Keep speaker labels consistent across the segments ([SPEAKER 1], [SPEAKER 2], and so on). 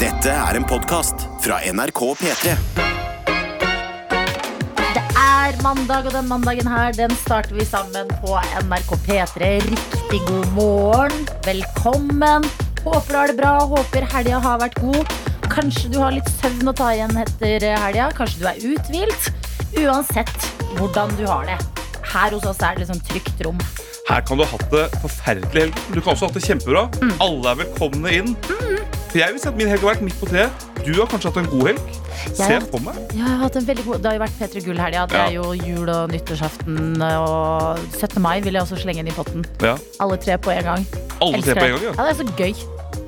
[SPEAKER 1] Dette er en podkast fra NRK P3.
[SPEAKER 2] Det er mandag, og den mandagen her den starter vi sammen på NRK P3. Riktig god morgen. Velkommen. Håper du har det bra. Håper helga har vært god. Kanskje du har litt søvn å ta igjen etter helga. Kanskje du er uthvilt. Uansett hvordan du har det. Her hos oss er det liksom trygt rom.
[SPEAKER 3] Her kan du ha hatt det forferdelig helg. Du kan også ha hatt det kjempebra.
[SPEAKER 2] Mm.
[SPEAKER 3] Alle er velkomne inn.
[SPEAKER 2] Mm-hmm.
[SPEAKER 3] For jeg vil si at min helg har vært midt på treet. Du har kanskje hatt en god helg. Se
[SPEAKER 2] har-
[SPEAKER 3] på meg.
[SPEAKER 2] Ja, jeg har hatt en veldig god Det har jo vært P3 Gull-helga. Det
[SPEAKER 3] Ja.
[SPEAKER 2] er jo jul og nyttårsaften og 17. mai vil jeg også slenge inn i potten.
[SPEAKER 3] Ja.
[SPEAKER 2] Alle tre på en gang.
[SPEAKER 3] Alle
[SPEAKER 2] Elsker
[SPEAKER 3] tre på en gang.
[SPEAKER 2] det.
[SPEAKER 3] Ja.
[SPEAKER 2] Ja, det er så gøy.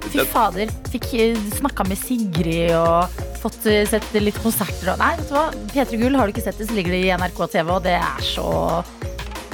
[SPEAKER 2] Fy fader. Fikk eh, snakka med Sigrid og fått eh, sett litt konserter og Nei, vet du hva. P3 Gull har du ikke sett det, så ligger det i NRK TV, og det er så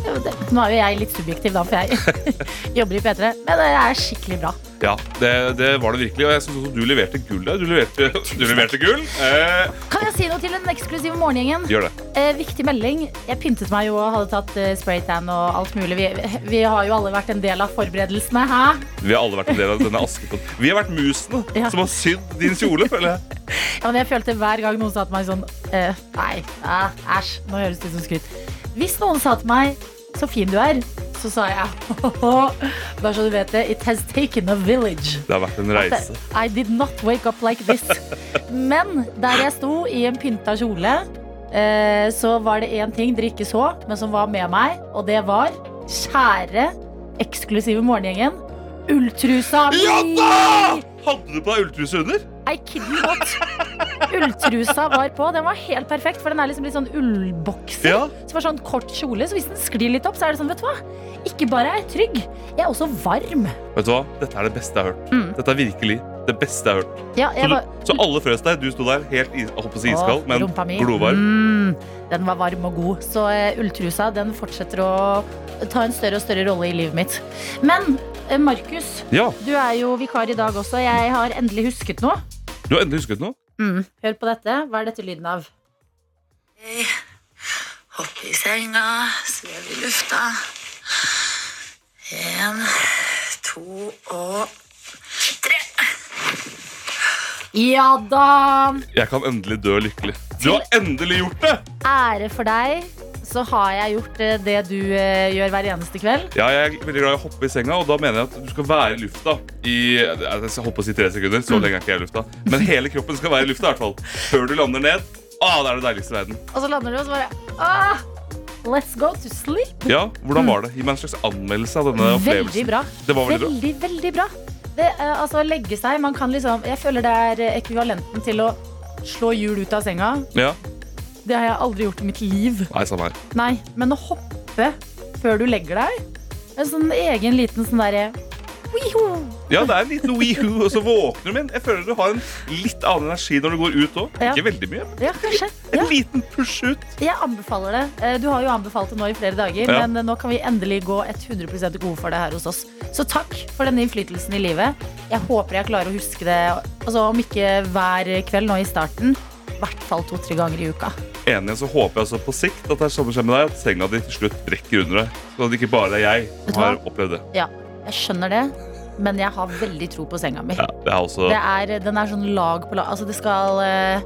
[SPEAKER 2] Ja, det- Nå er jo jeg litt subjektiv, da, for jeg jobber i P3, men det er skikkelig bra.
[SPEAKER 3] ja det, det var det virkelig. Og jeg synes også du leverte gull der. Du leverte, du leverte gull. Eh,
[SPEAKER 2] Kan jeg si noe til den eksklusive morgengjengen?
[SPEAKER 3] gjør det.
[SPEAKER 2] Eh, viktig melding. Jeg pyntet meg jo og hadde tatt eh, spraytan og alt mulig. Vi, vi har jo alle vært en del av forberedelsene, hæ?
[SPEAKER 3] Vi har alle vært en del av denne Askepott. Vi har vært musene
[SPEAKER 2] Ja.
[SPEAKER 3] som har sydd din kjole, føler jeg.
[SPEAKER 2] Ja, men jeg følte hver gang noen sa til meg sånn eh, Nei, eh, æsj, nå høres det ut som skryt. Hvis noen sa til meg så fin du er, så sa jeg Bare så du vet det, it has taken a village.
[SPEAKER 3] Det har vært en reise.
[SPEAKER 2] I did not wake up like this. Men der jeg sto i en pynta kjole, eh, så var det én ting dere ikke så, men som var med meg, og det var kjære, eksklusive morgengjengen. Ulltrusa mi!
[SPEAKER 3] Ja da! Hadde du på deg ulltruse under?
[SPEAKER 2] I kid you not. Ulltrusa var på. Den var helt perfekt, for den er liksom litt sånn ullbokser.
[SPEAKER 3] Ja.
[SPEAKER 2] Så det var sånn kort kjole, så hvis den sklir litt opp, så er det sånn, vet du hva? Ikke bare er jeg trygg, jeg er også varm.
[SPEAKER 3] Vet du hva? Dette er det beste jeg har hørt.
[SPEAKER 2] Mm.
[SPEAKER 3] Dette er virkelig det beste jeg har hørt.
[SPEAKER 2] Ja,
[SPEAKER 3] Så,
[SPEAKER 2] jeg var
[SPEAKER 3] du, så alle frøs deg. Du sto der helt is, jeg holdt på å si iskald,
[SPEAKER 2] Åh,
[SPEAKER 3] men
[SPEAKER 2] rumpa mi.
[SPEAKER 3] glovarm.
[SPEAKER 2] Mm, den var varm og god. Så eh, ulltrusa den fortsetter å ta en større og større rolle i livet mitt. Men eh, Markus,
[SPEAKER 3] Ja,
[SPEAKER 2] du er jo vikar i dag også. Jeg har endelig husket noe.
[SPEAKER 3] du har endelig husket noe.
[SPEAKER 2] Mm. Hør på dette. Hva er dette lyden av?
[SPEAKER 4] Hoppe i senga, svev i lufta. En, to og
[SPEAKER 2] Ja da!
[SPEAKER 3] Jeg kan endelig dø lykkelig. Du har endelig gjort det!
[SPEAKER 2] ære for deg, så har jeg gjort eh, det du eh, gjør hver eneste kveld.
[SPEAKER 3] Ja, jeg er veldig glad i å hoppe i senga, og da mener jeg at du skal være i lufta i Jeg skal holde på å si tre sekunder,
[SPEAKER 2] Mm.
[SPEAKER 3] så lenge er ikke jeg i lufta. Men hele kroppen skal være i lufta, i hvert fall. Før du lander ned. Ah, det er det deiligste i verden.
[SPEAKER 2] Og så lander du, og så bare ah, Let's go to sleep.
[SPEAKER 3] Ja, hvordan var det? Gi meg en slags anmeldelse av denne
[SPEAKER 2] Mm. Veldig
[SPEAKER 3] opplevelsen.
[SPEAKER 2] bra.
[SPEAKER 3] Det var veldig bra.
[SPEAKER 2] Veldig, veldig bra. Det, eh, altså, å legge seg Man kan liksom Jeg føler det er eh, ekvivalenten til å slå hjul ut av senga.
[SPEAKER 3] Ja.
[SPEAKER 2] Det har jeg aldri gjort i mitt liv.
[SPEAKER 3] Nei, samme her.
[SPEAKER 2] Nei, men å hoppe før du legger deg En sånn egen liten sånn derre Wiho!
[SPEAKER 3] Ja, det er en liten wee-hoo, og så våkner du med en. Jeg føler du har en litt annen energi når du går ut òg.
[SPEAKER 2] Ja.
[SPEAKER 3] Ikke veldig mye, men
[SPEAKER 2] Ja, kanskje.
[SPEAKER 3] en
[SPEAKER 2] Ja.
[SPEAKER 3] liten push ut.
[SPEAKER 2] Jeg anbefaler det. Eh, Du har jo anbefalt det nå i flere dager,
[SPEAKER 3] Ja.
[SPEAKER 2] men eh, nå kan vi endelig gå 100 gode for det her hos oss. Så takk for denne innflytelsen i livet. Jeg håper jeg klarer å huske det, altså om ikke hver kveld nå i starten, i hvert fall to-tre ganger i uka.
[SPEAKER 3] Enig, så håper jeg altså på sikt at det er samme skjer med deg At senga di til slutt brekker under deg Så at det ikke bare er jeg
[SPEAKER 2] Vet du
[SPEAKER 3] som
[SPEAKER 2] hva?
[SPEAKER 3] har opplevd det
[SPEAKER 2] Ja, jeg skjønner det, men jeg har veldig tro på senga mi.
[SPEAKER 3] ja, Det er også
[SPEAKER 2] Det er, den er sånn lag på lag. Altså, det skal eh,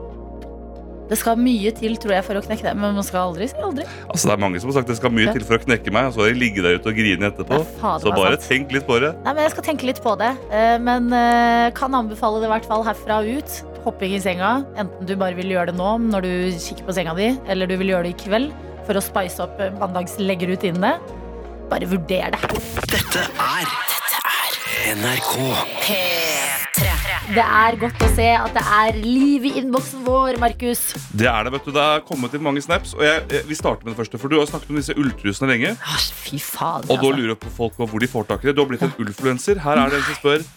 [SPEAKER 2] Det skal mye til, tror jeg, for å knekke det, men man skal aldri si aldri.
[SPEAKER 3] Altså det er mange som har sagt Det skal mye
[SPEAKER 2] Ja.
[SPEAKER 3] til for å knekke meg Og så har jeg ligget der ute og grine
[SPEAKER 2] Ja,
[SPEAKER 3] etterpå
[SPEAKER 2] fader,
[SPEAKER 3] Så
[SPEAKER 2] hva
[SPEAKER 3] bare
[SPEAKER 2] sant.
[SPEAKER 3] tenk litt på det
[SPEAKER 2] Nei, men Jeg skal tenke litt på det. eh, Men eh, kan anbefale det i hvert fall herfra og ut. Hopping i senga. Enten du bare vil gjøre det nå når du kikker på senga di, eller du vil gjøre det i kveld for å spice opp eh, mandagsleggerutinene. Bare vurder det.
[SPEAKER 1] Dette er NRK.
[SPEAKER 2] Det er godt å se at det er liv i innboksen vår, Markus.
[SPEAKER 3] Det er det, vet du Det har kommet inn mange snaps Og jeg, eh, vi starter med det første For du har snakket om disse ulltrusene lenge
[SPEAKER 2] Åh, Fy fader,
[SPEAKER 3] Og da
[SPEAKER 2] altså.
[SPEAKER 3] lurer jeg på folk på hvor de får tak i det Du har blitt en ullfluencer Her er det en som spør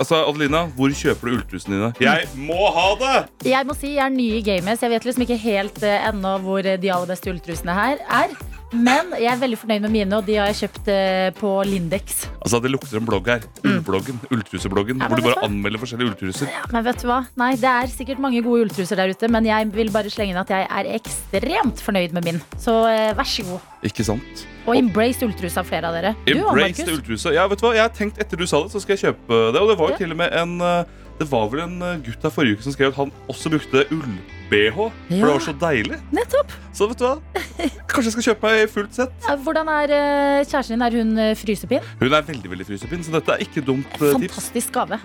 [SPEAKER 3] Altså, Adelina, hvor kjøper du ulltrusene dine? Jeg må ha det!
[SPEAKER 2] Jeg må si jeg er ny i gamet, så jeg vet liksom ikke helt eh, ennå hvor eh, de aller beste ulltrusene her er. Men jeg er veldig fornøyd med mine, og de har jeg kjøpt eh, på Lindex.
[SPEAKER 3] Altså, Det lukter en blogg her. Ullbloggen, Ulltrusebloggen.
[SPEAKER 2] Mm. Ja,
[SPEAKER 3] hvor
[SPEAKER 2] men altså-
[SPEAKER 3] du bare
[SPEAKER 2] vet du hva?
[SPEAKER 3] anmelder forskjellige ulltruser.
[SPEAKER 2] Men vet du hva? Nei, Det er sikkert mange gode ulltruser der ute, men jeg vil bare slenge inn at jeg er ekstremt fornøyd med min. Så eh, vær så god.
[SPEAKER 3] Ikke sant?
[SPEAKER 2] Og embrace ulltrusa, flere av dere. Du og
[SPEAKER 3] Embrace
[SPEAKER 2] Markus.
[SPEAKER 3] the ulltruse. Ja, vet du hva? Jeg har tenkt etter du sa det, så skal jeg kjøpe det. Og det var jo
[SPEAKER 2] Ja.
[SPEAKER 3] til og med en eh, Det var vel en eh, gutt her forrige uke som skrev at han også brukte ull-BH. For
[SPEAKER 2] Ja.
[SPEAKER 3] det var så deilig.
[SPEAKER 2] Nettopp.
[SPEAKER 3] Så vet du hva? Kanskje jeg skal kjøpe meg fullt sett.
[SPEAKER 2] Eh, Hvordan er eh, kjæresten din? Er hun eh, frysepinn?
[SPEAKER 3] Hun er veldig veldig frysepinn, så dette er ikke dumt eh, tips.
[SPEAKER 2] Fantastisk gave.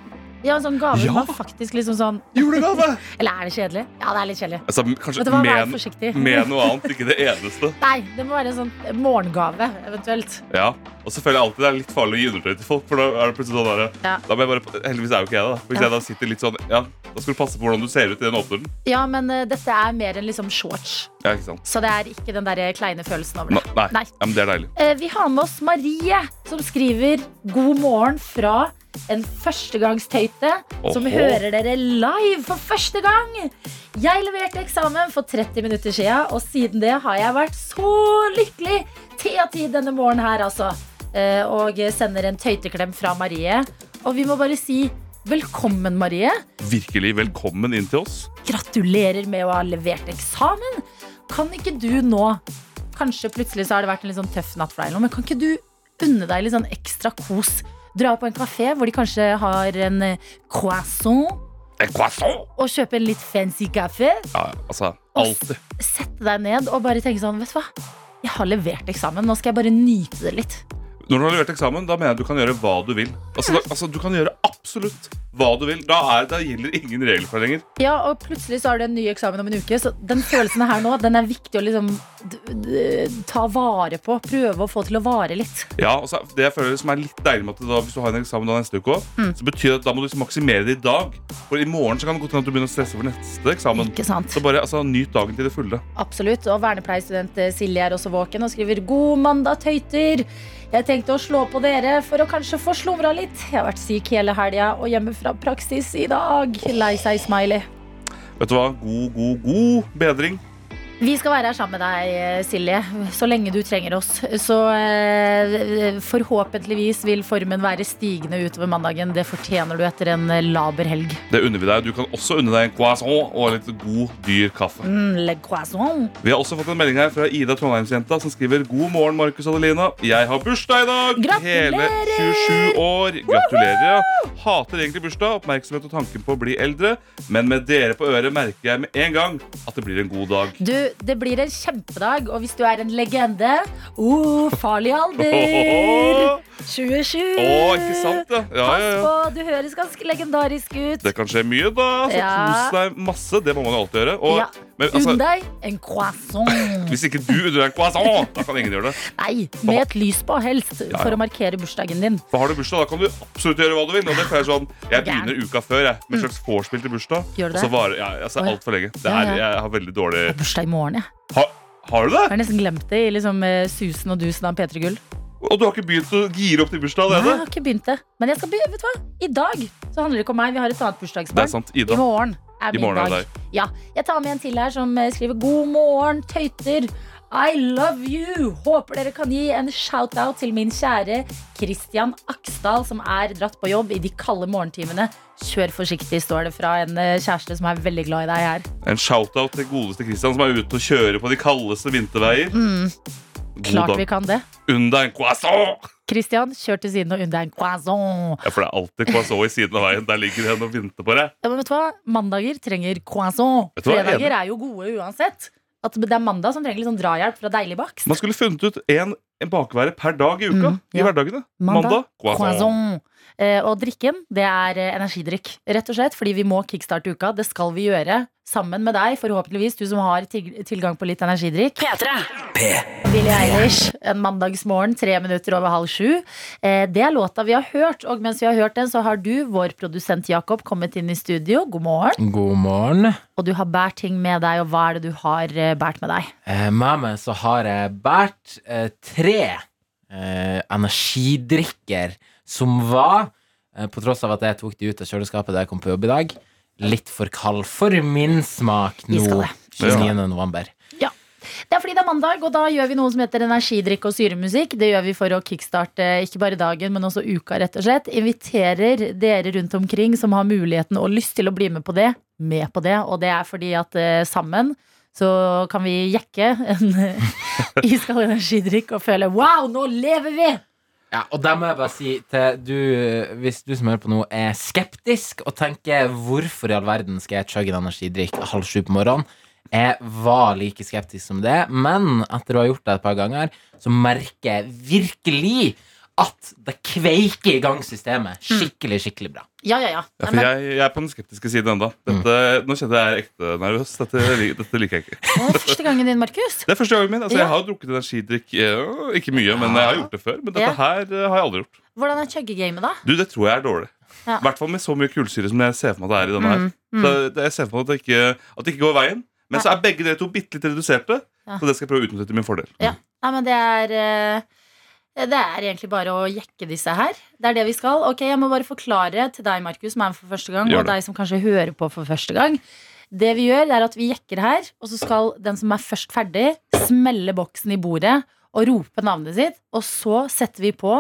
[SPEAKER 2] Ja, en sånn gave
[SPEAKER 3] Ja.
[SPEAKER 2] som er faktisk liksom sånn
[SPEAKER 3] Julegave!
[SPEAKER 2] Eller er det kjedelig? Ja, det er litt kjedelig.
[SPEAKER 3] Altså, kanskje
[SPEAKER 2] Vet du hva, vær
[SPEAKER 3] men,
[SPEAKER 2] forsiktig.
[SPEAKER 3] med noe annet, ikke det eneste.
[SPEAKER 2] Nei, det må være en sånn morgengave, eventuelt.
[SPEAKER 3] Ja, Og så føler jeg alltid det er litt farlig å gi undertøy til folk. For da er det plutselig sånn der,
[SPEAKER 2] Ja.
[SPEAKER 3] da må jeg bare, Heldigvis er jo ikke jeg det. da. Hvis
[SPEAKER 2] Ja.
[SPEAKER 3] jeg da sitter litt sånn Ja, da skal du passe på hvordan du ser ut i den åpneren.
[SPEAKER 2] Ja, men eh, dette er mer enn liksom shorts.
[SPEAKER 3] Ja, ikke sant?
[SPEAKER 2] Så det er ikke den der eh, kleine følelsen over
[SPEAKER 3] Nei.
[SPEAKER 2] det.
[SPEAKER 3] nei.
[SPEAKER 2] Nei.
[SPEAKER 3] Ja, men det er deilig.
[SPEAKER 2] Eh, Vi har med oss Marie, som skriver 'God morgen' fra en førstegangstøyte som
[SPEAKER 3] Oho.
[SPEAKER 2] hører dere live for første gang. Jeg leverte eksamen for 30 minutter siden, og siden det har jeg vært så lykkelig. Te-tid denne morgenen her, altså. Eh, Og sender en tøyteklem fra Marie. Og vi må bare si velkommen, Marie.
[SPEAKER 3] Virkelig velkommen inn til oss.
[SPEAKER 2] Gratulerer med å ha levert eksamen. Kan ikke du nå Kanskje plutselig så har det vært en litt sånn tøff natt for deg, eller noe, men kan ikke du unne deg litt sånn ekstra kos? Dra på en kafé hvor de kanskje har en eh, croissant,
[SPEAKER 3] En croissant!
[SPEAKER 2] og kjøpe en litt fancy kaffe.
[SPEAKER 3] Ja, altså,
[SPEAKER 2] Og
[SPEAKER 3] alltid.
[SPEAKER 2] s- Sette deg ned og bare tenke sånn, vet du hva? Jeg har levert eksamen, nå skal jeg bare nyte det litt.
[SPEAKER 3] Når du har levert eksamen, da mener jeg du kan gjøre hva du vil. Altså, da, altså Du kan gjøre absolutt hva du vil. Da, er, da gjelder ingen regler for det lenger.
[SPEAKER 2] Ja, og plutselig så har du en ny eksamen om en uke, så den følelsen her nå, den er viktig å liksom d- d- ta vare på. Prøve å få til å vare litt.
[SPEAKER 3] Ja, og så det jeg føler som er litt deilig med at det da, Hvis du har en eksamen da neste uke også,
[SPEAKER 2] Mm.
[SPEAKER 3] Så betyr det at da må du liksom maksimere det i dag. For i morgen så kan det godt hende at du begynner å stresse for neste eksamen.
[SPEAKER 2] Ikke sant?
[SPEAKER 3] Så bare altså, nyt dagen til det fulle.
[SPEAKER 2] Absolutt, og vernepleierstudent Silje er også våken og skriver God mandag, tøyter! Jeg tenkte å slå på dere for å kanskje få slumra litt. Jeg har vært syk hele helga og hjemme fra praksis i dag. Lei seg, smiley.
[SPEAKER 3] Vet du hva? God, god, god bedring.
[SPEAKER 2] Vi skal være her sammen med deg, eh, Silje, så lenge du trenger oss. Så eh, forhåpentligvis vil formen være stigende utover mandagen. Det fortjener du etter en eh, laber helg.
[SPEAKER 3] Det unner vi deg. Du kan også unne deg en croissant og litt god, dyr kaffe.
[SPEAKER 2] Mm, le croissant.
[SPEAKER 3] Vi har også fått en melding her fra Ida Trondheimsjenta som skriver God morgen, Markus og Adelina. Jeg har bursdag i dag!
[SPEAKER 2] Gratulerer!
[SPEAKER 3] Hele 27 år. Gratulerer, ja. Hater egentlig bursdag, oppmerksomhet og tanken på å bli eldre. Men med dere på øret merker jeg med en gang at det blir en god dag.
[SPEAKER 2] Du, det blir en kjempedag, og hvis du er en legende oh, Farlig alder! 27.
[SPEAKER 3] Å, ikke sant, ja. ja, ja,
[SPEAKER 2] Pass
[SPEAKER 3] ja.
[SPEAKER 2] på, du høres ganske legendarisk ut.
[SPEAKER 3] Det kan skje mye, da. Så
[SPEAKER 2] Ja.
[SPEAKER 3] kos deg masse. Det må man jo alltid gjøre. Og,
[SPEAKER 2] Ja.
[SPEAKER 3] men, altså,
[SPEAKER 2] Unn deg en croissant.
[SPEAKER 3] hvis ikke du unner deg en croissant, da kan ingen gjøre det.
[SPEAKER 2] Nei, med et lys på, helst,
[SPEAKER 3] ja.
[SPEAKER 2] for å markere bursdagen din.
[SPEAKER 3] For har du bursdag, da kan du absolutt gjøre hva du vil. Og det pleier sånn, Jeg
[SPEAKER 2] Gæren.
[SPEAKER 3] begynner uka før jeg, med en slags vorspiel til bursdag.
[SPEAKER 2] Mm. Gjør du
[SPEAKER 3] Og så
[SPEAKER 2] det?
[SPEAKER 3] varer ja, altså,
[SPEAKER 2] Å, ja.
[SPEAKER 3] altfor lenge. Det
[SPEAKER 2] Ja,
[SPEAKER 3] er,
[SPEAKER 2] ja.
[SPEAKER 3] jeg har veldig dårlig
[SPEAKER 2] Det er bursdag i morgen, jeg.
[SPEAKER 3] ha, Har du
[SPEAKER 2] Jeg
[SPEAKER 3] det?
[SPEAKER 2] har nesten glemt det i liksom, eh, susen og dusen av P3 Gull.
[SPEAKER 3] Og du har ikke begynt å gire opp til bursdag
[SPEAKER 2] Nei, jeg
[SPEAKER 3] allerede?
[SPEAKER 2] har ikke begynt det. Men jeg skal begynne, vet du hva? I dag så handler det ikke om meg. Vi har et annet
[SPEAKER 3] Det er
[SPEAKER 2] bursdagsbarn.
[SPEAKER 3] sant.
[SPEAKER 2] I
[SPEAKER 3] Ida.
[SPEAKER 2] morgen er min
[SPEAKER 3] morgen er
[SPEAKER 2] dag.
[SPEAKER 3] det
[SPEAKER 2] Ja, jeg tar med en til her som eh, skriver God morgen, tøyter. I love you! Håper dere kan gi en shout-out til min kjære Christian Aksdal, som er dratt på jobb i de kalde morgentimene. Kjør forsiktig, står det fra en eh, kjæreste som er veldig glad i deg her.
[SPEAKER 3] En shout-out til godeste Christian, som er ute og kjører på de kaldeste vinterveier. God
[SPEAKER 2] Mm. Klart vi
[SPEAKER 3] dag.
[SPEAKER 2] kan det.
[SPEAKER 3] Unn deg en croissant!
[SPEAKER 2] Christian, kjør til siden og unn deg en croissant.
[SPEAKER 3] Ja, for det er alltid croissant i siden av veien. Der ligger den og venter på deg.
[SPEAKER 2] Ja, men vet du hva? Mandager trenger croissant.
[SPEAKER 3] Vet du hva, jeg er
[SPEAKER 2] Fredager er jo gode uansett. At det er mandag som trenger litt sånn drahjelp fra deilig bakst.
[SPEAKER 3] Man skulle funnet ut en, en bakvære per dag i uka.
[SPEAKER 2] Mm, ja.
[SPEAKER 3] I hverdagene.
[SPEAKER 2] Mandag,
[SPEAKER 3] croissant.
[SPEAKER 2] Croissant. Eh, og drikken, det er eh, energidrikk. Rett og slett fordi vi må kickstarte uka. Det skal vi gjøre sammen med deg, forhåpentligvis, du som har til tilgang på litt energidrikk. Billie Eilish, en mandagsmorgen, tre minutter over halv sju. Eh, det er låta vi har hørt, og mens vi har hørt den, så har du, vår produsent Jakob, kommet inn i studio. God morgen.
[SPEAKER 5] God morgen.
[SPEAKER 2] Og du har båret ting med deg, og hva er det du har eh, båret med deg?
[SPEAKER 5] Eh, med meg så har jeg båret eh, tre eh, energidrikker som var, eh, på tross av at jeg tok de ut av kjøleskapet da jeg kom på jobb i dag, litt for kald for min smak
[SPEAKER 2] Vi
[SPEAKER 5] nå.
[SPEAKER 2] skal det.
[SPEAKER 5] 29. november.
[SPEAKER 2] Det er fordi det er mandag, og da gjør vi noe som heter energidrikk og syremusikk. Det gjør vi for å kickstarte ikke bare dagen, men også uka, rett og slett. Inviterer dere rundt omkring som har muligheten og lyst til å bli med på det, med på det. Og det er fordi at eh, sammen så kan vi jekke en eh, iskald energidrikk og føle wow, nå lever vi!
[SPEAKER 5] Ja, og da må jeg bare si til du, hvis du som hører på nå er skeptisk og tenker hvorfor i all verden skal jeg chugge en energidrikk halv sju på morgenen, jeg var like skeptisk som det, men etter å ha gjort det et par ganger, så merker jeg virkelig at det kveiker i gang systemet skikkelig, skikkelig bra.
[SPEAKER 2] Ja, ja, ja.
[SPEAKER 3] Ja,
[SPEAKER 2] Nei,
[SPEAKER 3] for
[SPEAKER 2] men, Mm.
[SPEAKER 3] jeg, jeg er på den skeptiske siden ennå. Nå kjente jeg er ekte nervøs. Dette, li- dette liker jeg ikke.
[SPEAKER 2] det er første gangen din, Markus.
[SPEAKER 3] Det er første gangen min. Altså,
[SPEAKER 2] Ja.
[SPEAKER 3] jeg har jo drukket energidrikk. eh, Ikke mye, men jeg har gjort det før. Men dette
[SPEAKER 2] Ja.
[SPEAKER 3] her eh, har jeg aldri gjort.
[SPEAKER 2] Hvordan er chuggegamet, da?
[SPEAKER 3] Du, det tror jeg er dårlig.
[SPEAKER 2] Ja. Mm,
[SPEAKER 3] I hvert fall med så mye kullsyre som jeg ser for meg at det er i denne her. Så det- jeg ser for meg at det ikke, at det ikke går veien. Men så er begge dere to bitte litt reduserte,
[SPEAKER 2] Ja.
[SPEAKER 3] så det skal jeg prøve å utnytte til min fordel.
[SPEAKER 2] Ja. Nei, men det er eh, Det er egentlig bare å jekke disse her. Det er det vi skal. Ok, Jeg må bare forklare til deg, Markus, som er med for første gang,
[SPEAKER 3] Gjør
[SPEAKER 2] og
[SPEAKER 3] det.
[SPEAKER 2] deg som kanskje hører på for første gang. Det vi gjør, det er at vi jekker her, og så skal den som er først ferdig, smelle boksen i bordet og rope navnet sitt, og så setter vi på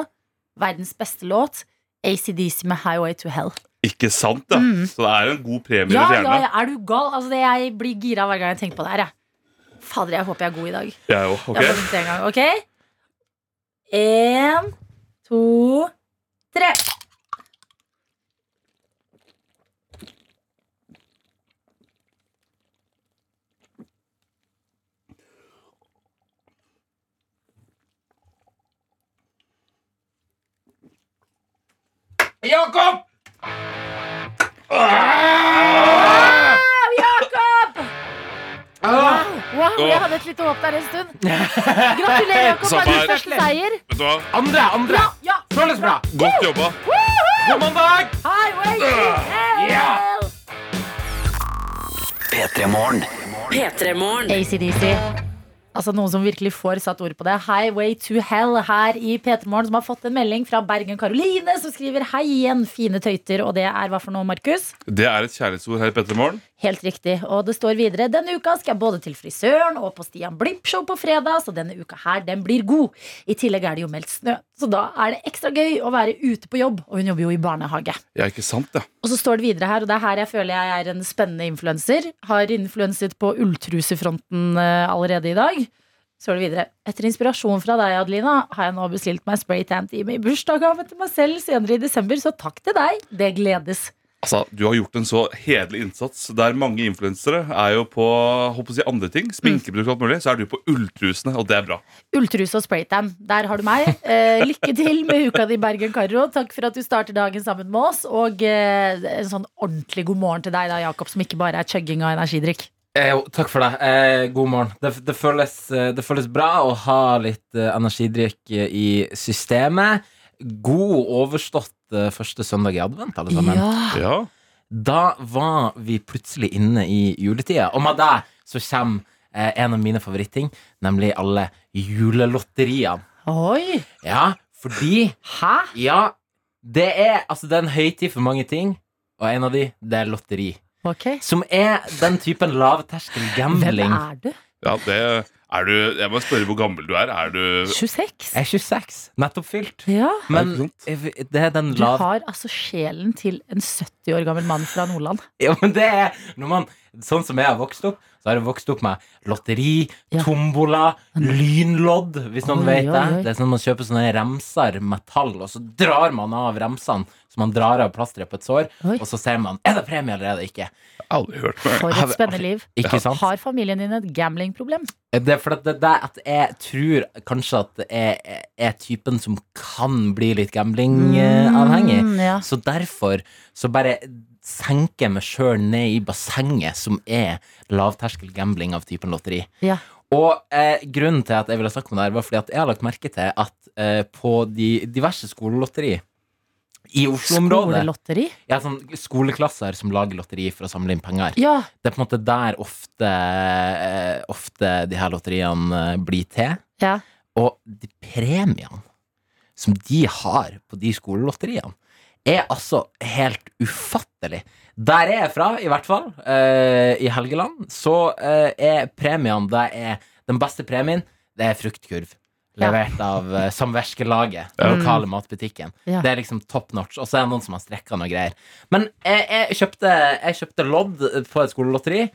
[SPEAKER 2] verdens beste låt, ACDC med Highway to Hell.
[SPEAKER 3] Ikke sant, da? Så det er en god premie
[SPEAKER 2] Mm. Ja, ja,
[SPEAKER 3] eller fjerne.
[SPEAKER 2] ja, er du gal? Altså, det, jeg blir gira hver gang jeg tenker på det her. Jeg. Fader, jeg håper jeg er god i dag.
[SPEAKER 3] Jeg er jo, ok.
[SPEAKER 2] Jeg har fått det en gang, ok? En, to, tre.
[SPEAKER 5] Jakob!
[SPEAKER 2] Jakob!
[SPEAKER 5] Ah!
[SPEAKER 2] Wow, jeg hadde et lite håp der en stund. Gratulerer, Jakob,
[SPEAKER 3] Samme
[SPEAKER 2] med din
[SPEAKER 3] her.
[SPEAKER 2] første seier.
[SPEAKER 3] Vet du hva?
[SPEAKER 5] Andre, andre!
[SPEAKER 2] Ja,
[SPEAKER 5] Føles bra!
[SPEAKER 3] Godt jobba.
[SPEAKER 5] God mandag!
[SPEAKER 2] highway to hell!
[SPEAKER 1] P3 Morgen.
[SPEAKER 6] P3-morgen.
[SPEAKER 2] ACDC. Altså Noen som virkelig får satt ord på det. Highway to hell her i P3 Morgen, som har fått en melding fra Bergen Karoline, som skriver 'Hei igjen, fine tøyter'. Og det er hva for noe, Markus?
[SPEAKER 3] Det er et kjærlighetsord her i P3 Morgen.
[SPEAKER 2] Helt riktig. Og det står videre denne uka skal jeg både til frisøren og på Stian Blipp-show på fredag, så denne uka her, den blir god. I tillegg er det jo meldt snø, så da er det ekstra gøy å være ute på jobb. Og hun jobber jo i barnehage.
[SPEAKER 3] Ja, ikke sant, ja.
[SPEAKER 2] Og så står det videre her, og det er her jeg føler jeg er en spennende influenser. Har influenset på ulltrusefronten eh, allerede i dag. Så er det videre. Etter inspirasjon fra deg, Adelina, har jeg nå bestilt meg spraytan-time i bursdagsgave til meg selv senere i desember, så takk til deg. Det gledes.
[SPEAKER 3] Altså, Du har gjort en så hederlig innsats. Der mange influensere er jo på håper å si, andre ting, sminkeprodukter og alt mulig, så er du på ulltrusene, og det er bra.
[SPEAKER 2] Ulltruse og spraytan. Der har du meg. Eh, lykke til med uka di, Bergen Karro. Takk for at du starter dagen sammen med oss. Og eh, en sånn ordentlig god morgen til deg, da, Jakob, som ikke bare er chugging av energidrikk.
[SPEAKER 5] Eh, jo, takk for det. Eh, god morgen. Det, det, føles, eh, det føles bra å ha litt eh, energidrikk eh, i systemet. God overstått eh, første søndag i advent, alle sammen.
[SPEAKER 3] Ja,
[SPEAKER 5] Da var vi plutselig inne i juletida, og med det så kommer eh, en av mine favoritting, nemlig alle julelotteriene.
[SPEAKER 2] Oi!
[SPEAKER 5] Ja, fordi
[SPEAKER 2] Hæ?
[SPEAKER 5] Ja, det er altså det er en høytid for mange ting, og en av de, det er lotteri.
[SPEAKER 2] Ok.
[SPEAKER 5] Som er den typen lavterskel
[SPEAKER 2] Hvem
[SPEAKER 5] gambling.
[SPEAKER 2] er du?
[SPEAKER 3] ja det er du Jeg må spørre hvor gammel du er. Er du
[SPEAKER 2] 26?
[SPEAKER 5] Jeg er 26, nettopp fylt.
[SPEAKER 2] Ja.
[SPEAKER 5] Men
[SPEAKER 3] Er det
[SPEAKER 5] jeg- det er den
[SPEAKER 2] Du
[SPEAKER 5] lav...
[SPEAKER 2] har altså sjelen til en 70 år gammel mann fra Nordland.
[SPEAKER 5] Ja, men det er når man, Sånn som jeg har vokst opp, så har jeg vokst opp med lotteri,
[SPEAKER 2] Ja.
[SPEAKER 5] tombola, lynlodd, hvis noen
[SPEAKER 2] Oi,
[SPEAKER 5] vet
[SPEAKER 2] oi,
[SPEAKER 5] det.
[SPEAKER 2] oi.
[SPEAKER 5] Det er sånn man kjøper sånne remser med tall, og så drar man av remsene, så man drar av plasteret på et sår,
[SPEAKER 2] Oi.
[SPEAKER 5] og så ser man er det premie eller er det ikke.
[SPEAKER 3] aldri hørt meg.
[SPEAKER 2] For
[SPEAKER 5] Har
[SPEAKER 2] et
[SPEAKER 5] vi-
[SPEAKER 2] spennende liv.
[SPEAKER 5] Ikke sant?
[SPEAKER 2] Har familien din et gamblingproblem?
[SPEAKER 5] Det er fordi at det er det at jeg tror kanskje at jeg jeg er typen som kan bli litt gambling-avhengig.
[SPEAKER 2] Mm, ja.
[SPEAKER 5] Så derfor så bare senker jeg meg sjøl ned i bassenget, som er lavterskel gambling av typen lotteri.
[SPEAKER 2] ja.
[SPEAKER 5] Og eh, grunnen til at jeg ville snakke om det her, var fordi at jeg har lagt merke til at eh, på de diverse skolelotteri i Oslo-området
[SPEAKER 2] Skolelotteri?
[SPEAKER 5] Ja, sånn skoleklasser som lager lotteri for å samle inn penger.
[SPEAKER 2] Ja.
[SPEAKER 5] Det er på en måte der ofte, eh, ofte de her lotteriene eh, blir til.
[SPEAKER 2] ja.
[SPEAKER 5] Og de premiene som de har på de skolelotteriene, er altså helt ufattelig. Der jeg er fra, i hvert fall, eh, i Helgeland, så eh, er premiene det er Den beste premien, det er fruktkurv.
[SPEAKER 2] Ja.
[SPEAKER 5] Levert av eh, samvirkelaget, den lokale matbutikken.
[SPEAKER 2] Ja.
[SPEAKER 5] Det er liksom top notch. Og så er det noen som har strekka noe greier. Men jeg, jeg, kjøpte, jeg kjøpte lodd på et skolelotteri.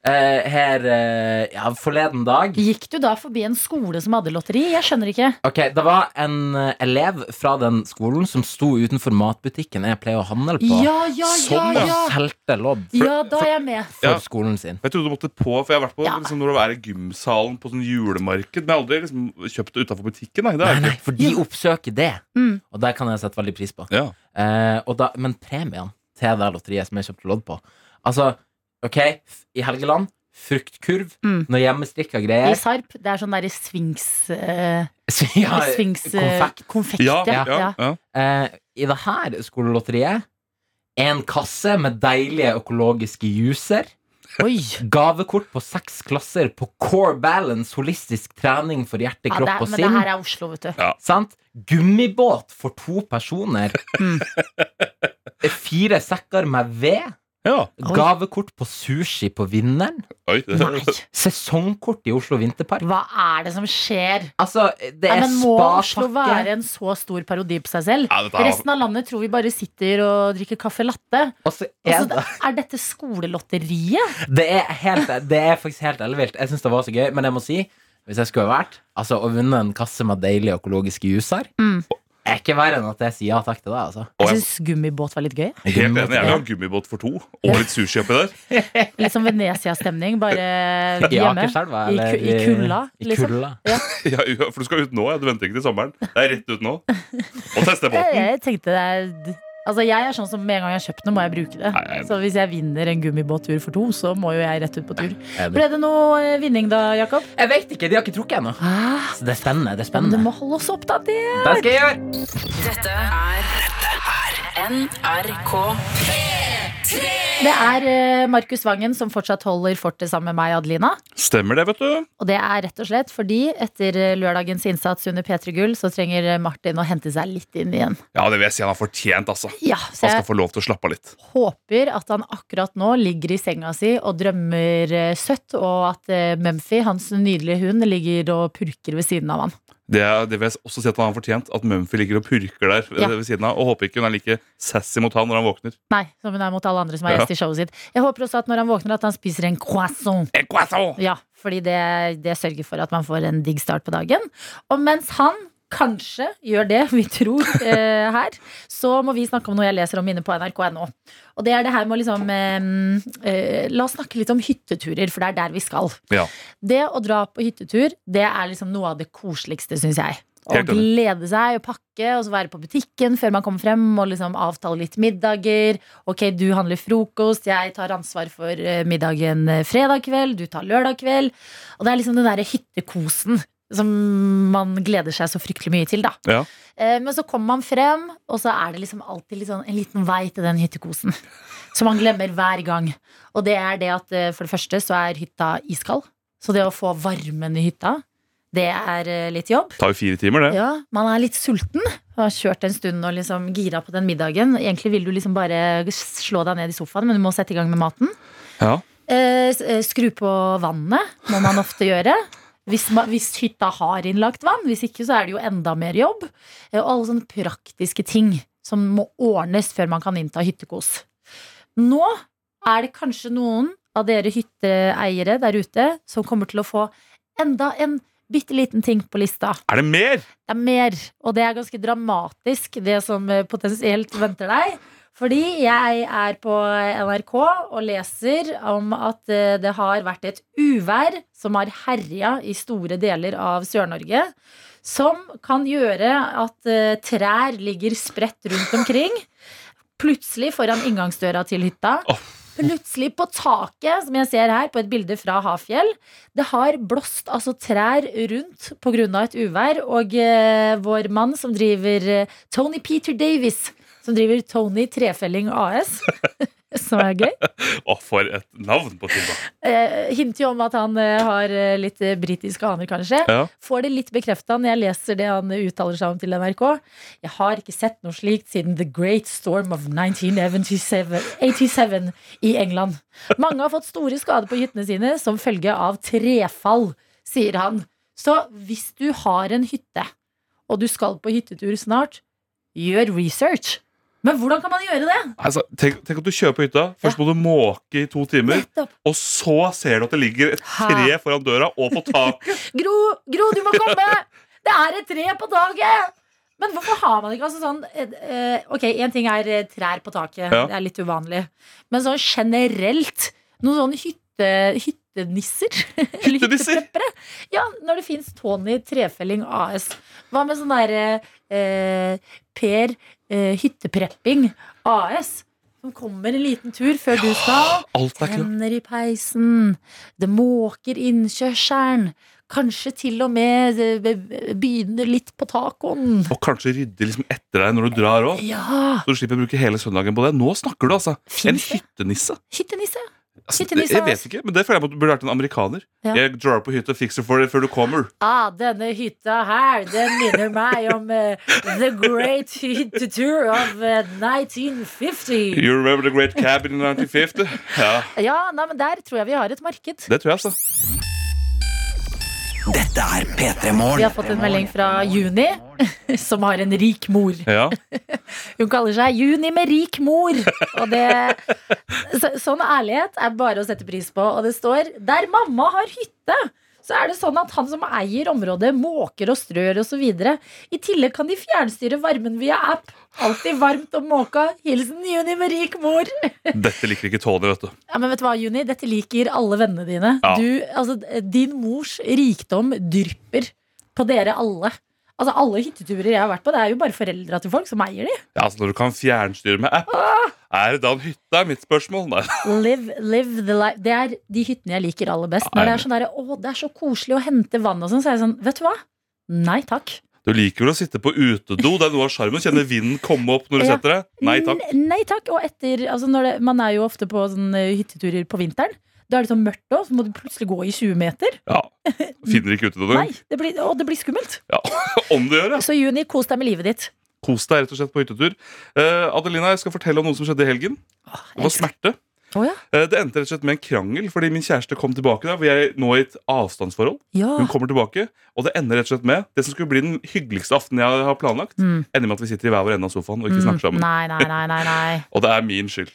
[SPEAKER 5] eh, her eh, ja, forleden dag.
[SPEAKER 2] Gikk du da forbi en skole som hadde lotteri? Jeg skjønner ikke.
[SPEAKER 5] Ok, Det var en eh, elev fra den skolen som sto utenfor matbutikken jeg pleier å handle på,
[SPEAKER 2] Ja, ja, ja,
[SPEAKER 5] som
[SPEAKER 2] ja.
[SPEAKER 5] solgte lodd
[SPEAKER 2] Ja, da er jeg med.
[SPEAKER 5] Sånn, for
[SPEAKER 3] Ja.
[SPEAKER 5] skolen sin.
[SPEAKER 3] Jeg trodde du måtte på, for jeg har vært på
[SPEAKER 2] Ja.
[SPEAKER 3] liksom, når du er i gymsalen på sånn julemarked. Men jeg har aldri liksom, kjøpt det utafor butikken. Nei, det
[SPEAKER 5] Nei,
[SPEAKER 3] er
[SPEAKER 5] nei,
[SPEAKER 3] ikke.
[SPEAKER 5] for de oppsøker det,
[SPEAKER 2] Mm.
[SPEAKER 5] og det kan jeg sette veldig pris på.
[SPEAKER 3] Ja.
[SPEAKER 5] Eh, og da, men premien til det lotteriet som jeg kjøpte lodd på Altså, ok, f- i Helgeland fruktkurv,
[SPEAKER 2] Mm.
[SPEAKER 5] noe hjemmestrikka
[SPEAKER 2] I
[SPEAKER 5] greier
[SPEAKER 2] Sarp. Det er sånn derre Sphinx... eh,
[SPEAKER 5] ja,
[SPEAKER 2] Sphinx eh,
[SPEAKER 5] konfekt.
[SPEAKER 2] konfekt.
[SPEAKER 3] Ja, ja,
[SPEAKER 2] ja.
[SPEAKER 3] ja, ja.
[SPEAKER 5] Eh, I det her skolelotteriet en kasse med deilige økologiske juicer.
[SPEAKER 2] Oi.
[SPEAKER 5] Gavekort på seks klasser på Core Balance holistisk trening for hjerte,
[SPEAKER 2] Ja, det,
[SPEAKER 5] kropp
[SPEAKER 2] er-
[SPEAKER 5] og
[SPEAKER 2] men det
[SPEAKER 5] sinn.
[SPEAKER 2] her er Oslo, vet du.
[SPEAKER 5] Sant? Gummibåt for to personer.
[SPEAKER 2] Mm.
[SPEAKER 5] Fire sekker med ved.
[SPEAKER 2] Oi.
[SPEAKER 5] Gavekort på sushi på vinneren.
[SPEAKER 3] Oi, det,
[SPEAKER 2] Nei,
[SPEAKER 5] Sesongkort i Oslo Vinterpark.
[SPEAKER 2] hva er det som skjer?
[SPEAKER 5] Altså, det
[SPEAKER 2] Nei,
[SPEAKER 5] er
[SPEAKER 2] men Må Oslo
[SPEAKER 5] spapakke
[SPEAKER 2] være en så stor parodi på seg selv?
[SPEAKER 3] Ja, dette er-
[SPEAKER 2] Resten av landet tror vi bare sitter og drikker kaffe latte.
[SPEAKER 5] Og så
[SPEAKER 2] Og
[SPEAKER 5] er
[SPEAKER 2] så
[SPEAKER 5] det
[SPEAKER 2] er dette skolelotteriet?
[SPEAKER 5] Det er, helt, det er faktisk helt ellevilt. Jeg syns det var så gøy, men jeg må si hvis jeg skulle vært Altså, å vunne en kasse med deilige økologiske juicer
[SPEAKER 2] Mm.
[SPEAKER 5] er ikke verre enn at jeg sier ja takk til det. altså
[SPEAKER 3] Å,
[SPEAKER 2] Jeg
[SPEAKER 3] jeg-
[SPEAKER 2] syns gummibåt var litt gøy.
[SPEAKER 3] Helt enig. Jeg vil ha gummibåt for to. Og litt sushi oppi der.
[SPEAKER 2] Litt sånn Venezia-stemning, bare
[SPEAKER 5] I
[SPEAKER 2] hjemme.
[SPEAKER 5] Akerselva,
[SPEAKER 2] I,
[SPEAKER 5] eller
[SPEAKER 2] ku- I kulla,
[SPEAKER 5] I
[SPEAKER 2] liksom.
[SPEAKER 5] kulla.
[SPEAKER 3] Ja, ja, for du skal ut nå. Ja. Du venter ikke til sommeren. Det er rett ut nå. Og teste
[SPEAKER 2] Jeg,
[SPEAKER 3] båten.
[SPEAKER 2] jeg tenkte det er d- Altså Jeg er sånn som med en gang jeg har kjøpt noe, må jeg bruke det.
[SPEAKER 3] Nei, nei, nei.
[SPEAKER 2] Så hvis jeg vinner en gummibåttur for to, så må jo jeg rett ut på tur.
[SPEAKER 5] Enig.
[SPEAKER 2] Ble det noe eh, vinning da, Jakob?
[SPEAKER 5] Jeg vet ikke, de har ikke trukket ennå.
[SPEAKER 2] Ah,
[SPEAKER 5] Så det er spennende. det er
[SPEAKER 2] men du
[SPEAKER 5] spennende
[SPEAKER 2] må holde oss oppdatert!
[SPEAKER 5] Det skal jeg gjøre!
[SPEAKER 4] Dette er NRK.
[SPEAKER 2] Det er eh, Markus Vangen som fortsatt holder fortet sammen med meg, Adelina.
[SPEAKER 3] Stemmer det, vet du.
[SPEAKER 2] Og det er rett og slett fordi etter eh, lørdagens innsats under P3 Gull, så trenger eh, Martin å hente seg litt inn igjen.
[SPEAKER 3] Ja, det vil jeg si han har fortjent, altså.
[SPEAKER 2] Ja,
[SPEAKER 3] Han
[SPEAKER 2] så
[SPEAKER 3] skal
[SPEAKER 2] jeg
[SPEAKER 3] få lov til å slappe av litt.
[SPEAKER 2] håper at han akkurat nå ligger i senga si og drømmer eh, søtt, og at eh, Mumphy, hans nydelige hund, ligger og purker ved siden av han.
[SPEAKER 3] Det, er- det vil jeg også si at han har fortjent. At Mumphy ligger og purker der
[SPEAKER 2] Ja.
[SPEAKER 3] ved siden av. Og håper ikke hun er like sassy mot han når han våkner.
[SPEAKER 2] Nei, som hun er mot alle andre som er
[SPEAKER 3] Ja.
[SPEAKER 2] gjest i showet sitt. Jeg håper også at når han våkner, at han spiser en croissant.
[SPEAKER 3] En croissant!
[SPEAKER 2] Ja, fordi det, det sørger for at man får en digg start på dagen. Og mens han kanskje gjør det vi tror eh, her, så må vi snakke om noe jeg leser om inne på nrk.no. Og det er det her med å liksom eh, eh, La oss snakke litt om hytteturer, for det er der vi skal.
[SPEAKER 3] Ja.
[SPEAKER 2] Det å dra på hyttetur, det er liksom noe av det koseligste, syns jeg. Å
[SPEAKER 3] Helt enig.
[SPEAKER 2] glede seg og pakke, og så være på butikken før man kommer frem og liksom avtale litt middager. Ok, du handler frokost, jeg tar ansvar for eh, middagen eh, fredag kveld, du tar lørdag kveld. Og det er liksom den derre hyttekosen som man gleder seg så fryktelig mye til, da.
[SPEAKER 3] Ja.
[SPEAKER 2] Eh, Men så kommer man frem, og så er det liksom alltid litt sånn, en liten vei til den hyttekosen. Som man glemmer hver gang. Og det er det at eh, for det første så er hytta iskald. Så det å få varmen i hytta, det er eh, litt jobb.
[SPEAKER 3] Tar jo fire timer, det.
[SPEAKER 2] Ja, man er litt sulten. Man har kjørt en stund og liksom gira på den middagen. Egentlig vil du liksom bare slå deg ned i sofaen, men du må sette i gang med maten.
[SPEAKER 3] Ja.
[SPEAKER 2] Eh, s- eh, skru på vannet, må man ofte gjøre. Hvis, ma- hvis hytta har innlagt vann. Hvis ikke, så er det jo enda mer jobb. Eh, Og alle sånne praktiske ting som må ordnes før man kan innta hyttekos. Nå er det kanskje noen av dere hytteeiere der ute som kommer til å få enda en bitte liten ting på lista.
[SPEAKER 3] Er det mer?
[SPEAKER 2] Det er mer, og det er ganske dramatisk, det som eh, potensielt venter deg. Fordi jeg er på NRK og leser om at eh, det har vært et uvær som har herja i store deler av Sør-Norge. Som kan gjøre at eh, trær ligger spredt rundt omkring. Plutselig foran inngangsdøra til hytta.
[SPEAKER 3] Åh.
[SPEAKER 2] Plutselig på taket, som jeg ser her på et bilde fra Hafjell. Det har blåst altså trær rundt pga. et uvær, og eh, vår mann som driver eh, Tony Peter Davis, som driver Tony Trefelling AS, som er gøy,
[SPEAKER 3] Å, for et navn på Tilda.
[SPEAKER 2] eh, hinter jo om at han eh, har eh, litt eh, britiske aner, kanskje.
[SPEAKER 3] Ja.
[SPEAKER 2] Får det litt bekrefta når jeg leser det han eh, uttaler seg om til NRK. Jeg har ikke sett noe slikt siden The Great Storm of 1987 87 i England. Mange har fått store skader på hyttene sine som følge av trefall, sier han. Så hvis du har en hytte, og du skal på hyttetur snart, gjør research. Men hvordan kan man gjøre det?
[SPEAKER 3] Altså, tenk, tenk at du kjører på hytta. Først må du måke i to timer.
[SPEAKER 2] Nettopp.
[SPEAKER 3] Og så ser du at det ligger et tre foran døra og på taket.
[SPEAKER 2] Gro, Gro, du må komme! Det er et tre på taket! Men hvorfor har man ikke altså sånn eh, eh, Ok, én ting er eh, trær på taket.
[SPEAKER 3] Ja.
[SPEAKER 2] Det er litt uvanlig. Men sånn generelt, noen sånne hytte, hyttenisser eller
[SPEAKER 3] Hyttenisser?
[SPEAKER 2] hyttepreppere. Ja, når det fins Tony Trefelling AS. Hva med sånn derre eh, Per eh, Hytteprepping AS? Som kommer en liten tur før du skal.
[SPEAKER 3] Alt er klart.
[SPEAKER 2] Tenner i peisen, det måker innkjørselen. Kanskje til og med eh, be- be- begynner litt på tacoen.
[SPEAKER 3] Og kanskje rydde liksom etter deg når du drar òg.
[SPEAKER 2] Ja!
[SPEAKER 3] Så du slipper å bruke hele søndagen på det. Nå snakker du, altså. En
[SPEAKER 2] Fins det?
[SPEAKER 3] hyttenisse.
[SPEAKER 2] Hyttenisse?
[SPEAKER 3] Altså,
[SPEAKER 2] Hyttenisse,
[SPEAKER 3] jeg vet
[SPEAKER 2] altså.
[SPEAKER 3] ikke, men det føler jeg at du burde vært en amerikaner.
[SPEAKER 2] Ja.
[SPEAKER 3] Jeg drar på hytta og fikser for deg før du kommer.
[SPEAKER 2] Ah, denne hytta her, den minner meg om eh, The Great Hytte Tour of eh, 1950.
[SPEAKER 3] You remember the great cabin in 1950? Ja,
[SPEAKER 2] Ja, nei, men der tror jeg vi har et marked.
[SPEAKER 3] det tror jeg, altså.
[SPEAKER 1] Dette er P3
[SPEAKER 2] Vi
[SPEAKER 1] Morgen.
[SPEAKER 2] har fått en melding fra Juni, som har en rik mor.
[SPEAKER 3] Ja.
[SPEAKER 2] Hun kaller seg Juni med rik mor. Og det, så, sånn ærlighet er bare å sette pris på. Og det står der mamma har hytte. Så er det sånn at han som eier området, måker og strør osv. I tillegg kan de fjernstyre varmen via app. Alltid varmt og måka. Hilsen Juni med rik mor.
[SPEAKER 3] Dette liker ikke Tony, vet du.
[SPEAKER 2] Ja, men vet du hva, Juni? Dette liker alle vennene dine.
[SPEAKER 3] Ja.
[SPEAKER 2] Du, altså, din mors rikdom drypper på dere alle. Altså, Alle hytteturer jeg har vært på, det er jo bare foreldra til folk som eier de.
[SPEAKER 3] Ja, altså Når du kan fjernstyre med app, er det da en hytte? er mitt spørsmål. Nei.
[SPEAKER 2] Live, live the life Det er de hyttene jeg liker aller best. Når det er sånn der, å, det er så koselig å hente vann og sånn, så er jeg sånn, vet du hva? Nei takk.
[SPEAKER 3] Du liker vel å sitte på utedo? Det er noe av sjarmen. Kjenne vinden komme opp når du
[SPEAKER 2] Ja.
[SPEAKER 3] setter deg? Nei takk.
[SPEAKER 2] N- Nei takk. Og etter altså når det, Man er jo ofte på sånne hytteturer på vinteren. Da er det sånn mørkt òg, så må du plutselig gå i 20 meter.
[SPEAKER 3] Ja. Finner ikke utedo
[SPEAKER 2] Nei,
[SPEAKER 3] engang.
[SPEAKER 2] det blir, og det blir skummelt.
[SPEAKER 3] Om du gjør, ja.
[SPEAKER 2] Så Juni, kos deg med livet ditt.
[SPEAKER 3] Kos deg rett og slett på hyttetur. Eh, Adelina, jeg skal fortelle om noe som skjedde i helgen. Det var smerte.
[SPEAKER 2] Å ja.
[SPEAKER 3] Eh, det endte rett og slett med en krangel fordi min kjæreste kom tilbake. da, Vi er nå i et avstandsforhold.
[SPEAKER 2] ja.
[SPEAKER 3] Hun kommer tilbake, og det ender rett og slett med det som skulle bli den hyggeligste aftenen jeg har planlagt,
[SPEAKER 2] Mm.
[SPEAKER 3] ender med at vi sitter i hver vår ende av sofaen og ikke
[SPEAKER 2] Mm,
[SPEAKER 3] snakker sammen.
[SPEAKER 2] Nei, nei, nei, nei, nei.
[SPEAKER 3] Og det er min skyld.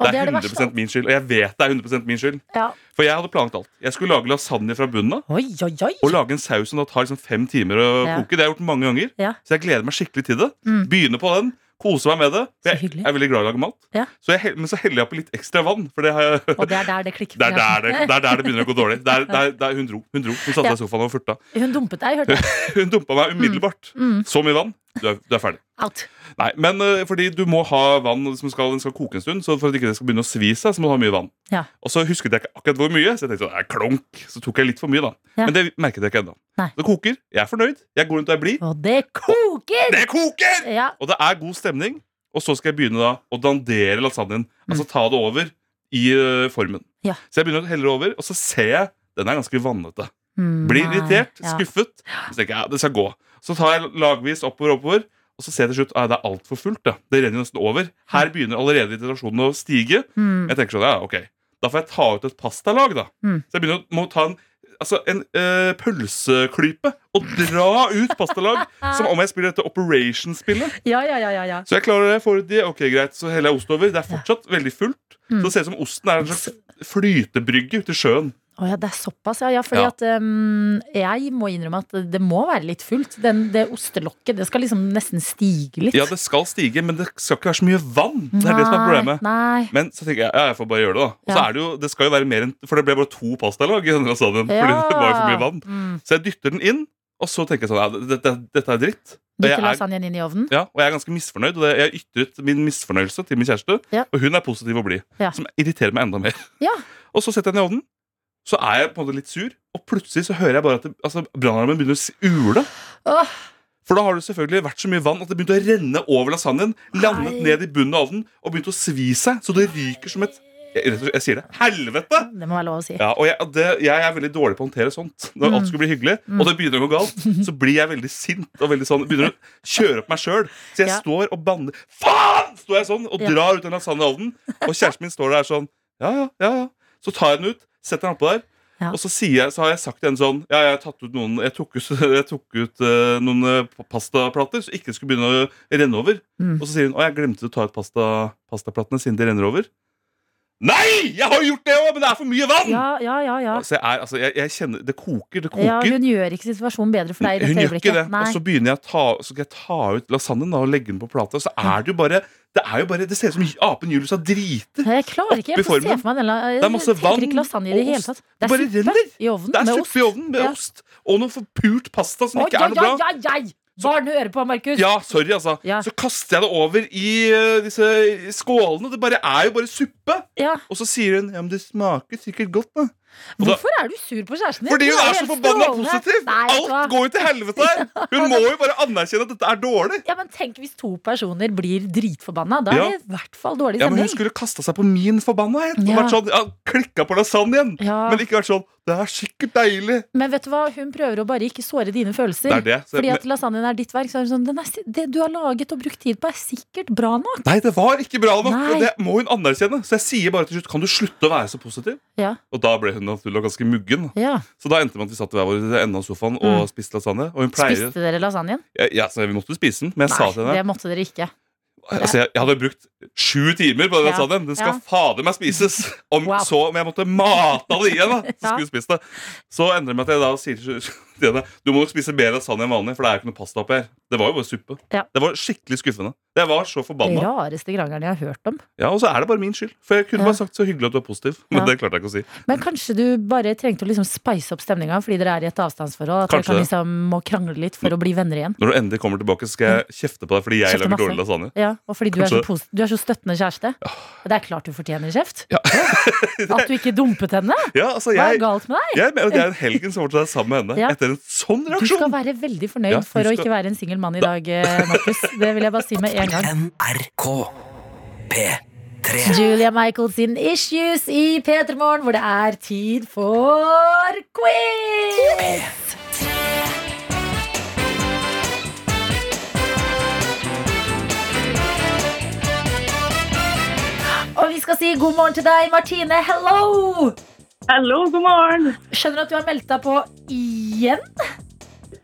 [SPEAKER 2] Og
[SPEAKER 3] Det er
[SPEAKER 2] verste.
[SPEAKER 3] 100 min skyld, og jeg vet det er 100 min skyld.
[SPEAKER 2] Ja.
[SPEAKER 3] For jeg hadde planlagt alt. Jeg skulle lage lasagne fra bunnen av.
[SPEAKER 2] Oi, oi, oi.
[SPEAKER 3] Og lage en saus som da tar liksom fem timer å
[SPEAKER 2] Ja.
[SPEAKER 3] koke. Det har jeg gjort mange ganger.
[SPEAKER 2] Ja.
[SPEAKER 3] Så jeg gleder meg skikkelig til det.
[SPEAKER 2] Mm.
[SPEAKER 3] Begynne på den, kose meg med det.
[SPEAKER 2] Så
[SPEAKER 3] Jeg,
[SPEAKER 2] hyggelig.
[SPEAKER 3] jeg er veldig glad i å lage mat.
[SPEAKER 2] Ja.
[SPEAKER 3] Så jeg, hell- men så heller jeg på litt ekstra vann. For det, har jeg,
[SPEAKER 2] Og det er der det klikker.
[SPEAKER 3] det, er der det, det er der det begynner å gå dårlig. Det er, det er, det er, hun dro. Hun dro. Hun satte
[SPEAKER 2] Ja.
[SPEAKER 3] seg i sofaen og furta.
[SPEAKER 2] Hun dumpet deg, hørte jeg.
[SPEAKER 3] Hun dumpa meg umiddelbart.
[SPEAKER 2] Mm.
[SPEAKER 3] Så mye vann. Du er, du er ferdig.
[SPEAKER 2] Out.
[SPEAKER 3] Nei, men eh, fordi du må ha vann som skal, den skal koke en stund, så for at ikke det skal begynne å svi seg, så må du ha mye vann.
[SPEAKER 2] Ja.
[SPEAKER 3] Og så husket jeg ikke akkurat hvor mye, så jeg tenkte sånn, "Nei, klonk, så tok jeg litt for mye da.
[SPEAKER 2] Ja.
[SPEAKER 3] Men det merket jeg ikke enda.
[SPEAKER 2] Nei.
[SPEAKER 3] Det koker, jeg er fornøyd, jeg går rundt og jeg blir.
[SPEAKER 2] Og det koker!
[SPEAKER 3] Det koker!
[SPEAKER 2] Ja,
[SPEAKER 3] Og det er god stemning, og så skal jeg begynne da å dandere lasagnen, altså ta det over i eh, formen.
[SPEAKER 2] Mm. Ja.
[SPEAKER 3] Så jeg begynner å helle det over, og så ser jeg, den er ganske vannete.
[SPEAKER 2] Mm,
[SPEAKER 3] Blir
[SPEAKER 2] nei,
[SPEAKER 3] irritert,
[SPEAKER 2] ja.
[SPEAKER 3] skuffet. Så tenker jeg ja, det skal gå. Så tar jeg lagvis oppover oppover, og så ser jeg til slutt at det er altfor fullt. Da. Det renner jo nesten over. Her begynner allerede irritasjonen å stige.
[SPEAKER 2] Mm,
[SPEAKER 3] Jeg tenker sånn, ja, ok Da får jeg ta ut et pastalag, da.
[SPEAKER 2] Mm.
[SPEAKER 3] Så jeg begynner å må ta en, altså en eh, pølseklype og dra ut pastalag som om jeg spiller dette Operation-spillet.
[SPEAKER 2] ja, ja, ja, ja, ja.
[SPEAKER 3] Så jeg klarer det, får ut de, ok greit, så heller jeg ost over. Det er fortsatt veldig fullt.
[SPEAKER 2] Mm.
[SPEAKER 3] Så det ser ut som osten er en slags flytebrygge ute i sjøen.
[SPEAKER 2] Å ja, det er såpass, ja. ja fordi
[SPEAKER 3] Ja.
[SPEAKER 2] at ehm, jeg må innrømme at det må være litt fullt. Den, det ostelokket, det skal liksom nesten stige litt.
[SPEAKER 3] Ja, det skal stige, men det skal ikke være så mye vann. Det er det som er problemet.
[SPEAKER 2] Nei, nei.
[SPEAKER 3] Men så tenker jeg, ja, jeg får bare gjøre det, da. Og så
[SPEAKER 2] Ja.
[SPEAKER 3] er det jo, det skal jo være mer enn For det ble bare to pastalag i denne lasagnen. Fordi
[SPEAKER 2] Ja.
[SPEAKER 3] det var jo for mye vann.
[SPEAKER 2] Mm.
[SPEAKER 3] Så jeg dytter den inn, og så tenker jeg sånn, ja, dette, dette er dritt. Og jeg
[SPEAKER 2] Dytter
[SPEAKER 3] er,
[SPEAKER 2] lasagnen inn i ovnen.
[SPEAKER 3] ja, og jeg er ganske misfornøyd. Og det, jeg har ytret min misfornøyelse til min kjæreste,
[SPEAKER 2] Ja.
[SPEAKER 3] og hun er positiv og blid.
[SPEAKER 2] Ja.
[SPEAKER 3] Som irriterer meg enda mer.
[SPEAKER 2] Ja.
[SPEAKER 3] Og så setter jeg den i ovnen. Så er jeg på en måte litt sur, og plutselig så hører jeg bare at det- altså, brannalarmen begynner å s- ule.
[SPEAKER 2] Åh,
[SPEAKER 3] For da har det selvfølgelig vært så mye vann at det begynte å renne over lasagnen, landet
[SPEAKER 2] Nei.
[SPEAKER 3] ned i bunnen av ovnen og begynte å svi seg, så det ryker som et jeg, rett og slett- jeg sier det helvete!
[SPEAKER 2] det må være lov å si. Mm.
[SPEAKER 3] Ja, og jeg, det, jeg er veldig dårlig på å håndtere sånt. Når alt skulle bli hyggelig, og det begynner å gå galt, så blir jeg veldig sint og veldig sånn, begynner å kjøre opp meg sjøl. Så jeg
[SPEAKER 2] Ja.
[SPEAKER 3] står og banner Faen! Står jeg sånn og
[SPEAKER 2] Ja.
[SPEAKER 3] drar ut en lasagne i ovnen, og kjæresten min står der sånn Ja, ja, ja, ja. Så tar jeg den ut, setter den oppå der,
[SPEAKER 2] Ja.
[SPEAKER 3] Og så, sier jeg, så har jeg sagt til henne sånn Ja, jeg, har tatt ut noen, jeg tok ut, jeg tok ut eh, noen eh, pastaplater, så ikke det skulle begynne å renne over.
[SPEAKER 2] Mm.
[SPEAKER 3] Og så sier hun å, jeg glemte å ta ut pasta, pastaplatene siden det renner over. Nei! Jeg har jo gjort det òg, men det er for mye vann!
[SPEAKER 2] Ja, ja, ja, ja.
[SPEAKER 3] Så jeg, er, altså, jeg, jeg kjenner Det koker. Det koker.
[SPEAKER 2] ja. Hun gjør ikke situasjonen bedre for deg i
[SPEAKER 3] Hun
[SPEAKER 2] dette
[SPEAKER 3] gjør ikke
[SPEAKER 2] øyeblikket.
[SPEAKER 3] det. Altså, Og så begynner jeg å ta, så skal jeg ta ut lasagnen da, og legge den på plata. Så er det jo bare Det, er jo bare, det ser ut som apen Julius har driti.
[SPEAKER 2] Nei, Jeg klarer ikke
[SPEAKER 3] Oppi
[SPEAKER 2] jeg får se
[SPEAKER 3] formen.
[SPEAKER 2] for meg den la-
[SPEAKER 3] Det er masse
[SPEAKER 2] jeg tenker
[SPEAKER 3] vann
[SPEAKER 2] ikke lasagne i det
[SPEAKER 3] og
[SPEAKER 2] hele
[SPEAKER 3] ost.
[SPEAKER 2] tatt.
[SPEAKER 3] Det bare
[SPEAKER 2] suppe
[SPEAKER 3] renner.
[SPEAKER 2] i ovnen
[SPEAKER 3] Det er
[SPEAKER 2] med ost.
[SPEAKER 3] suppe i ovnen med
[SPEAKER 2] Ja.
[SPEAKER 3] ost og noe forpult pasta som
[SPEAKER 2] Oi,
[SPEAKER 3] ikke er
[SPEAKER 2] oi,
[SPEAKER 3] noe bra.
[SPEAKER 2] oi, oi, oi. Barn hører på, Markus.
[SPEAKER 3] Ja, sorry, altså.
[SPEAKER 2] Ja.
[SPEAKER 3] Så kaster jeg det over i eh, disse skålene. Det bare er jo bare suppe.
[SPEAKER 2] Ja.
[SPEAKER 3] Og så sier hun ja, men det smaker sikkert godt, da. Og da-
[SPEAKER 2] Hvorfor er du sur på kjæresten din?
[SPEAKER 3] Fordi hun
[SPEAKER 2] Det
[SPEAKER 3] er så
[SPEAKER 2] helt
[SPEAKER 3] forbanna
[SPEAKER 2] strålende.
[SPEAKER 3] positiv!
[SPEAKER 2] Nei, vet du hva?
[SPEAKER 3] Alt går jo til helvete her! Hun må jo bare anerkjenne at dette er dårlig.
[SPEAKER 2] Ja, men Tenk hvis to personer blir dritforbanna. Da er
[SPEAKER 3] Ja.
[SPEAKER 2] det i hvert fall dårlig
[SPEAKER 3] Ja, men
[SPEAKER 2] stemning.
[SPEAKER 3] Hun skulle kasta seg på min forbannahet og
[SPEAKER 2] Ja.
[SPEAKER 3] vært sånn, ja, klikka på lasagnen.
[SPEAKER 2] Ja.
[SPEAKER 3] Men ikke vært sånn Det er sikkert deilig.
[SPEAKER 2] Men vet du hva, hun prøver å bare ikke såre dine følelser.
[SPEAKER 3] Det er det. Så,
[SPEAKER 2] Fordi
[SPEAKER 3] men,
[SPEAKER 2] at lasagnen er ditt verk. Så er hun sånn, den er, si- det du har laget og brukt tid på, er sikkert bra nok.
[SPEAKER 3] nei, det var ikke bra nok,
[SPEAKER 2] Nei.
[SPEAKER 3] og det må hun anerkjenne. Så jeg sier bare til slutt Kan du slutte å være så positiv?
[SPEAKER 2] Ja,
[SPEAKER 3] Og da ble hun naturlig nok ganske muggen.
[SPEAKER 2] ja.
[SPEAKER 3] Så da endte det med at vi satt i hver vår ende av sofaen og spiste lasagne. Og hun pleier
[SPEAKER 2] Mm. Spiste dere lasagnen?
[SPEAKER 3] ja, ja, så Vi måtte spise den, men jeg sa til henne
[SPEAKER 2] det måtte dere ikke.
[SPEAKER 3] Altså, jeg, jeg hadde brukt sju timer på den
[SPEAKER 2] Ja,
[SPEAKER 3] lasagnen. Den skal
[SPEAKER 2] ja.
[SPEAKER 3] fader meg spises! Om
[SPEAKER 2] Wow.
[SPEAKER 3] så om jeg måtte mate det igjen, da, så
[SPEAKER 2] Ja.
[SPEAKER 3] skulle vi spist det. Så endrer det meg at jeg da sier til henne Du må nok spise mer lasagne enn vanlig, for det er jo ikke noe pasta oppi her. Det var jo bare suppe.
[SPEAKER 2] Ja.
[SPEAKER 3] Det var skikkelig skuffende. Jeg var så
[SPEAKER 2] Den
[SPEAKER 3] forbanna.
[SPEAKER 2] rareste krangelen jeg har hørt om.
[SPEAKER 3] Ja, og så er det bare min skyld. For jeg kunne
[SPEAKER 2] Ja.
[SPEAKER 3] bare sagt så hyggelig at du er positiv, men
[SPEAKER 2] Ja.
[SPEAKER 3] det klarte jeg ikke å si.
[SPEAKER 2] Men kanskje du bare trengte å liksom spice opp stemninga fordi dere er i et avstandsforhold? At dere
[SPEAKER 3] Kanskje
[SPEAKER 2] kan
[SPEAKER 3] det.
[SPEAKER 2] liksom må krangle litt for å bli venner igjen?
[SPEAKER 3] Når du endelig kommer tilbake, så skal jeg kjefte på deg fordi jeg
[SPEAKER 2] Kjefte
[SPEAKER 3] lager
[SPEAKER 2] masse.
[SPEAKER 3] dårlig lasagne.
[SPEAKER 2] Ja, og fordi du er, så
[SPEAKER 3] Kanskje det.
[SPEAKER 2] posi- du er så støttende kjæreste. Det er klart du fortjener kjeft. At du ikke dumpet henne!
[SPEAKER 3] Ja, altså,
[SPEAKER 2] Hva er
[SPEAKER 3] jeg,
[SPEAKER 2] galt med deg?
[SPEAKER 3] jeg mener at jeg en helgen som var til deg sammen med
[SPEAKER 2] Ja.
[SPEAKER 3] henne etter en sånn
[SPEAKER 2] Du
[SPEAKER 3] reaksjon.
[SPEAKER 2] skal være veldig fornøyd
[SPEAKER 3] Ja, du
[SPEAKER 2] for å
[SPEAKER 3] skal-
[SPEAKER 2] ikke være en singel mann i dag, eh, Markus. Det vil jeg bare si med en gang.
[SPEAKER 1] NRK P3.
[SPEAKER 2] Julia Michaels sin Issues i P3 Morgen, hvor det er tid for quiz! Og vi skal si god morgen til deg, Martine. Hello!
[SPEAKER 6] Hallo, god morgen.
[SPEAKER 2] Skjønner at du har meldt deg på igjen,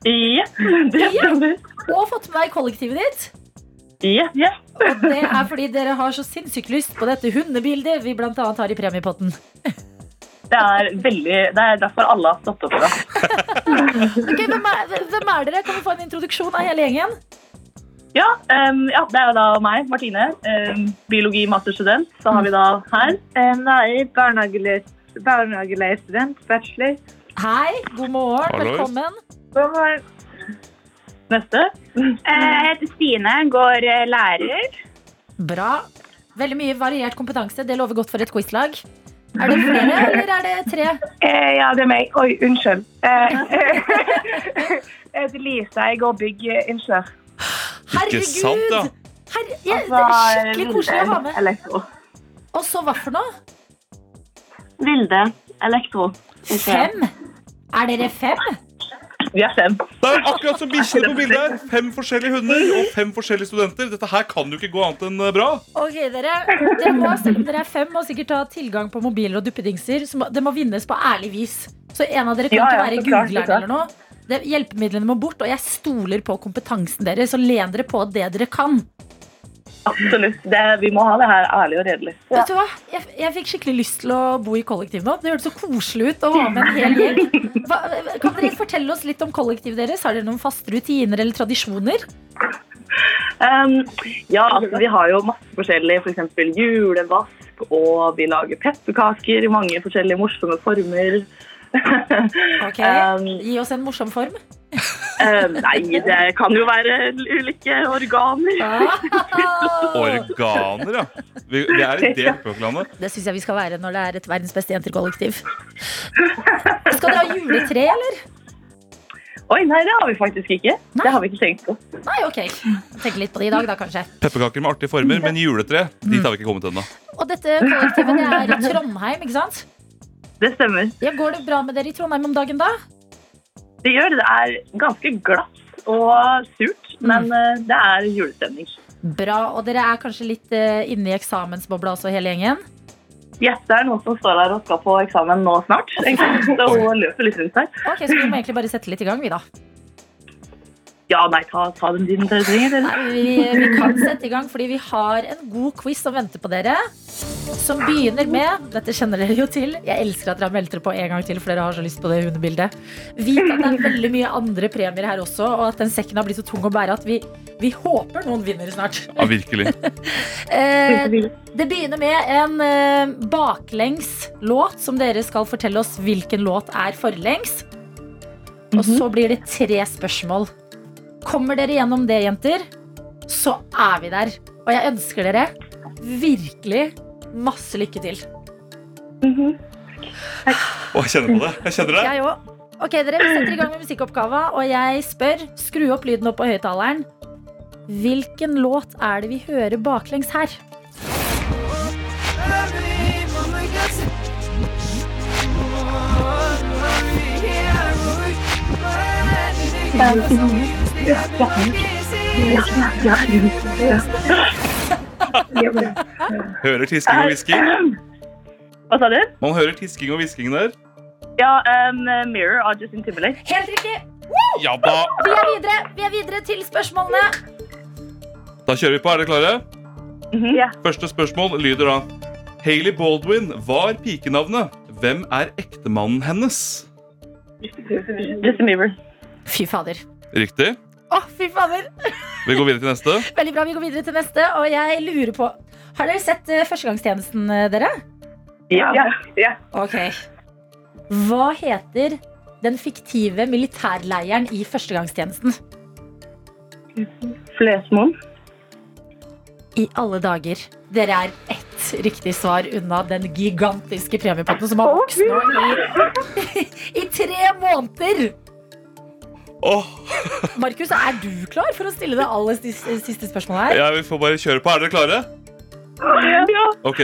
[SPEAKER 6] Ja, det stemmer.
[SPEAKER 2] og fått med deg kollektivet ditt.
[SPEAKER 6] Ja, ja.
[SPEAKER 2] Og det er fordi dere har så sinnssykt lyst på dette hundebildet vi blant annet har i premiepotten.
[SPEAKER 6] Det er veldig Det er derfor alle har stått opp i dag.
[SPEAKER 2] Ok, hvem, er, hvem er dere? Kan vi få en introduksjon av hele gjengen?
[SPEAKER 6] Ja, em, ja, det er jo da meg, Martine. Um, Biologi-masterstudent. Så har vi da her.
[SPEAKER 7] Nei, barnehagelærer- barnehagelærerstudent, bachelor.
[SPEAKER 2] Hei, god morgen,
[SPEAKER 3] Hallo.
[SPEAKER 2] velkommen.
[SPEAKER 7] God morgen.
[SPEAKER 6] Neste.
[SPEAKER 7] Jeg heter Stine, går eh, lærer.
[SPEAKER 2] Bra. Veldig mye variert kompetanse. Det lover godt for et quizlag. Er det flere, eller er det tre?
[SPEAKER 7] Eh, ja, det er meg. Oi, unnskyld. Eh, jeg heter Lisa, jeg går byggingeniør.
[SPEAKER 3] Ikke sant,
[SPEAKER 2] Herregud!
[SPEAKER 3] da?
[SPEAKER 2] Herre, ja, det er skikkelig koselig å ha med.
[SPEAKER 6] Elektro.
[SPEAKER 2] Og så hva for noe?
[SPEAKER 6] Vilde. Elektro.
[SPEAKER 2] Fem? Er dere fem?
[SPEAKER 6] Vi er fem.
[SPEAKER 3] Det er akkurat som bikkjene på bildet her. Fem forskjellige hunder og fem forskjellige studenter. Dette her kan jo ikke gå annet enn eh, bra.
[SPEAKER 2] Ok, dere. Dere må, selv om dere er fem, må sikkert ha tilgang på mobiler og duppedingser. Så må, det må vinnes på ærlig vis. Så en av dere kan
[SPEAKER 6] Ja,
[SPEAKER 2] ikke
[SPEAKER 6] ja,
[SPEAKER 2] være
[SPEAKER 6] så klart, så
[SPEAKER 2] googleren
[SPEAKER 6] klart.
[SPEAKER 2] eller noe. Det, hjelpemidlene må bort, og jeg stoler på kompetansen deres. Så len dere på det dere kan.
[SPEAKER 6] Absolutt. Det, vi må ha det her ærlig og redelig.
[SPEAKER 2] Vet du hva? Jeg, jeg fikk skikkelig lyst til å bo i kollektiv nå. Det hørtes så koselig ut å ha med en hel gjeng. Hva, kan dere fortelle oss litt om kollektivet deres? Har dere noen faste rutiner eller tradisjoner?
[SPEAKER 6] Em, ja, altså, vi har jo masse forskjellig, f.eks. eksempel julevask, og vi lager pepperkaker i mange forskjellige morsomme former.
[SPEAKER 2] Ok,
[SPEAKER 6] Um,
[SPEAKER 2] Gi oss en morsom form.
[SPEAKER 6] Eh, nei, det kan jo være ulike organer.
[SPEAKER 3] Organer, ja. Vi, vi er i det spøklandet.
[SPEAKER 2] Det syns jeg vi skal være når det er et verdens beste jenterkollektiv. Skal dere ha juletre, eller?
[SPEAKER 6] Oi, nei, det har vi faktisk ikke.
[SPEAKER 2] Nei.
[SPEAKER 6] Det har vi ikke tenkt på.
[SPEAKER 2] Nei, ok. Tenk litt på det i dag, da, kanskje.
[SPEAKER 3] Pepperkaker med artige former, men juletre dit har vi ikke kommet ennå.
[SPEAKER 2] Og dette kollektivet det er i Trondheim, ikke sant?
[SPEAKER 6] Det stemmer.
[SPEAKER 2] Ja, Går det bra med dere i Trondheim om dagen, da?
[SPEAKER 6] Det gjør det. Det er ganske glatt og surt,
[SPEAKER 2] Mm.
[SPEAKER 6] men eh, det er julestemning.
[SPEAKER 2] Bra. Og dere er kanskje litt eh, inne i eksamensbobla også, hele gjengen?
[SPEAKER 6] Jette er noen som står her og skal på eksamen nå snart. egentlig. Så hun løper litt rundt her.
[SPEAKER 2] Ok, Så vi må egentlig bare sette litt i gang, vi, da.
[SPEAKER 6] Ja, nei, ta, ta den tiden dere trenger. dere.
[SPEAKER 2] Nei, vi, vi kan sette i gang, fordi vi har en god quiz som venter på dere. Som begynner med Dette kjenner dere jo til. Jeg elsker at dere har meldt dere på en gang til, for dere har så lyst på det hundebildet. Vit at det er veldig mye andre premier her også, og at den sekken har blitt så tung å bære at vi, vi håper noen vinner snart.
[SPEAKER 3] Ja, virkelig.
[SPEAKER 2] Eh, det begynner med en eh, baklengs låt som dere skal fortelle oss hvilken låt er forlengs. Og så blir det tre spørsmål. Kommer dere gjennom det, jenter, så er vi der. Og jeg ønsker dere virkelig masse lykke til.
[SPEAKER 3] Å, jeg kjenner på det. Jeg kjenner det.
[SPEAKER 2] Jeg òg. Ok, dere vi setter i gang med musikkoppgava, og jeg spør Skru opp lyden opp på høyttaleren. Hvilken låt er det vi hører baklengs her?
[SPEAKER 3] Hører tisking og hvisking.
[SPEAKER 6] Hva sa du?
[SPEAKER 3] Man hører tisking og hvisking der.
[SPEAKER 6] Ja, um, Mirror av Justin Timberlake.
[SPEAKER 2] Helt riktig!
[SPEAKER 3] Ja da.
[SPEAKER 2] Vi er videre, vi er videre til spørsmålene.
[SPEAKER 3] Da kjører vi på. Er dere klare?
[SPEAKER 6] Mhm.
[SPEAKER 7] Ja.
[SPEAKER 3] Første spørsmål lyder da Hailey Baldwin var pikenavnet. Hvem er ektemannen hennes?
[SPEAKER 6] Justin Bieber.
[SPEAKER 2] Fy fader.
[SPEAKER 3] Riktig.
[SPEAKER 2] Å, fy fader.
[SPEAKER 3] Vi går videre til neste.
[SPEAKER 2] Veldig bra, vi går videre til neste, og jeg lurer på Har dere sett eh, Førstegangstjenesten, eh, dere?
[SPEAKER 6] Ja.
[SPEAKER 7] Ja. ja.
[SPEAKER 2] Ok. Hva heter den fiktive militærleiren i Førstegangstjenesten?
[SPEAKER 6] Flesmoen.
[SPEAKER 2] I alle dager. Dere er ett riktig svar unna den gigantiske premiepotten som har vokst nå i, i tre måneder.
[SPEAKER 3] Åh,
[SPEAKER 2] Markus, er du klar for å stille det aller sis- siste spørsmålet her?
[SPEAKER 3] ja, Vi får bare kjøre på. Er dere klare?
[SPEAKER 6] Ja.
[SPEAKER 3] Ok.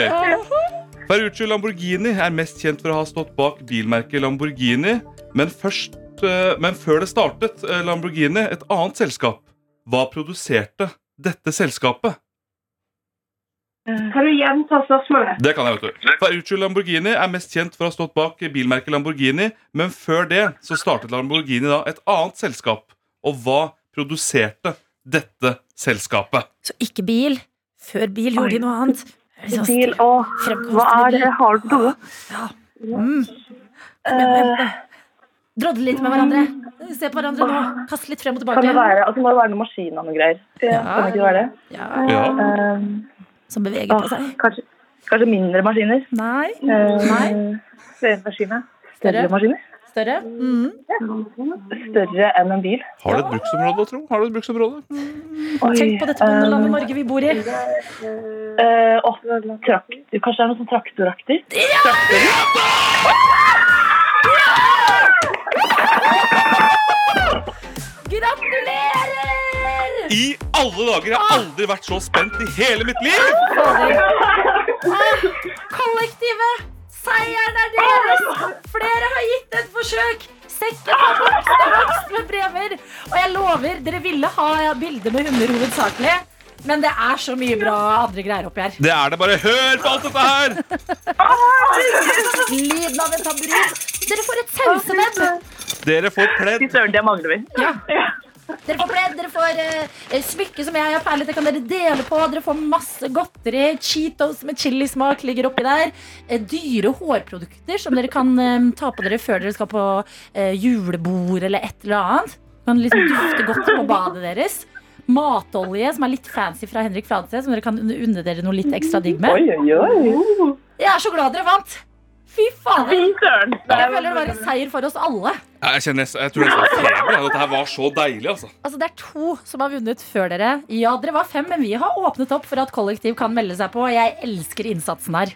[SPEAKER 3] Ferruccio Lamborghini er mest kjent for å ha stått bak bilmerket Lamborghini, men, først, eh, men før det startet eh, Lamborghini, et annet selskap, hva produserte dette selskapet?
[SPEAKER 7] Kan du gjenta spørsmålet?
[SPEAKER 3] Det kan jeg, vet du. Ferruccio Lamborghini er mest kjent for å ha stått bak bilmerket Lamborghini, men før det så startet Lamborghini da et annet selskap. Og hva produserte dette selskapet?
[SPEAKER 2] Så ikke bil. Før bil gjorde de noe annet. Liksom
[SPEAKER 7] Bil
[SPEAKER 2] stille-
[SPEAKER 7] og Hva er det
[SPEAKER 2] Fremkomstmiddel.
[SPEAKER 7] har du på hodet?
[SPEAKER 2] Mm. Kom igjen, kom
[SPEAKER 6] Eh,
[SPEAKER 2] igjen. Drodle litt med hverandre. Se på hverandre nå. Kast litt frem og
[SPEAKER 6] Mm. Kan det
[SPEAKER 2] tilbake.
[SPEAKER 6] være, altså, må det være noen maskiner og noe greier? Kan det
[SPEAKER 2] Ja,
[SPEAKER 6] ikke være det?
[SPEAKER 2] ja,
[SPEAKER 3] Ja,
[SPEAKER 6] Um,
[SPEAKER 2] som beveger på
[SPEAKER 6] åh,
[SPEAKER 2] seg.
[SPEAKER 6] kanskje, kanskje mindre maskiner?
[SPEAKER 2] Nei.
[SPEAKER 6] Um,
[SPEAKER 2] Nei.
[SPEAKER 6] Større.
[SPEAKER 2] Større.
[SPEAKER 6] Større maskiner?
[SPEAKER 2] Større? Mm.
[SPEAKER 6] Større enn en bil.
[SPEAKER 3] Har du et bruksområde, tro? Har du et bruksområde?
[SPEAKER 6] Oi,
[SPEAKER 2] Tenk på dette
[SPEAKER 6] um,
[SPEAKER 2] landet, landet Norge vi bor i.
[SPEAKER 6] eh, åh, trakt, kanskje det er noe sånn traktoraktig?
[SPEAKER 2] Gratulerer!
[SPEAKER 3] I alle dager! Jeg har aldri vært så spent i hele mitt liv!
[SPEAKER 2] Kollektivet! Ah, Seieren er deres! Flere har gitt et forsøk! Sekken har vokst og vokst med bremer. Og jeg lover, dere ville ha bilder med hunder hovedsakelig. Men det er så mye bra andre greier oppi her.
[SPEAKER 3] Det er det bare. Hør på alt dette her!
[SPEAKER 2] Lyden av en tamburin. Dere får et sausenebb.
[SPEAKER 3] Dere får pledd.
[SPEAKER 6] Fy søren, det mangler vi.
[SPEAKER 2] Dere får pledd, dere får eh, smykke som jeg har perlet. Det kan dere dele på. Dere får masse godteri. Cheetos med chilismak ligger oppi der. Eh, dyre hårprodukter som dere kan eh, ta på dere før dere skal på eh, julebord eller et eller annet. Kan liksom dufte godt på badet deres. Matolje som er litt fancy fra Henrik Fladseth, som dere kan unne- unne dere noe litt ekstra digg med.
[SPEAKER 6] Oi, oi, oi.
[SPEAKER 2] Jeg er så glad dere vant! Fy
[SPEAKER 6] Fy
[SPEAKER 2] fader!
[SPEAKER 6] søren.
[SPEAKER 2] Jeg føler det var en seier for oss alle.
[SPEAKER 3] Jeg, kjenner, jeg tror jeg skal feber. jeg. Dette her var så deilig, altså.
[SPEAKER 2] Altså, det er to som har vunnet før dere. Ja, dere var fem, men vi har åpnet opp for at kollektiv kan melde seg på. og Jeg elsker innsatsen her.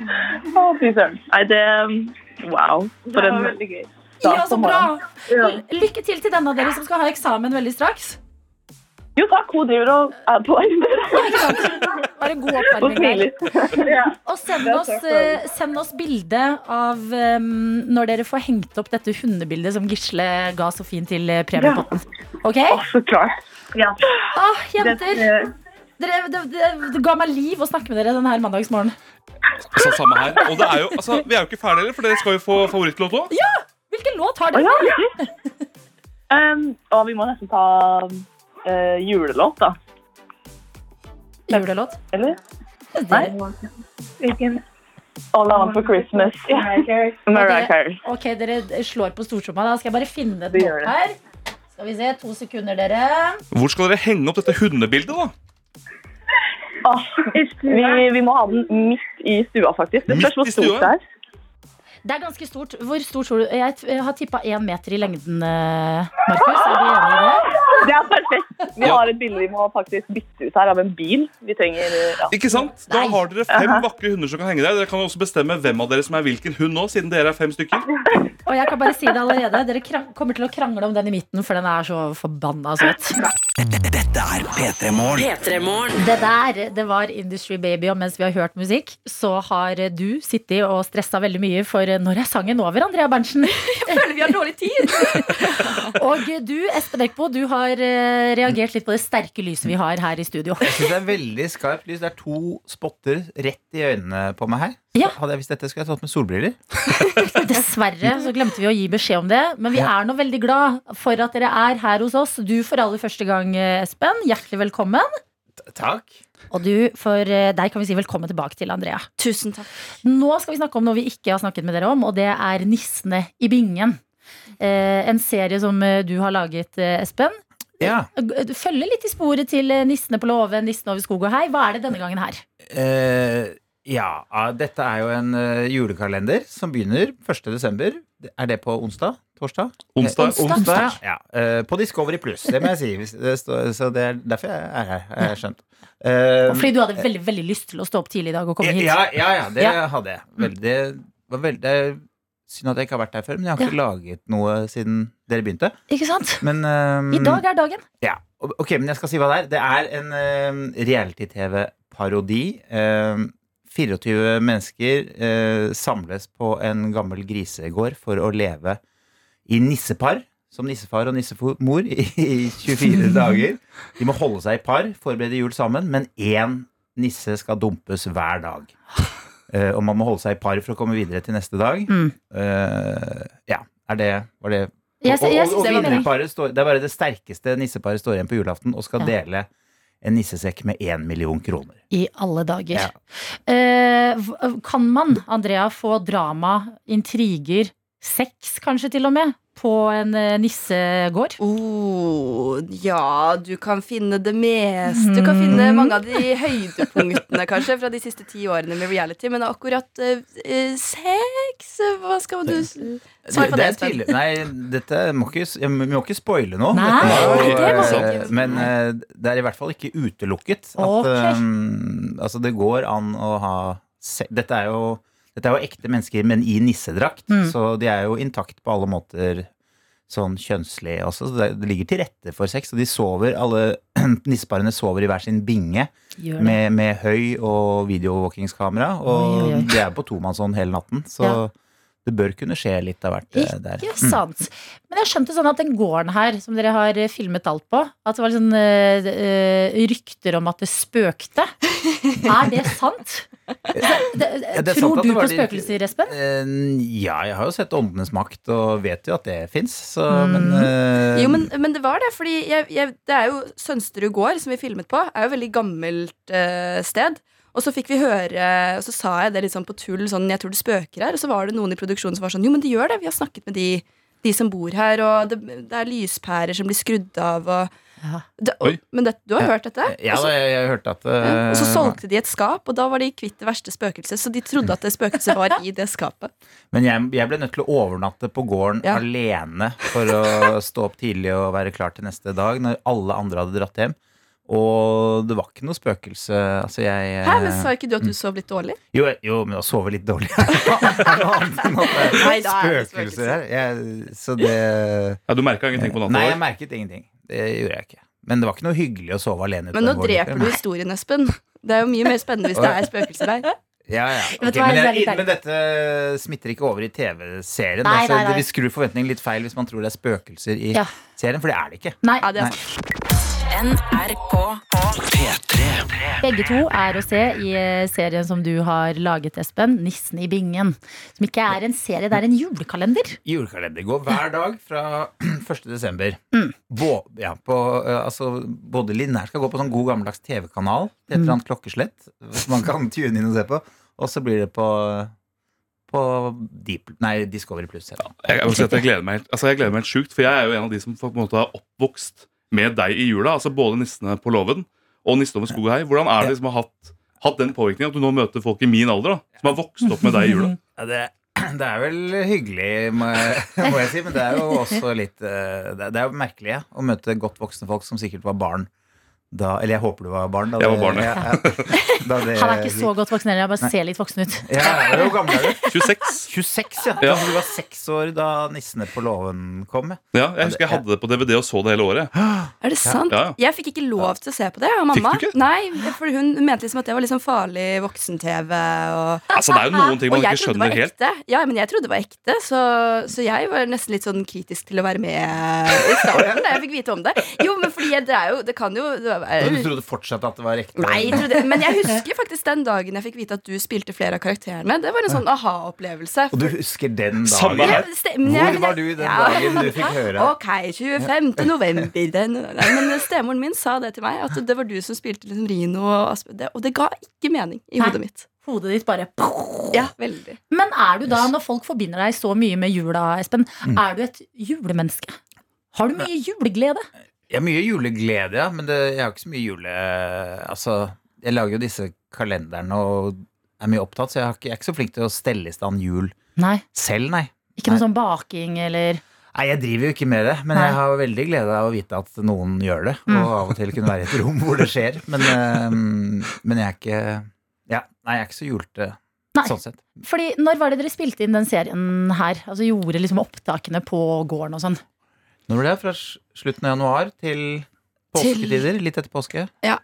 [SPEAKER 6] Å, Fy søren. Nei, det um, Wow. For en
[SPEAKER 2] Ja, så
[SPEAKER 6] på
[SPEAKER 2] bra!
[SPEAKER 6] morgenen.
[SPEAKER 2] L- Lykke til til denne av dere som skal ha eksamen veldig straks.
[SPEAKER 6] Jo takk, hun driver og er på arbeid
[SPEAKER 2] Ikke sant? Bare en god
[SPEAKER 6] og
[SPEAKER 2] oppvarming her.
[SPEAKER 6] smiler. Ja.
[SPEAKER 2] Og send oss, eh, send oss bilde av eh, når dere får hengt opp dette hundebildet som Gisle ga så fint til eh, premiepotten. OK?
[SPEAKER 6] Å, Så klart. Ja.
[SPEAKER 2] Ah,
[SPEAKER 6] Det,
[SPEAKER 2] jenter!
[SPEAKER 6] eh,
[SPEAKER 2] Dere, det, det, det ga meg liv å snakke med dere denne her mandagsmorgenen.
[SPEAKER 3] Altså, samme her. Og det er jo, altså, vi er jo ikke ferdige heller, for dere skal jo få favorittlåt òg.
[SPEAKER 2] Hvilken låt har
[SPEAKER 6] Å,
[SPEAKER 2] dere?
[SPEAKER 6] ja, um, og vi må nesten ta eh, julelåt, da.
[SPEAKER 2] Julelåt?
[SPEAKER 6] Eller?
[SPEAKER 2] Dere-
[SPEAKER 7] Hvilken?
[SPEAKER 6] All I Want for Christmas. Ja. Mariah Carey.
[SPEAKER 2] Ok, dere slår på stortromma. Da skal jeg bare finne
[SPEAKER 6] Vi
[SPEAKER 2] den
[SPEAKER 6] gjør
[SPEAKER 2] opp
[SPEAKER 6] det.
[SPEAKER 2] her. Skal vi se. To sekunder, dere.
[SPEAKER 3] Hvor skal dere henge opp dette hundebildet, da?
[SPEAKER 6] Åh, vi, vi må ha den midt i stua, faktisk. Det
[SPEAKER 3] Midt
[SPEAKER 6] spørs hvor
[SPEAKER 3] i
[SPEAKER 6] stort
[SPEAKER 3] stua?
[SPEAKER 6] det er.
[SPEAKER 2] Det er ganske stort. Hvor stort tror du? Jeg t- jeg har tippa én meter i lengden, eh, Markus. Er du enig i det?
[SPEAKER 6] Det er perfekt. Vi
[SPEAKER 3] Ja.
[SPEAKER 6] har et bilde vi må faktisk bytte ut her av en bil. Vi trenger ja.
[SPEAKER 3] Ikke sant? Da
[SPEAKER 2] Nei.
[SPEAKER 3] har dere fem vakre hunder som kan henge der. Dere kan jo også bestemme hvem av dere som er hvilken hund nå, siden dere er fem stykker.
[SPEAKER 2] Og jeg kan bare si det allerede. Dere krang- kommer til å krangle om den i midten, for den er så forbanna søt.
[SPEAKER 1] Dette er P3 Morgen.
[SPEAKER 2] Det der, det var Industry Baby, og mens vi har hørt musikk, så har du sittet og stressa veldig mye for når er sangen over, Andrea Berntsen? Jeg føler vi har dårlig tid. og du, Espen Eckbo, du har eh, reagert litt på det sterke lyset vi har her i studio.
[SPEAKER 8] Jeg synes det er veldig skarpt lys. Det er to spotter rett i øynene på meg her.
[SPEAKER 2] Ja.
[SPEAKER 8] Hadde jeg visst dette, skulle jeg tatt med solbriller.
[SPEAKER 2] Dessverre så glemte vi å gi beskjed om det, men vi
[SPEAKER 8] Ja.
[SPEAKER 2] er nå veldig glad for at dere er her hos oss. Du for aller første gang, eh, Espen. Hjertelig velkommen.
[SPEAKER 8] Takk.
[SPEAKER 2] Og du, for eh, deg kan vi si velkommen tilbake til Andrea.
[SPEAKER 9] Tusen takk.
[SPEAKER 2] Nå skal vi snakke om noe vi ikke har snakket med dere om, og det er Nissene i bingen. Eh, en serie som eh, du har laget, eh, Espen.
[SPEAKER 8] Ja.
[SPEAKER 2] Du følger litt i sporet til eh, Nissene på låve, Nissen over skog og hei. Hva er det denne gangen her?
[SPEAKER 8] Eh, ja, ah, dette er jo en eh, julekalender som begynner 1. desember. Er det på onsdag? Torsdag?
[SPEAKER 3] Onsdag.
[SPEAKER 8] Eh,
[SPEAKER 2] Onsdag.
[SPEAKER 8] onsdag ja. ja. Eh, på Discovery Pluss, det må jeg si. Hvis Det står, så det er derfor jeg er her. Jeg har skjønt. Eh,
[SPEAKER 2] Fordi du hadde veldig veldig lyst til å stå opp tidlig i dag og komme hit.
[SPEAKER 8] ja, ja, ja, det
[SPEAKER 2] Ja.
[SPEAKER 8] hadde jeg. Veldig, det var veldig synd at jeg ikke har vært her før, men jeg har ikke laget noe siden dere begynte.
[SPEAKER 2] Ikke sant?
[SPEAKER 8] Men, eh,
[SPEAKER 2] I dag er dagen.
[SPEAKER 8] ja. Ok, men jeg skal si hva det er. Det er en eh, reality-TV-parodi. Eh, 24 mennesker eh, samles på en gammel grisegård for å leve i nissepar. Som nissefar og nissemor i, i 24 dager. De må holde seg i par, forberede jul sammen, men én nisse skal dumpes hver dag. Eh, og man må holde seg i par for å komme videre til neste dag.
[SPEAKER 2] Mm.
[SPEAKER 8] Eh, ja, er det, var det
[SPEAKER 2] Jeg,
[SPEAKER 8] og,
[SPEAKER 2] jeg
[SPEAKER 8] og, og
[SPEAKER 2] synes det var meningen.
[SPEAKER 8] vinnerparet står, Det er bare det sterkeste nisseparet står igjen på julaften og skal
[SPEAKER 2] Ja.
[SPEAKER 8] dele en nissesekk med én million kroner.
[SPEAKER 2] I alle dager.
[SPEAKER 8] Ja.
[SPEAKER 2] Eh, hv- kan man, Andrea, få drama, intriger, sex kanskje til og med, på en eh, nissegård?
[SPEAKER 9] Oh, ja, du kan finne det meste. Du kan finne mange av de høydepunktene kanskje fra de siste ti årene med reality, men akkurat eh, eh, sex eh, Hva skal du s- svare på det?
[SPEAKER 8] er
[SPEAKER 9] Espen?
[SPEAKER 8] tydelig- Nei, dette må ikke, jeg må- vi må ikke spoile noe.
[SPEAKER 2] Nei,
[SPEAKER 8] Dette
[SPEAKER 2] det må
[SPEAKER 8] er-
[SPEAKER 9] vi ikke.
[SPEAKER 8] men eh, det er i hvert fall ikke utelukket at
[SPEAKER 2] Ok.
[SPEAKER 8] eh, Altså, det går an å ha se dette, er jo, dette er jo ekte mennesker, men i nissedrakt,
[SPEAKER 2] Mm.
[SPEAKER 8] så de er jo intakt på alle måter. Sånn kjønnslig også. Så det- det ligger til rette for sex. Og de sover, alle nisseparene sover i hver sin binge.
[SPEAKER 2] Gjør det.
[SPEAKER 8] med, med høy og videoovervåkingskamera.
[SPEAKER 2] Oi, oi, oi.
[SPEAKER 8] Og det er på tomannshånd hele natten, så
[SPEAKER 2] Ja.
[SPEAKER 8] det bør kunne skje litt av hvert eh, der.
[SPEAKER 2] Ikke sant. Men jeg skjønte sånn at den gården her, som dere har eh, filmet alt på, at det var sånn eh, eh, rykter om at det spøkte. Er det sant? Det- det-
[SPEAKER 8] Ja, det er sant
[SPEAKER 2] tror
[SPEAKER 8] at
[SPEAKER 2] du
[SPEAKER 8] det var
[SPEAKER 2] på
[SPEAKER 8] de-
[SPEAKER 2] spøkelser, Espen?
[SPEAKER 8] Eh, Ja, jeg har jo sett Åndenes makt og vet jo at det fins, så
[SPEAKER 2] Mm.
[SPEAKER 8] men eh,
[SPEAKER 9] Jo, men, men det var det, fordi jeg, jeg, det er jo Sønsterud gård, som vi filmet på, er jo et veldig gammelt eh, sted. Og så fikk vi høre, og så sa jeg det litt sånn på tull, sånn, jeg tror det spøker her. Og så var det noen i produksjonen som var sånn, jo, men det gjør det. Vi har snakket med de, de som bor her, og det, det er lyspærer som blir skrudd av, og,
[SPEAKER 2] Ja.
[SPEAKER 9] det,
[SPEAKER 3] Oi.
[SPEAKER 9] og Men det, du har hørt dette?
[SPEAKER 8] Ja,
[SPEAKER 9] og,
[SPEAKER 2] Altså-
[SPEAKER 8] da,
[SPEAKER 9] så,
[SPEAKER 8] jeg, jeg hørte at
[SPEAKER 9] ja,
[SPEAKER 8] eh,
[SPEAKER 9] og så solgte de et skap, og da var de kvitt det verste spøkelset. Så de trodde at det spøkelset var i det skapet.
[SPEAKER 8] Men jeg, jeg ble nødt til å overnatte på gården
[SPEAKER 9] Ja.
[SPEAKER 8] alene for å stå opp tidlig og være klar til neste dag, når alle andre hadde dratt hjem. Og det var ikke noe spøkelse. Altså, jeg eh,
[SPEAKER 9] Hæ, men sa ikke du at du sov litt dårlig?
[SPEAKER 8] Jo, jo men å sove litt dårlig er noe annet enn at det
[SPEAKER 9] Nei,
[SPEAKER 8] er
[SPEAKER 9] da er det
[SPEAKER 8] spøkelser her. Jeg, så det
[SPEAKER 3] Ja, du merka ingenting på
[SPEAKER 8] Nei, jeg
[SPEAKER 3] natta?
[SPEAKER 8] merket ingenting. Det gjorde jeg ikke. Men det var ikke noe hyggelig å sove alene. ute
[SPEAKER 9] Men
[SPEAKER 8] på
[SPEAKER 9] nå
[SPEAKER 8] en gård,
[SPEAKER 9] dreper du
[SPEAKER 8] liksom.
[SPEAKER 9] historien, Espen. Det er jo mye mer spennende hvis det er spøkelser der.
[SPEAKER 8] Ja, ja.
[SPEAKER 2] du
[SPEAKER 8] Ok,
[SPEAKER 2] hva,
[SPEAKER 8] men,
[SPEAKER 2] det er
[SPEAKER 8] jeg,
[SPEAKER 2] litt ærlig.
[SPEAKER 8] men dette smitter ikke over i TV-serien.
[SPEAKER 2] Nei,
[SPEAKER 8] Altså,
[SPEAKER 2] nei, nei.
[SPEAKER 8] Vi skrur forventningene litt feil hvis man tror det er spøkelser i
[SPEAKER 2] Ja.
[SPEAKER 8] serien, for det er det ikke.
[SPEAKER 2] Nei.
[SPEAKER 9] Ja, det
[SPEAKER 8] Nei.
[SPEAKER 9] er sant.
[SPEAKER 2] Begge to er å se i eh, serien som du har laget, Espen, 'Nissen i bingen'. Som ikke er en serie, det er en julekalender.
[SPEAKER 8] Julekalender går hver dag fra 1. desember.
[SPEAKER 2] Mm.
[SPEAKER 8] Bå- ja, på, eh, altså, både Linnær skal gå på sånn god gammeldags TV-kanal. Et eller
[SPEAKER 2] Mm.
[SPEAKER 8] annet klokkeslett som man kan tune inn og se på. Og så blir det på, på Deep, nei, Discovery Pluss.
[SPEAKER 3] Jeg, jeg, si at jeg gleder meg helt, altså jeg gleder meg helt sjukt, for jeg er jo en av de som på en måte er oppvokst med deg i jula. altså Både Nissene på låven og Nissen over skog og hei. Hvordan er det liksom å ha hatt, hatt den påvirkningen at du nå møter folk i min alder da, som har vokst opp med deg i jula?
[SPEAKER 8] Ja, det, det er vel hyggelig, må jeg, må jeg si, men det er jo også litt eh, Det det er jo merkelig ja, å møte godt voksne folk som sikkert var barn da Eller jeg håper du var barn. Da
[SPEAKER 3] Jeg
[SPEAKER 8] det-
[SPEAKER 3] var barn, ja.
[SPEAKER 8] da det-
[SPEAKER 2] Han er ikke så godt voksen heller, han bare ser litt voksen ut.
[SPEAKER 8] Ja, jeg er jo gammel, er du?
[SPEAKER 3] 26.
[SPEAKER 8] 26, ja.
[SPEAKER 3] Ja.
[SPEAKER 8] Altså, Du var seks år da 'Nissene på låven' kom.
[SPEAKER 3] Ja,
[SPEAKER 8] ja.
[SPEAKER 3] jeg husker jeg hadde det på DVD og så det hele året.
[SPEAKER 9] Er det sant?
[SPEAKER 3] Ja, ja.
[SPEAKER 9] Jeg fikk ikke lov til å se på det av mamma.
[SPEAKER 3] Fikk du ikke?
[SPEAKER 9] Nei, for Hun mente liksom at det var liksom farlig voksen-TV. Og,
[SPEAKER 3] Altså, Det er jo noen ting
[SPEAKER 9] og
[SPEAKER 3] man
[SPEAKER 9] jeg
[SPEAKER 3] ikke
[SPEAKER 9] trodde det
[SPEAKER 3] skjønner
[SPEAKER 9] var
[SPEAKER 3] helt.
[SPEAKER 9] ekte. Ja, men jeg trodde det var ekte, så, så jeg var nesten litt sånn kritisk til å være med i starten da jeg fikk vite om det. Jo, men fordi jeg, det er jo Det kan jo det er,
[SPEAKER 8] Og du trodde fortsatt at det var ekte?
[SPEAKER 9] Nei, jeg trodde, men jeg husker faktisk den dagen jeg fikk vite at du spilte flere av karakterene. Det var en sånn aha-opplevelse.
[SPEAKER 8] Og du husker den
[SPEAKER 3] Samme
[SPEAKER 8] dagen?
[SPEAKER 3] her.
[SPEAKER 8] Hvor var du den dagen du fikk høre?
[SPEAKER 9] Ok, 25. november. Den, nei, men stemoren min sa det til meg, at det var du som spilte liksom Rino og Asbjørn. Det- Og det ga ikke mening i
[SPEAKER 2] Nei.
[SPEAKER 9] hodet mitt.
[SPEAKER 2] Hodet ditt bare
[SPEAKER 9] Ja, veldig.
[SPEAKER 2] Men er du da, når folk forbinder deg så mye med jula, Espen,
[SPEAKER 8] Mm.
[SPEAKER 2] er du et julemenneske? Har du mye juleglede?
[SPEAKER 8] Jeg har mye juleglede, ja, men det, jeg har ikke så mye jule... Altså, jeg lager jo disse kalenderne og er mye opptatt, så jeg, har ikke, jeg er ikke så flink til å stelle i stand jul
[SPEAKER 2] Nei.
[SPEAKER 8] selv, nei.
[SPEAKER 2] Ikke noe
[SPEAKER 8] Nei.
[SPEAKER 2] sånn baking eller
[SPEAKER 8] Nei, Jeg driver jo ikke med det, men
[SPEAKER 2] Nei.
[SPEAKER 8] jeg har jo veldig glede av å vite at noen gjør det.
[SPEAKER 2] Mm.
[SPEAKER 8] Og av og til kunne være i et rom hvor det skjer. Men, eh, men jeg er ikke ja, Nei, jeg er ikke så julete
[SPEAKER 2] Nei.
[SPEAKER 8] sånn sett.
[SPEAKER 2] Fordi når var det dere spilte inn den serien her? Altså Gjorde liksom opptakene på gården og sånn?
[SPEAKER 8] Når ble det? Fra s- slutten av januar til påsketider? Litt etter påske?
[SPEAKER 2] Ja.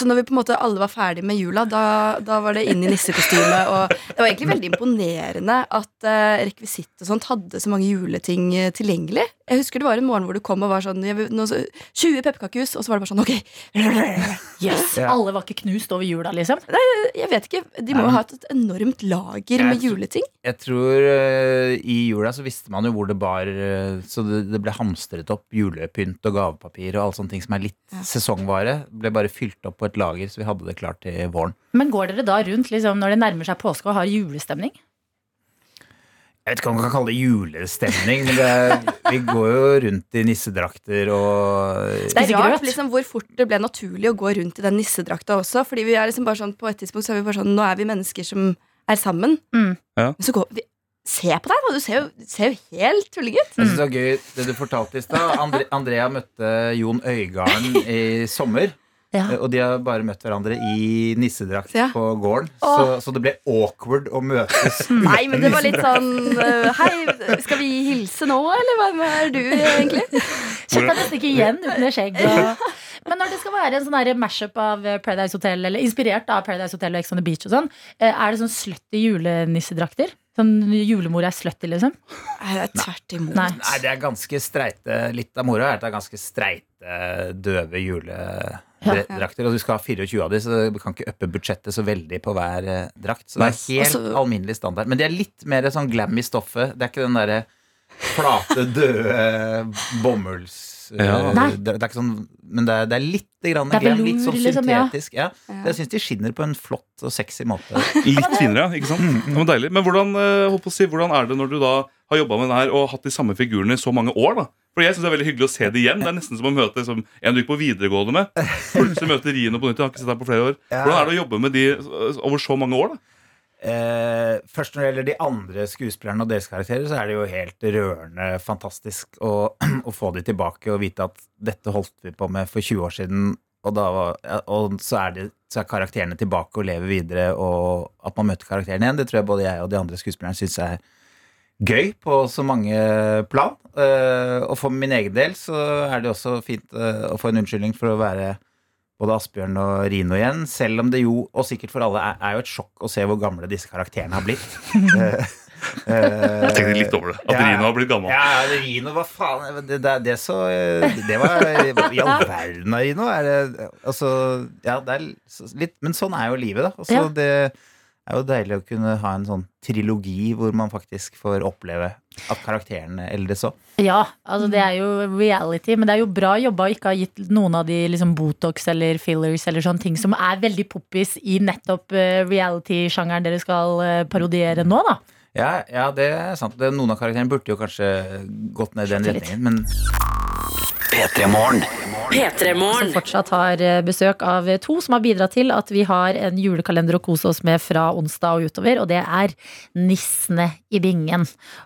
[SPEAKER 9] Så når vi på en måte alle var ferdige med jula, da, da var det inn i nissekostyme. Og det var egentlig veldig imponerende at eh, rekvisitt og sånt hadde så mange juleting eh, tilgjengelig. Jeg husker det var en morgen hvor du kom og var sånn jeg, vil- nå, så- 20 pepperkakehus, og så var det bare sånn ok.
[SPEAKER 2] Yes,
[SPEAKER 8] Ja.
[SPEAKER 2] Alle var ikke knust over jula, liksom?
[SPEAKER 9] Jeg vet ikke, De må jo ha et enormt lager med juleting.
[SPEAKER 8] Jeg tror eh, i jula så visste man jo hvor det bar, eh, så det, det ble hamstret opp julepynt og gavepapir og alle sånne ting som er litt sesongvare. Ble bare fylt opp på et lager, så vi hadde det klart til våren.
[SPEAKER 2] Men går dere da rundt liksom, når det nærmer seg påske og har julestemning?
[SPEAKER 8] Jeg vet ikke om man kan kalle det julestemning, men det, vi går jo rundt i nissedrakter og
[SPEAKER 9] Det er
[SPEAKER 2] Spiser
[SPEAKER 9] rart
[SPEAKER 2] grøt.
[SPEAKER 9] liksom, hvor fort det ble naturlig å gå rundt i den nissedrakta også. Fordi vi er liksom bare sånn, På et tidspunkt så er vi bare sånn Nå er vi mennesker som er sammen.
[SPEAKER 2] Mm.
[SPEAKER 3] Ja.
[SPEAKER 9] Men så går vi Se på deg, da! Du ser jo, du ser jo helt tulling ut.
[SPEAKER 8] Jeg synes det var gøy det du fortalte i stad. Andre, Andrea møtte Jon Øygarden i sommer.
[SPEAKER 2] Ja.
[SPEAKER 8] Og de har bare møtt hverandre i nissedrakt
[SPEAKER 9] Ja.
[SPEAKER 8] på gården. Så, så det ble awkward å møtes.
[SPEAKER 9] Nei, men det var litt sånn eh, Hei, skal vi hilse nå, eller hva hva er du egentlig?
[SPEAKER 2] Kjenner meg nesten ikke igjen uten det skjegget. og- Men når det skal være en sånn her mashup av eh, Paradise Hotel, eller inspirert av Paradise Hotel og Ex on the Beach og sånn, eh, er det sånn slutty julenissedrakter? Sånn julemor er slutty, liksom?
[SPEAKER 9] Nei, det er tvert imot.
[SPEAKER 2] Nei.
[SPEAKER 8] Nei, det er ganske streite Litt av moroa er at det er ganske streite, døve
[SPEAKER 9] Ja.
[SPEAKER 8] juledrakter. Og du skal ha 24 av de, så du kan ikke uppe budsjettet så veldig på hver eh, drakt. Så det er
[SPEAKER 3] Nei.
[SPEAKER 8] helt
[SPEAKER 9] Altså-
[SPEAKER 8] alminnelig standard. Men de er litt mer sånn glam i stoffet. Det er ikke den derre flate, døde bomulls... eh,
[SPEAKER 3] Ja.
[SPEAKER 2] Nei.
[SPEAKER 8] Det, det er ikke sånn, men det er, det er litt grann
[SPEAKER 2] Det er
[SPEAKER 8] glam, litt
[SPEAKER 2] velour,
[SPEAKER 8] sånn
[SPEAKER 2] liksom, ja.
[SPEAKER 8] syntetisk. Ja.
[SPEAKER 9] Ja.
[SPEAKER 8] Jeg syns de skinner på en flott og sexy måte.
[SPEAKER 3] Litt finere, ja. ikke sant? Det var deilig. Men hvordan, eh, holdt på å si, hvordan er det når du da har jobba med den her og hatt de samme figurene i så mange år? da? Fordi jeg synes Det er veldig hyggelig å se det igjen. Det er nesten som å møte liksom, en du gikk på videregående med. Plutselig møter Rino på nytt. Jeg har ikke sett deg på flere år. Hvordan er det å jobbe med de eh, over så mange år? da?
[SPEAKER 8] Eh, først når det gjelder de andre skuespillerne og deres karakterer, så er det jo helt rørende fantastisk å, å få de tilbake og vite at dette holdt vi på med for 20 år siden, og, da var, ja, og så, er de, så er karakterene tilbake og lever videre, og at man møter karakterene igjen, det tror jeg både jeg og de andre skuespillerne syns er gøy på så mange plan. Eh, og for min egen del så er det også fint eh, å få en unnskyldning for å være både Asbjørn og Rino igjen, selv om det jo, og sikkert for alle, er, er jo et sjokk å se hvor gamle disse karakterene har blitt. Eh, Eh,
[SPEAKER 3] Jeg tenkte litt over det. At
[SPEAKER 8] Ja, ja.
[SPEAKER 3] Rino har blitt gammel.
[SPEAKER 8] Ja, ja, Rino, hva faen Det, det, det så eh, Det var I all verden av Rino. Er det, altså, ja, det er så- litt, men sånn er jo livet, da. Og så
[SPEAKER 2] Ja.
[SPEAKER 8] Det er jo deilig å kunne ha en sånn trilogi hvor man faktisk får oppleve at karakterene eldes òg.
[SPEAKER 2] Ja, altså det er jo reality, men det er jo bra jobba å ikke ha gitt noen av de liksom Botox eller fillers eller sånne ting som er veldig poppis i nettopp eh, reality-sjangeren dere skal eh, parodiere nå, da.
[SPEAKER 8] Ja, ja, det er sant. Det, noen av karakterene burde jo kanskje gått ned i den
[SPEAKER 2] Skjønte litt.
[SPEAKER 8] retningen, men
[SPEAKER 1] P3-morgen.
[SPEAKER 2] Som fortsatt har eh, besøk av to som har bidratt til at vi har en julekalender å kose oss med fra onsdag og utover, og det er Nissene i bingen.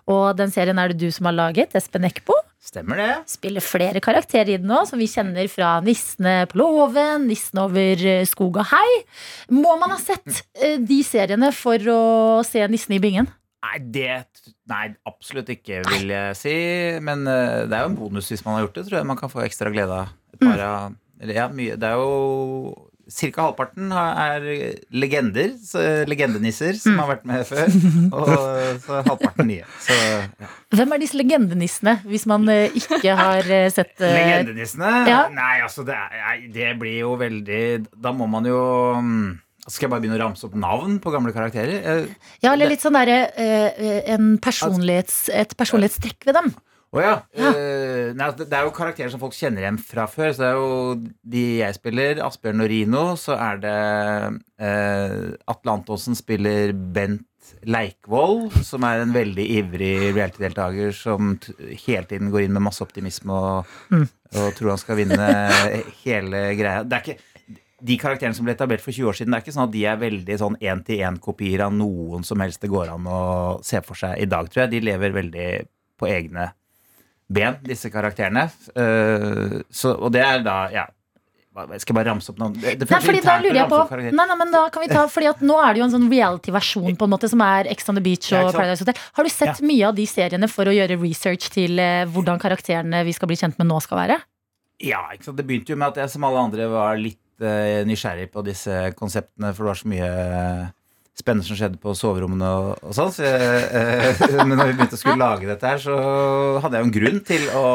[SPEAKER 2] Og den serien er det du som har laget, Espen Eckbo.
[SPEAKER 8] stemmer det?
[SPEAKER 2] spiller flere karakterer i den nå, som vi kjenner fra Nissene på låven, Nissene over eh, skog og hei. Må man ha sett eh, de seriene for å se Nissen i bingen?
[SPEAKER 8] Nei, det Nei, absolutt ikke, vil jeg si. Men eh, det er jo en bonus hvis man har gjort det, tror jeg. Man kan få ekstra glede av et
[SPEAKER 2] Mm.
[SPEAKER 8] par av Eller ja, mye. Det er jo Cirka halvparten har- er legender, så, legendenisser,
[SPEAKER 2] Mm.
[SPEAKER 8] som har vært med før. Og så halvparten nye. Så ja.
[SPEAKER 2] Hvem er disse legendenissene, hvis man eh, ikke har eh, sett eh,
[SPEAKER 8] legendenissene
[SPEAKER 2] ja.
[SPEAKER 8] Nei, altså, det, er, nei, det blir jo veldig Da må man jo mm, Skal jeg bare begynne å ramse opp navn på gamle karakterer? Eh,
[SPEAKER 2] Ja, eller litt sånn derre eh, en personlighets, et personlighetstrekk ved dem.
[SPEAKER 8] Å ja.
[SPEAKER 2] Ja.
[SPEAKER 8] Eh, nei, det det er jo karakterer som folk kjenner igjen fra før. Så det er jo de jeg spiller, Asbjørn og Rino. Så er det eh, Atle Antonsen spiller Bent Leikvoll, som er en veldig ivrig reality-deltaker som t hele tiden går inn med masse optimisme og, og tror han skal vinne eh, hele greia. Det er ikke de karakterene som ble etablert for 20 år siden, det er ikke sånn at de er veldig sånn én-til-én-kopier av noen som helst det går an å se for seg i dag, tror jeg. De lever veldig på egne ben, disse karakterene. Eh, så, og det er da ja, hva- Skal jeg bare ramse opp noen? Det,
[SPEAKER 2] Nei,
[SPEAKER 8] det føles
[SPEAKER 2] fordi da
[SPEAKER 8] internt å
[SPEAKER 2] lurer jeg
[SPEAKER 8] ramse
[SPEAKER 2] på
[SPEAKER 8] opp karakterer.
[SPEAKER 2] Nei, nei, men da kan vi ta Fordi at nå er det jo en sånn reality-versjon på en måte Som er Ex on the Beach
[SPEAKER 8] Ja,
[SPEAKER 2] og
[SPEAKER 8] ikke sant?
[SPEAKER 2] Paradise Hotel Har du sett mye av de seriene for å gjøre research til eh, Hvordan karakterene vi skal bli kjent med nå skal være?
[SPEAKER 8] Ja, ikke sant? Det begynte jo med at jeg som alle andre var litt eh, nysgjerrig på disse konseptene, for det var så mye eh, spennende som skjedde på soverommene og, og sånn. Så jeg, eh, men når vi begynte å skulle lage dette her, så hadde jeg jo en grunn til å,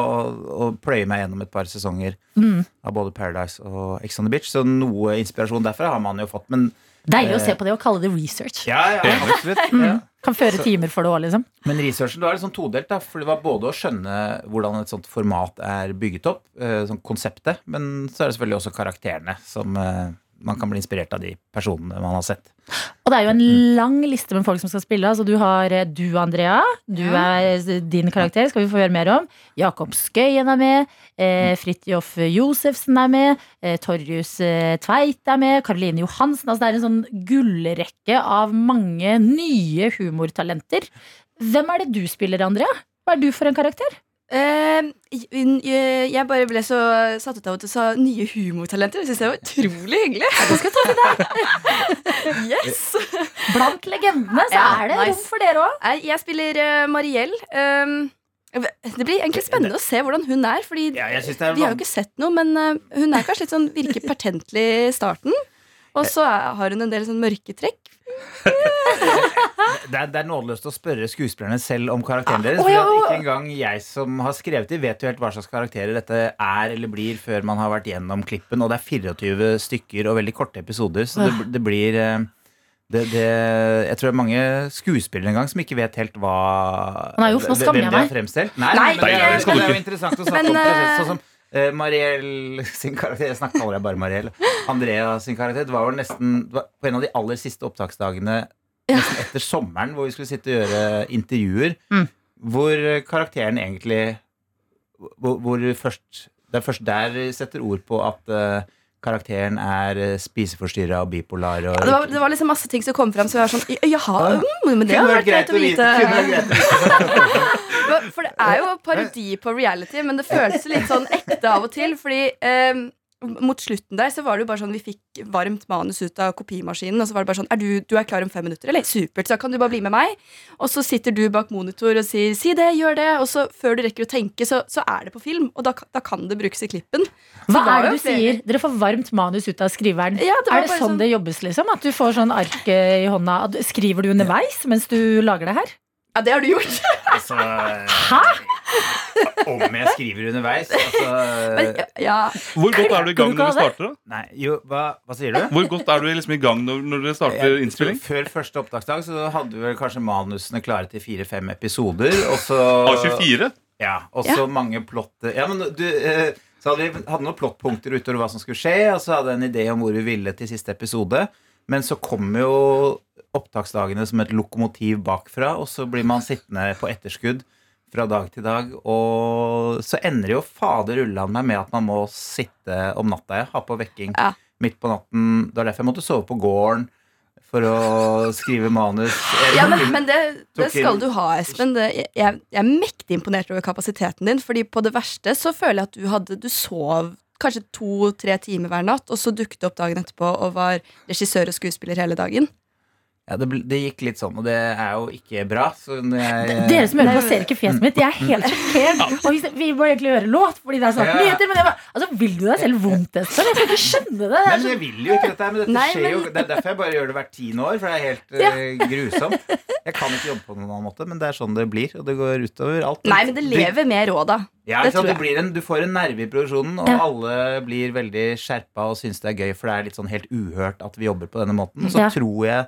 [SPEAKER 8] å pløye meg gjennom et par sesonger av både Paradise og Ex on the Beach, så noe inspirasjon derfra har man jo fått. Men
[SPEAKER 2] Deilig å se på det og kalle det research
[SPEAKER 8] Eh, ja, ja, absolutt. Ja.
[SPEAKER 2] Kan føre timer for det også liksom
[SPEAKER 8] Men researchen det var litt sånn todelt, da, for det var både å skjønne hvordan et sånt format er bygget opp, eh, sånn konseptet, men så er det selvfølgelig også karakterene som eh, man kan bli inspirert av de personene man har sett.
[SPEAKER 2] Og det er jo en lang liste med folk som skal spille Altså du har eh, du Andrea Du er eh, din karakter, skal vi få høre mer om Jakob Skøyen er med eh, Fridtjof Josefsen er med eh, Torjus eh, Tveit er med Karoline Johansen Altså det er en sånn gullrekke av mange nye humortalenter Hvem er det du spiller, Andrea? Hva er du for en karakter?
[SPEAKER 9] Eh, jeg- jeg jeg bare ble så satt ut av at du sa nye humortalenter. Jeg synes det var utrolig hyggelig. yes!
[SPEAKER 2] Blant legendene så
[SPEAKER 9] Ja,
[SPEAKER 2] er det
[SPEAKER 9] nice.
[SPEAKER 2] rom for dere også
[SPEAKER 9] Nei, Jeg spiller eh, Mariell. Um, det blir egentlig spennende å se hvordan hun er. Fordi
[SPEAKER 8] Ja, jeg synes det er
[SPEAKER 9] Vi har jo
[SPEAKER 8] van-
[SPEAKER 9] ikke sett noe, men eh, hun er kanskje litt sånn virker pertentlig i starten. Og så er- har hun en del sånn mørke trekk.
[SPEAKER 8] Det er, det er nådeløst å spørre skuespillerne selv om karakteren deres.
[SPEAKER 2] Å,
[SPEAKER 8] For
[SPEAKER 2] ja,
[SPEAKER 8] at
[SPEAKER 2] og-
[SPEAKER 8] ikke engang jeg som har skrevet de, vet jo helt hva slags karakterer dette er eller blir før man har vært gjennom klippen. Og det er 24 stykker og veldig korte episoder, så det, det blir eh, det, det, jeg tror det er mange skuespillere en gang som ikke vet helt hva
[SPEAKER 2] Nei, uff, nå
[SPEAKER 8] hvem
[SPEAKER 2] skammer
[SPEAKER 8] de
[SPEAKER 2] jeg
[SPEAKER 8] har
[SPEAKER 2] meg.
[SPEAKER 8] fremstilt. Nei,
[SPEAKER 9] Nei,
[SPEAKER 8] men det,
[SPEAKER 3] det
[SPEAKER 8] er,
[SPEAKER 3] skal du
[SPEAKER 8] det er jo
[SPEAKER 3] ikke.
[SPEAKER 8] interessant å snakke
[SPEAKER 9] Men,
[SPEAKER 8] om prosess,
[SPEAKER 9] eh,
[SPEAKER 8] sånn som eh, Mariell sin karakter Jeg snakker allerede bare Mariell. Andrea sin karakter. Det var vel nesten det var på en av de aller siste opptaksdagene nesten etter sommeren, hvor vi skulle sitte og gjøre intervjuer,
[SPEAKER 2] Mm.
[SPEAKER 8] hvor eh, karakteren egentlig hvor, hvor først, Det er først der vi setter ord på at eh, karakteren er spiseforstyrra og bipolar. Og,
[SPEAKER 9] Ja, det, var, det var liksom masse ting som kom fram som jeg var sånn Jaha, mm, men det
[SPEAKER 8] kunne
[SPEAKER 9] hadde
[SPEAKER 8] vært greit å vite. Kunne vært greit å vite.
[SPEAKER 9] Men- For det er jo parodi på reality, men det føltes litt sånn ekte av og til. Fordi eh, mot slutten der så var det jo bare sånn vi fikk varmt manus ut av kopimaskinen. Og så var det bare sånn er du, du er klar om fem minutter, eller? Supert, så da kan du bare bli med meg. Og så sitter du bak monitor og sier si det, gjør det. Og så før du rekker å tenke, så, så er det på film. Og da, ka- da kan det brukes i klippen.
[SPEAKER 2] Hva
[SPEAKER 9] Så det var
[SPEAKER 2] er det
[SPEAKER 9] jo
[SPEAKER 2] du
[SPEAKER 9] flere-
[SPEAKER 2] sier? Dere får varmt manus ut av skriveren.
[SPEAKER 9] Ja, det var
[SPEAKER 2] er det
[SPEAKER 9] bare
[SPEAKER 2] sånn
[SPEAKER 9] sånn-
[SPEAKER 2] det jobbes? liksom? At du får sånn ark eh, i hånda? at- Skriver du underveis mens du lager det her?
[SPEAKER 9] Ja, det har du gjort.
[SPEAKER 8] Altså, eh, Om jeg skriver underveis?
[SPEAKER 9] Men,
[SPEAKER 8] Altså,
[SPEAKER 9] ja,
[SPEAKER 3] Hvor godt er du i gang når du starter? da?
[SPEAKER 8] nei, jo, hva, hva sier du?
[SPEAKER 3] Hvor godt er du liksom i gang når, når dere starter innspilling?
[SPEAKER 8] Før første opptaksdag så hadde vi vel kanskje manusene klare til fire-fem episoder. Og så,
[SPEAKER 3] A24?
[SPEAKER 8] ja, og så mange plott ja, men du, eh, Så hadde vi hadde noen plottpunkter utover hva som skulle skje, og så hadde jeg en idé om hvor vi ville til siste episode. Men så kommer jo opptaksdagene som et lokomotiv bakfra, og så blir man sittende på etterskudd fra dag til dag. Og så ender jo fader ullan meg med at man må sitte om natta, ja. Ha på vekking
[SPEAKER 9] Ja.
[SPEAKER 8] midt på natten. Det var derfor jeg måtte sove på gården for å skrive manus.
[SPEAKER 9] ja men, men det, det
[SPEAKER 8] Tok inn-
[SPEAKER 9] skal du ha, Espen. Det, jeg, jeg er mektig imponert over kapasiteten din. Fordi på det verste så føler jeg at du hadde Du sov kanskje to-tre timer hver natt, og så dukket du opp dagen etterpå og var regissør og skuespiller hele dagen.
[SPEAKER 8] Ja, det, ble- det gikk litt sånn, og det er jo ikke bra. Så når jeg,
[SPEAKER 2] Dere som hører på, ser ikke fjeset mitt. Jeg er helt sjokkert. Og hvis, vi må egentlig høre låt, fordi det er sånn
[SPEAKER 8] Ja.
[SPEAKER 2] nyheter. Men jeg bare, altså, vil du deg selv vondt, Espen? Jeg kan ikke skjønne det. det
[SPEAKER 8] Nei,
[SPEAKER 2] er
[SPEAKER 8] men
[SPEAKER 2] så,
[SPEAKER 8] jeg vil jo ikke dette her, men dette
[SPEAKER 9] Nei,
[SPEAKER 8] skjer jo
[SPEAKER 9] men-
[SPEAKER 8] Det er derfor jeg bare gjør det hvert tiende år, for det er helt eh, grusomt. Jeg kan ikke jobbe på noen annen måte, men det er sånn det blir, og det går utover alt.
[SPEAKER 9] Nei, men det lever mer råd, da.
[SPEAKER 8] Ja,
[SPEAKER 9] det
[SPEAKER 8] ikke sant?
[SPEAKER 9] tror
[SPEAKER 8] Du, blir en, du får en nerve i produksjonen, og
[SPEAKER 2] Ja.
[SPEAKER 8] alle blir veldig skjerpa og syns det er gøy, for det er litt sånn helt uhørt at vi jobber på denne måten. Og så
[SPEAKER 2] Ja.
[SPEAKER 8] tror jeg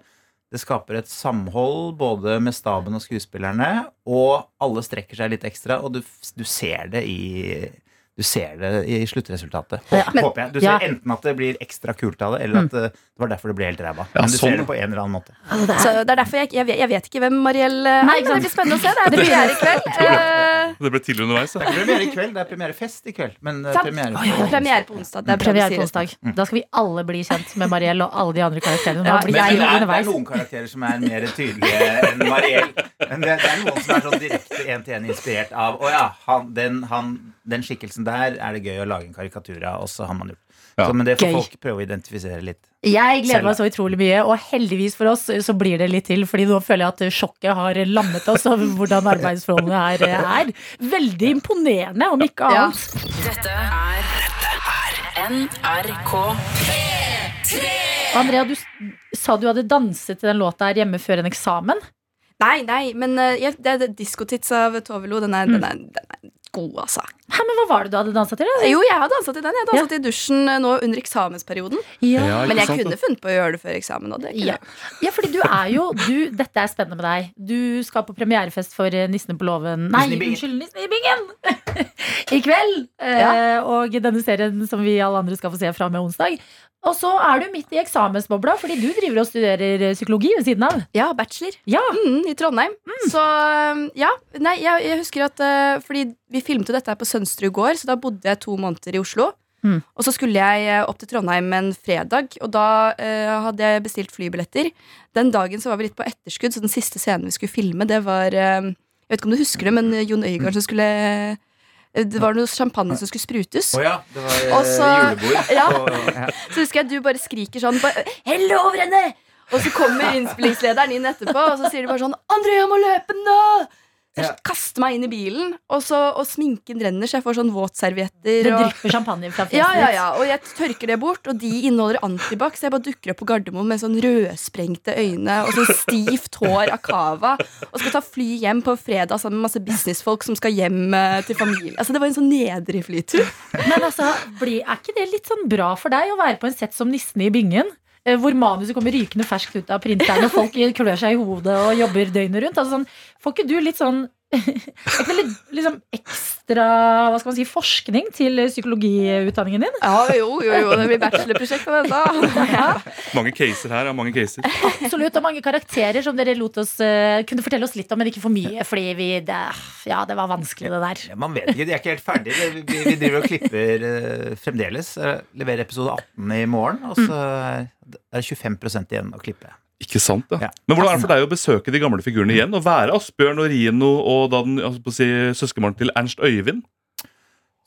[SPEAKER 8] det skaper et samhold både med staben og skuespillerne, og alle strekker seg litt ekstra, og du, du ser det i du ser det i sluttresultatet. Hå-
[SPEAKER 2] Ja. Men-
[SPEAKER 8] håper jeg. Du
[SPEAKER 2] Ja. Mm.
[SPEAKER 8] ser enten at det blir ekstra kult av det, eller at eh, det var derfor det ble helt ræva.
[SPEAKER 3] Ja,
[SPEAKER 8] Men du
[SPEAKER 3] sånn,
[SPEAKER 8] ser det
[SPEAKER 3] ja.
[SPEAKER 8] på en eller annen måte.
[SPEAKER 2] altså, det
[SPEAKER 9] Så
[SPEAKER 2] er,
[SPEAKER 9] det er derfor jeg, jeg, vet- jeg vet ikke hvem Mariell eh, er.
[SPEAKER 2] Nei, ikke
[SPEAKER 9] men det
[SPEAKER 2] sant.
[SPEAKER 9] blir spennende å se. Det er premiere i kveld. Eh,
[SPEAKER 3] Det ble tidlig underveis.
[SPEAKER 8] Det
[SPEAKER 3] Ja.
[SPEAKER 8] er premiere i kveld, det er premierefest i kveld. Men eh,
[SPEAKER 9] Sant.
[SPEAKER 8] premiere
[SPEAKER 9] premiere på onsdag. Det er bra du
[SPEAKER 2] premiere
[SPEAKER 9] sier
[SPEAKER 2] på
[SPEAKER 9] det.
[SPEAKER 2] onsdag. Da skal vi alle bli kjent med Mariell og alle de andre karakterene.
[SPEAKER 9] Ja,
[SPEAKER 2] Da blir
[SPEAKER 8] Men
[SPEAKER 2] jeg
[SPEAKER 8] det, er, det er
[SPEAKER 2] underveis.
[SPEAKER 8] noen karakterer som er mer tydelige enn Mariell. Men det, det er noen som er sånn direkte en-til-en inspirert av Å ja, han, den, han, den skikkelsen der er det gøy å lage en karikatur av, og så har man gjort
[SPEAKER 3] Ja.
[SPEAKER 8] så, Men det
[SPEAKER 2] Gøy.
[SPEAKER 8] får folk prøve å identifisere litt.
[SPEAKER 2] Jeg gleder
[SPEAKER 8] Selv.
[SPEAKER 2] meg så utrolig mye, og heldigvis for oss så blir det litt til. Fordi nå føler jeg at sjokket har lammet oss over hvordan arbeidsforholdene her eh, er. Veldig imponerende, om ikke
[SPEAKER 9] Ja.
[SPEAKER 2] annet. Andrea, du s- sa du hadde danset til den låta her hjemme før en eksamen.
[SPEAKER 9] Nei, nei, men eh, jeg, det er Diskotits av Tovelo. Den er, den, er, den er god, altså.
[SPEAKER 2] Hæ, men Hva var det du hadde dansa til? da?
[SPEAKER 9] Jo, jeg har dansa til den. Jeg dansa til i dusjen eh, nå under eksamensperioden.
[SPEAKER 3] Ja, ikke
[SPEAKER 9] Men jeg
[SPEAKER 3] sant,
[SPEAKER 9] kunne
[SPEAKER 3] da?
[SPEAKER 9] funnet på å gjøre det før eksamen. Og det kunne
[SPEAKER 2] Ja.
[SPEAKER 9] jeg.
[SPEAKER 2] ja, fordi du er jo du, Dette er spennende med deg. Du skal på premierefest for eh, Nissene på låven Nei,
[SPEAKER 8] Nissen i bingen.
[SPEAKER 2] unnskyld, Nissen i bingen! I kveld. Eh, og denne serien som vi alle andre skal få se fra og med onsdag. Og så er du midt i eksamensbobla, fordi du driver og studerer eh, psykologi ved siden av.
[SPEAKER 9] ja, bachelor
[SPEAKER 2] Ja,
[SPEAKER 9] mm, i Trondheim. Så eh, ja. Nei, jeg, jeg husker at eh, Fordi vi filmet jo dette her på Sønsterud gård, så da bodde jeg to måneder i Oslo.
[SPEAKER 2] Mm.
[SPEAKER 9] Og så skulle jeg eh, opp til Trondheim en fredag, og da eh, hadde jeg bestilt flybilletter. Den dagen så var vi litt på etterskudd, så den siste scenen vi skulle filme, det var eh, Jeg vet ikke om du husker det, men Jon
[SPEAKER 8] Mm.
[SPEAKER 9] Øigarden som skulle eh, Det var noe champagne som skulle sprutes.
[SPEAKER 8] Å ja, det var eh,
[SPEAKER 9] Og så-
[SPEAKER 8] julebord.
[SPEAKER 9] ja.
[SPEAKER 8] Og, ja.
[SPEAKER 9] Så husker jeg at du bare skriker sånn bare, Hell over henne! Og så kommer innspillingslederen inn etterpå, og så sier de bare sånn André, jeg må løpe nå! Så jeg
[SPEAKER 8] Ja.
[SPEAKER 9] kaster meg inn i bilen, og, så, og sminken renner, så jeg får sånn våtservietter.
[SPEAKER 2] Det
[SPEAKER 9] Og,
[SPEAKER 2] drypper champagne fra fjeset
[SPEAKER 9] ja, ja,
[SPEAKER 2] ditt.
[SPEAKER 9] ja, og jeg tørker det bort, og de inneholder antibac, så jeg bare dukker opp på Gardermoen med sånn rødsprengte øyne og sånn stivt hår av cava, og skal ta fly hjem på fredag sammen med masse businessfolk som skal hjem eh, til familie. Altså, det var en sånn nedrig flytur.
[SPEAKER 2] Men altså, blir, er ikke det litt sånn bra for deg å være på en sett som Nissen i bingen? Eh, Hvor manuset kommer rykende ferskt ut av printeren, og folk klør seg i hodet og jobber døgnet rundt. Altså, sånn, får ikke du litt sånn er ikke det litt, liksom ekstra hva skal man si, forskning til psykologiutdanningen din?
[SPEAKER 9] Ja, jo, jo, jo, det blir bachelorprosjekt av dette.
[SPEAKER 3] Mange caser her. Ja, mange caser.
[SPEAKER 2] Absolutt, og mange karakterer som dere lot oss, eh, kunne fortelle oss litt om, men ikke for mye. Fordi vi, det, ja, det var vanskelig, det der.
[SPEAKER 8] Ja, man vet ikke, de er ikke helt ferdige. Vi, vi vi driver og klipper eh, fremdeles. Eh, leverer episode 18 i morgen, og så er det 25 igjen å klippe.
[SPEAKER 3] Ikke sant,
[SPEAKER 8] Ja.
[SPEAKER 3] ja. Men hvordan er det for deg å besøke de gamle figurene igjen? Å være Asbjørn og Rino og da den, altså, på å si, søskenbarnet til Ernst Øyvind?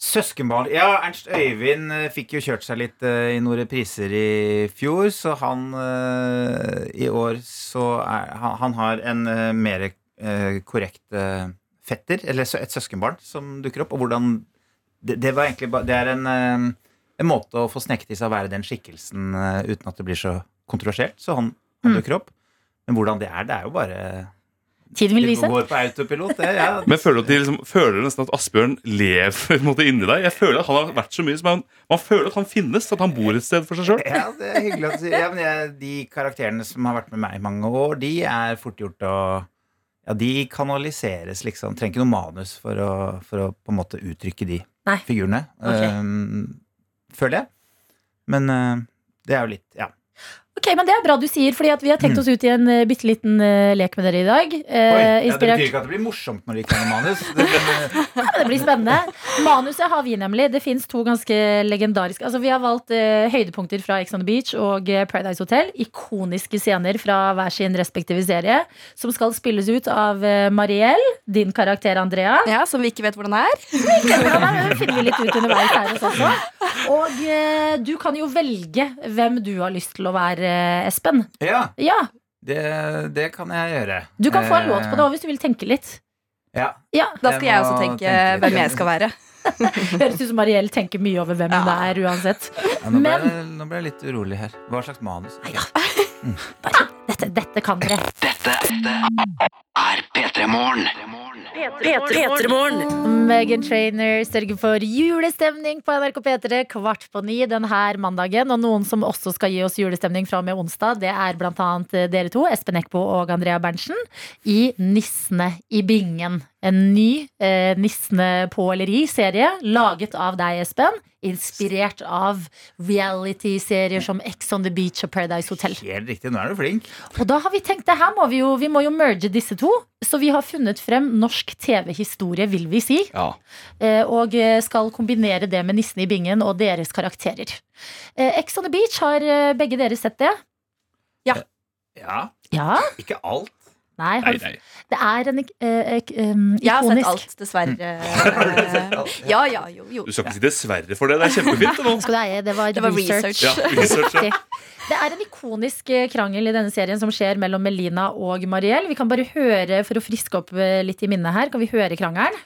[SPEAKER 8] Søskenbarn Ja, Ernst Øyvind eh, fikk jo kjørt seg litt eh, i noen repriser i fjor, så han eh, i år så er Han, han har en eh, mer eh, korrekt eh, fetter, eller sø- et søskenbarn, som dukker opp. Og hvordan Det, det var egentlig bare Det er en, eh, en måte å få sneket i seg å være den skikkelsen eh, uten at det blir så kontroversielt. Så han, han dukker opp. Men hvordan det er, det er jo bare
[SPEAKER 2] Tiden vil vise.
[SPEAKER 8] går på autopilot, det. Ja.
[SPEAKER 3] Men føler du at de liksom, føler du nesten at Asbjørn lever på en måte inni deg? Jeg føler at han har vært så mye som han, Man føler at han finnes, at han bor et sted for seg sjøl.
[SPEAKER 8] ja, det er hyggelig at du sier ja, men jeg, De karakterene som har vært med meg i mange år, de er fort gjort å ja, De kanaliseres, liksom. Trenger ikke noe manus for å, for å på en måte uttrykke de
[SPEAKER 2] Nei.
[SPEAKER 8] figurene.
[SPEAKER 2] Ok.
[SPEAKER 8] Ehm, føler jeg. Men eh, det er jo litt Ja.
[SPEAKER 2] Ok, men Det er bra du sier, fordi at vi har tenkt oss ut i en uh, bitte liten eh, lek med dere i dag. Eh,
[SPEAKER 8] Mm. ja, det
[SPEAKER 2] inspirert
[SPEAKER 8] betyr ikke at det blir morsomt når de ikke har noe manus. eh, Det,
[SPEAKER 2] Ja, det blir spennende. Manuset har vi nemlig. Det fins to ganske legendariske Altså, Vi har valgt eh, høydepunkter fra Ex on the Beach og eh, Paradise Hotel. Ikoniske scener fra hver sin respektive serie. Som skal spilles ut av eh, Mariell, din karakter Andrea.
[SPEAKER 9] Ja, Som vi ikke vet hvordan er.
[SPEAKER 2] Ja, det finner vi litt ut underveis her hos oss også. Og eh, du kan jo velge hvem du har lyst til å være, eh, Espen.
[SPEAKER 8] ja,
[SPEAKER 2] Ja,
[SPEAKER 8] det, det kan jeg gjøre.
[SPEAKER 2] Du kan få en låt på det
[SPEAKER 8] Eh,
[SPEAKER 2] òg, hvis du vil tenke litt.
[SPEAKER 8] Ja.
[SPEAKER 2] Ja,
[SPEAKER 9] Da skal
[SPEAKER 8] Jeg
[SPEAKER 9] jeg
[SPEAKER 8] må
[SPEAKER 9] også tenke
[SPEAKER 8] tenke litt.
[SPEAKER 9] hvem jeg skal være.
[SPEAKER 2] Høres ut som Mariell tenker mye over hvem hun
[SPEAKER 9] Ja.
[SPEAKER 2] er, uansett.
[SPEAKER 8] Ja, nå, ble
[SPEAKER 2] Men-
[SPEAKER 8] jeg, nå ble jeg litt urolig her. Hva slags manus?
[SPEAKER 2] Dette, dette kan dere.
[SPEAKER 1] er P3 Morgen.
[SPEAKER 2] Megan Trainer sørger for julestemning på NRK P3 kvart på ni denne mandagen. Og noen som også skal gi oss julestemning fra og med onsdag, det er blant annet eh, dere to, Espen Eckbo og Andrea Berntsen, i Nissene i bingen. En ny eh, Nissene på eller i-serie, laget av deg, Espen. Inspirert av reality-serier som Ex on the Beach og Paradise Hotel.
[SPEAKER 8] Helt riktig, nå er du flink.
[SPEAKER 2] Og da har vi tenkt det her må vi jo, vi må jo merge disse to. Så vi har funnet frem norsk TV-historie, vil vi si.
[SPEAKER 5] Ja.
[SPEAKER 2] Eh, Og eh, skal kombinere det med Nissen i bingen og deres karakterer. Eh, Ex on the beach, har eh, begge dere sett det?
[SPEAKER 8] Ja,
[SPEAKER 2] Ja?
[SPEAKER 8] ikke alt.
[SPEAKER 2] Nei. Har du, det er en eh, ek- eh,
[SPEAKER 9] Jeg har sett
[SPEAKER 2] ikonisk
[SPEAKER 9] alt, dessverre. Eh,
[SPEAKER 8] alt?
[SPEAKER 9] Ja, ja, jo, jo.
[SPEAKER 3] Du skal ikke si dessverre for det. Det er kjempefint. Det nå.
[SPEAKER 2] Skal du eie, det var,
[SPEAKER 9] Det var
[SPEAKER 2] research.
[SPEAKER 9] research.
[SPEAKER 3] Ja, research, ja.
[SPEAKER 2] Riktig. Det er en ikonisk eh, krangel i denne serien som skjer mellom Melina og Mariell. Vi kan bare høre, for å friske opp eh, litt i minnet her, kan vi høre krangelen?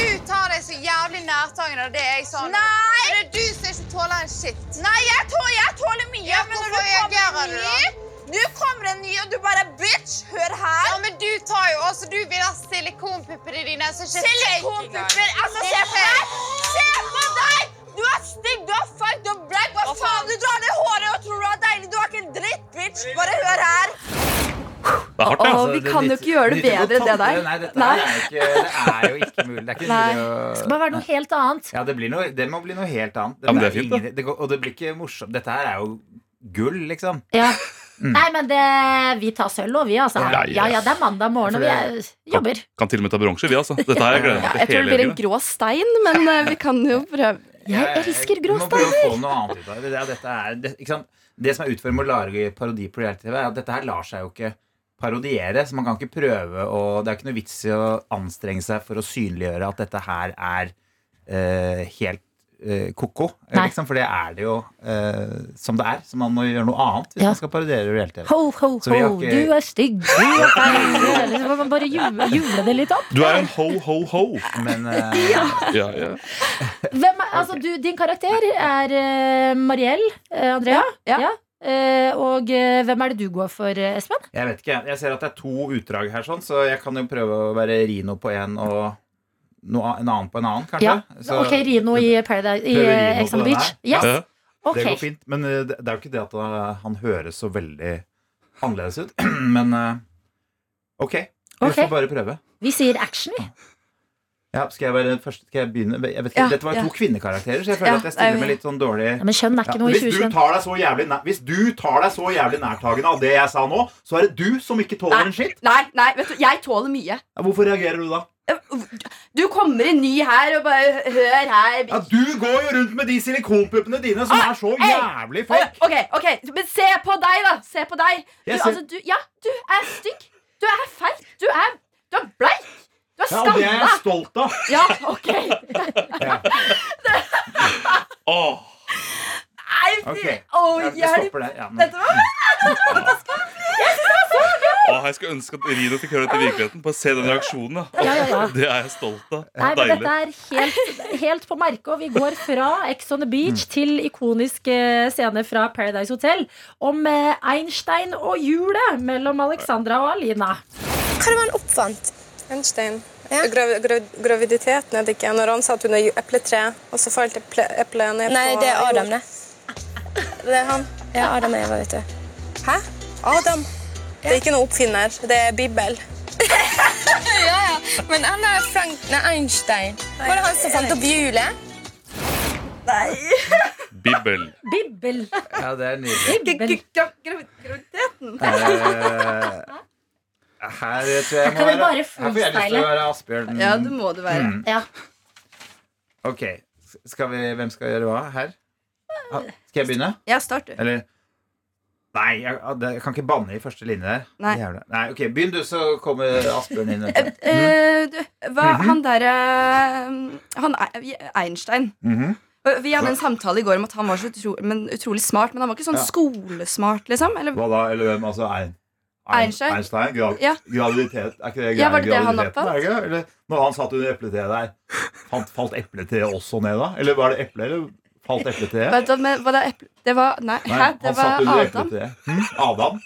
[SPEAKER 10] Du tar deg så jævlig nærtagende av det jeg sa. Nei! Er det du som ikke tåler en shit? Nei, jeg tåler, mye. Ja, men når du kommer med en ny, nå kommer det en ny, og du bare bitch, hør her. Ja, men du tar jo også, du vil ha silikonpupper i dine, så ikke Silikonpupper, altså se på deg! Se på deg! Du er stygg, du er feig, du er black, hva faen? Du drar ned håret og tror du er deilig, du er ikke en dritt, bitch. Bare hør her.
[SPEAKER 3] Det er hardt, det.
[SPEAKER 9] Og
[SPEAKER 3] Altså.
[SPEAKER 9] vi
[SPEAKER 8] det
[SPEAKER 9] kan jo
[SPEAKER 8] nytter-
[SPEAKER 9] ikke gjøre det
[SPEAKER 8] nytter ikke å
[SPEAKER 9] bedre enn det
[SPEAKER 8] tolke
[SPEAKER 9] der.
[SPEAKER 8] Nei, dette
[SPEAKER 9] Nei.
[SPEAKER 8] her Er jo ikke, det er jo ikke mulig. Det er ikke
[SPEAKER 9] Nei.
[SPEAKER 2] Det må
[SPEAKER 8] mulig å
[SPEAKER 2] være noe helt annet.
[SPEAKER 8] ja, det, blir noe, det må bli noe helt annet.
[SPEAKER 3] Ja, men det
[SPEAKER 8] Dette
[SPEAKER 3] er fint,
[SPEAKER 8] ingen- det går, og det blir ikke morsomt. Dette her er jo gull, liksom.
[SPEAKER 2] Ja. Nei, men det, vi tar sølv og vi, altså.
[SPEAKER 3] Ja, ja.
[SPEAKER 2] Ja, ja, det er mandag morgen, og vi er, jobber.
[SPEAKER 3] Kan til og med ta bronse, vi, altså. Dette har jeg gleder meg
[SPEAKER 9] Jeg
[SPEAKER 3] til
[SPEAKER 9] tror det
[SPEAKER 3] hele
[SPEAKER 9] blir en
[SPEAKER 3] helgen.
[SPEAKER 9] grå stein, men eh, vi kan jo prøve.
[SPEAKER 2] Jeg elsker grå
[SPEAKER 8] Du må prøve å få noe annet ut av det. Det er- Dette er, det, ikke sant? det som er utfordringen med å lage parodi på reality-TV, er at dette her lar seg jo ikke parodiere. Så man kan ikke prøve å Det er ikke noe vits i å anstrenge seg for å synliggjøre at dette her er eh, helt eh, ko-ko.
[SPEAKER 2] Nei.
[SPEAKER 8] Liksom, for det er det jo eh, som det er. Så man må gjøre noe annet hvis
[SPEAKER 2] Ja.
[SPEAKER 8] man skal parodiere reality-TV.
[SPEAKER 2] Ho, ho,
[SPEAKER 8] Så vi har
[SPEAKER 2] ho,
[SPEAKER 8] ikke-
[SPEAKER 2] du er stygg, du er feil. du er- Så må man bare juble, juble det litt opp.
[SPEAKER 3] Du er en ho, ho, ho.
[SPEAKER 8] Men eh,
[SPEAKER 3] Ja, ja.
[SPEAKER 2] Hvem er, altså, du, din karakter er eh, Mariell, eh, Andrea.
[SPEAKER 9] Ja, ja.
[SPEAKER 2] Eh, og eh, hvem er det du går for, eh, Espen?
[SPEAKER 8] jeg vet ikke. Jeg ser at det er to utdrag her, sånn, så jeg kan jo prøve å være Rino på én og noe, an- en annen på en annen, kanskje.
[SPEAKER 2] Ja.
[SPEAKER 8] Så-
[SPEAKER 2] ok, Rino i Paradise i
[SPEAKER 8] Prøver
[SPEAKER 2] eh,
[SPEAKER 8] Rino
[SPEAKER 2] Ex on
[SPEAKER 8] på
[SPEAKER 2] the
[SPEAKER 8] den
[SPEAKER 2] Beach.
[SPEAKER 8] her?
[SPEAKER 2] Yes,
[SPEAKER 3] Ja.
[SPEAKER 2] ok.
[SPEAKER 8] Det går fint, men eh, det det er jo ikke det at eh, han høres så veldig annerledes ut. Men eh, ok, vi
[SPEAKER 2] Ok.
[SPEAKER 8] får bare prøve.
[SPEAKER 2] Vi sier action, vi.
[SPEAKER 8] Ja, skal jeg være først? Skal jeg begynne? Jeg vet ikke,
[SPEAKER 9] Ja,
[SPEAKER 8] Dette var jo
[SPEAKER 9] ja.
[SPEAKER 8] to kvinnekarakterer, så jeg føler
[SPEAKER 9] Ja,
[SPEAKER 8] at jeg
[SPEAKER 9] det
[SPEAKER 8] stiller
[SPEAKER 9] er jo-
[SPEAKER 8] med litt sånn dårlig
[SPEAKER 2] Ja, men skjønn er
[SPEAKER 8] ja.
[SPEAKER 2] ikke noe i
[SPEAKER 8] hvis, du
[SPEAKER 2] 2021.
[SPEAKER 8] tar deg så jævlig nær, hvis du tar deg så jævlig nærtagende av det jeg sa nå, så er det du som ikke tåler en skitt.
[SPEAKER 9] Nei, nei, vet du, jeg tåler mye. Eh,
[SPEAKER 8] Ja, Hvorfor reagerer du da?
[SPEAKER 9] Du kommer inn ny her og bare Hør her.
[SPEAKER 8] Ja, Du går jo rundt med de silikonpuppene dine som
[SPEAKER 9] Ah,
[SPEAKER 8] er så
[SPEAKER 9] ei!
[SPEAKER 8] jævlig fake.
[SPEAKER 9] Ok, ok, Men se på deg, da! Se på deg. Du,
[SPEAKER 8] Jeg ser-
[SPEAKER 9] altså, du, ja, du er stygg. Du er feil. Du er, du er bleik. Du er
[SPEAKER 8] Ja, og det er
[SPEAKER 9] skalla.
[SPEAKER 8] jeg stolt av.
[SPEAKER 9] Ja, ok.
[SPEAKER 3] Åh.
[SPEAKER 9] Nei,
[SPEAKER 8] Ok,
[SPEAKER 9] fy- Å,
[SPEAKER 8] Jeg
[SPEAKER 9] hjelp.
[SPEAKER 8] stopper der. Ja, men-
[SPEAKER 9] Dette var
[SPEAKER 3] Åh, jeg skulle ønske at Rino fikk høre dette i virkeligheten. Bare se den reaksjonen. da.
[SPEAKER 2] Ja, ja, ja.
[SPEAKER 3] Det er jeg stolt av.
[SPEAKER 2] Nei, men
[SPEAKER 3] Deilig.
[SPEAKER 2] dette er helt, helt på merket, og vi går fra Ex on the Beach
[SPEAKER 8] Mm.
[SPEAKER 2] til ikonisk eh, scene fra Paradise Hotel om eh, Einstein og hjulet mellom Alexandra og Alina.
[SPEAKER 11] Hva var det han oppfant?
[SPEAKER 12] Einstein. Grav, grav, graviditeten er det ikke. Når han sa at hun er epletre, og så falt eple- eplet ned
[SPEAKER 11] Nei,
[SPEAKER 12] på
[SPEAKER 11] det er Adam,
[SPEAKER 12] jord.
[SPEAKER 11] det. Det er han. Ja, Adam og Eva, vet du.
[SPEAKER 12] Hæ? Adam? Det er ikke noen oppfinner. Det er Bibel.
[SPEAKER 11] ja, ja. Men han er Frank Nei, Einstein. Var det han som fant opp hjulet? Nei.
[SPEAKER 3] Bibel.
[SPEAKER 2] Bibbel.
[SPEAKER 8] Ja, det er
[SPEAKER 9] Graviditeten.
[SPEAKER 8] Her tror jeg
[SPEAKER 9] Kan
[SPEAKER 8] må
[SPEAKER 9] vi
[SPEAKER 8] være
[SPEAKER 9] bare
[SPEAKER 8] Her får jeg lyst til å
[SPEAKER 9] freestyle?
[SPEAKER 8] være Asbjørn.
[SPEAKER 9] Ja, det må det være.
[SPEAKER 8] Mm.
[SPEAKER 2] Ja.
[SPEAKER 8] Ok, skal vi, hvem skal gjøre hva her? Ah, Skal jeg begynne?
[SPEAKER 9] Ja, start, du.
[SPEAKER 8] Eller Nei, jeg, ah, det- jeg kan ikke banne i første linje der.
[SPEAKER 9] Nei.
[SPEAKER 8] Jævla. Nei, ok, Begynn du, så kommer Asbjørn inn.
[SPEAKER 9] Eh,
[SPEAKER 8] etterpå.
[SPEAKER 9] eh, du, hva,
[SPEAKER 8] Mhm.
[SPEAKER 9] han derre Han er- Einstein.
[SPEAKER 8] Mhm.
[SPEAKER 9] Og Vi hadde en samtale i går om at han var så utro, men, utrolig smart, men han var ikke sånn
[SPEAKER 8] Ja.
[SPEAKER 9] skolesmart, liksom. Eller,
[SPEAKER 8] Hva da? Eller hvem? Altså Ein,
[SPEAKER 9] Einstein?
[SPEAKER 8] Einstein? Gra-
[SPEAKER 9] Ja.
[SPEAKER 8] Graviditet? Er ikke det
[SPEAKER 9] Ja, var det det han
[SPEAKER 8] graviditeten,
[SPEAKER 9] oppfant?
[SPEAKER 8] er det ikke? Eller, når han satt under epletreet der, falt, falt epletreet også ned da? Eller var det eple, eller falt epletreet?
[SPEAKER 9] Vet du, men, hva det, er eple, det var Nei,
[SPEAKER 8] Nei,
[SPEAKER 9] hæ, det
[SPEAKER 8] han satt
[SPEAKER 9] var
[SPEAKER 8] under
[SPEAKER 9] Adam.
[SPEAKER 8] epletreet. Hm? Adam?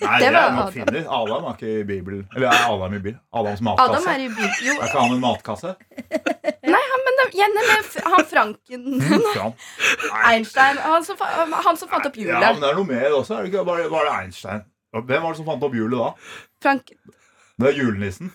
[SPEAKER 8] Nei,
[SPEAKER 9] Det
[SPEAKER 8] det,
[SPEAKER 9] var
[SPEAKER 8] er nok
[SPEAKER 9] Adam.
[SPEAKER 8] finner. Adam er ikke i Bibelen. Eller er Adam i Bibelen? Adams matkasse.
[SPEAKER 9] Adam er i Bibelen. Jo,
[SPEAKER 8] Er ikke han en matkasse?
[SPEAKER 9] nei, han, men det- igjen med f- han Franken
[SPEAKER 8] Hm, Fram.
[SPEAKER 9] Einstein. Han som, fa- han som fant opp
[SPEAKER 8] Ja, men
[SPEAKER 9] hjulet.
[SPEAKER 8] det er noe mer også. Er det ikke bare, bare Einstein? Hvem var det som fant opp hjulet da?
[SPEAKER 9] Frank
[SPEAKER 8] Det er julenissen.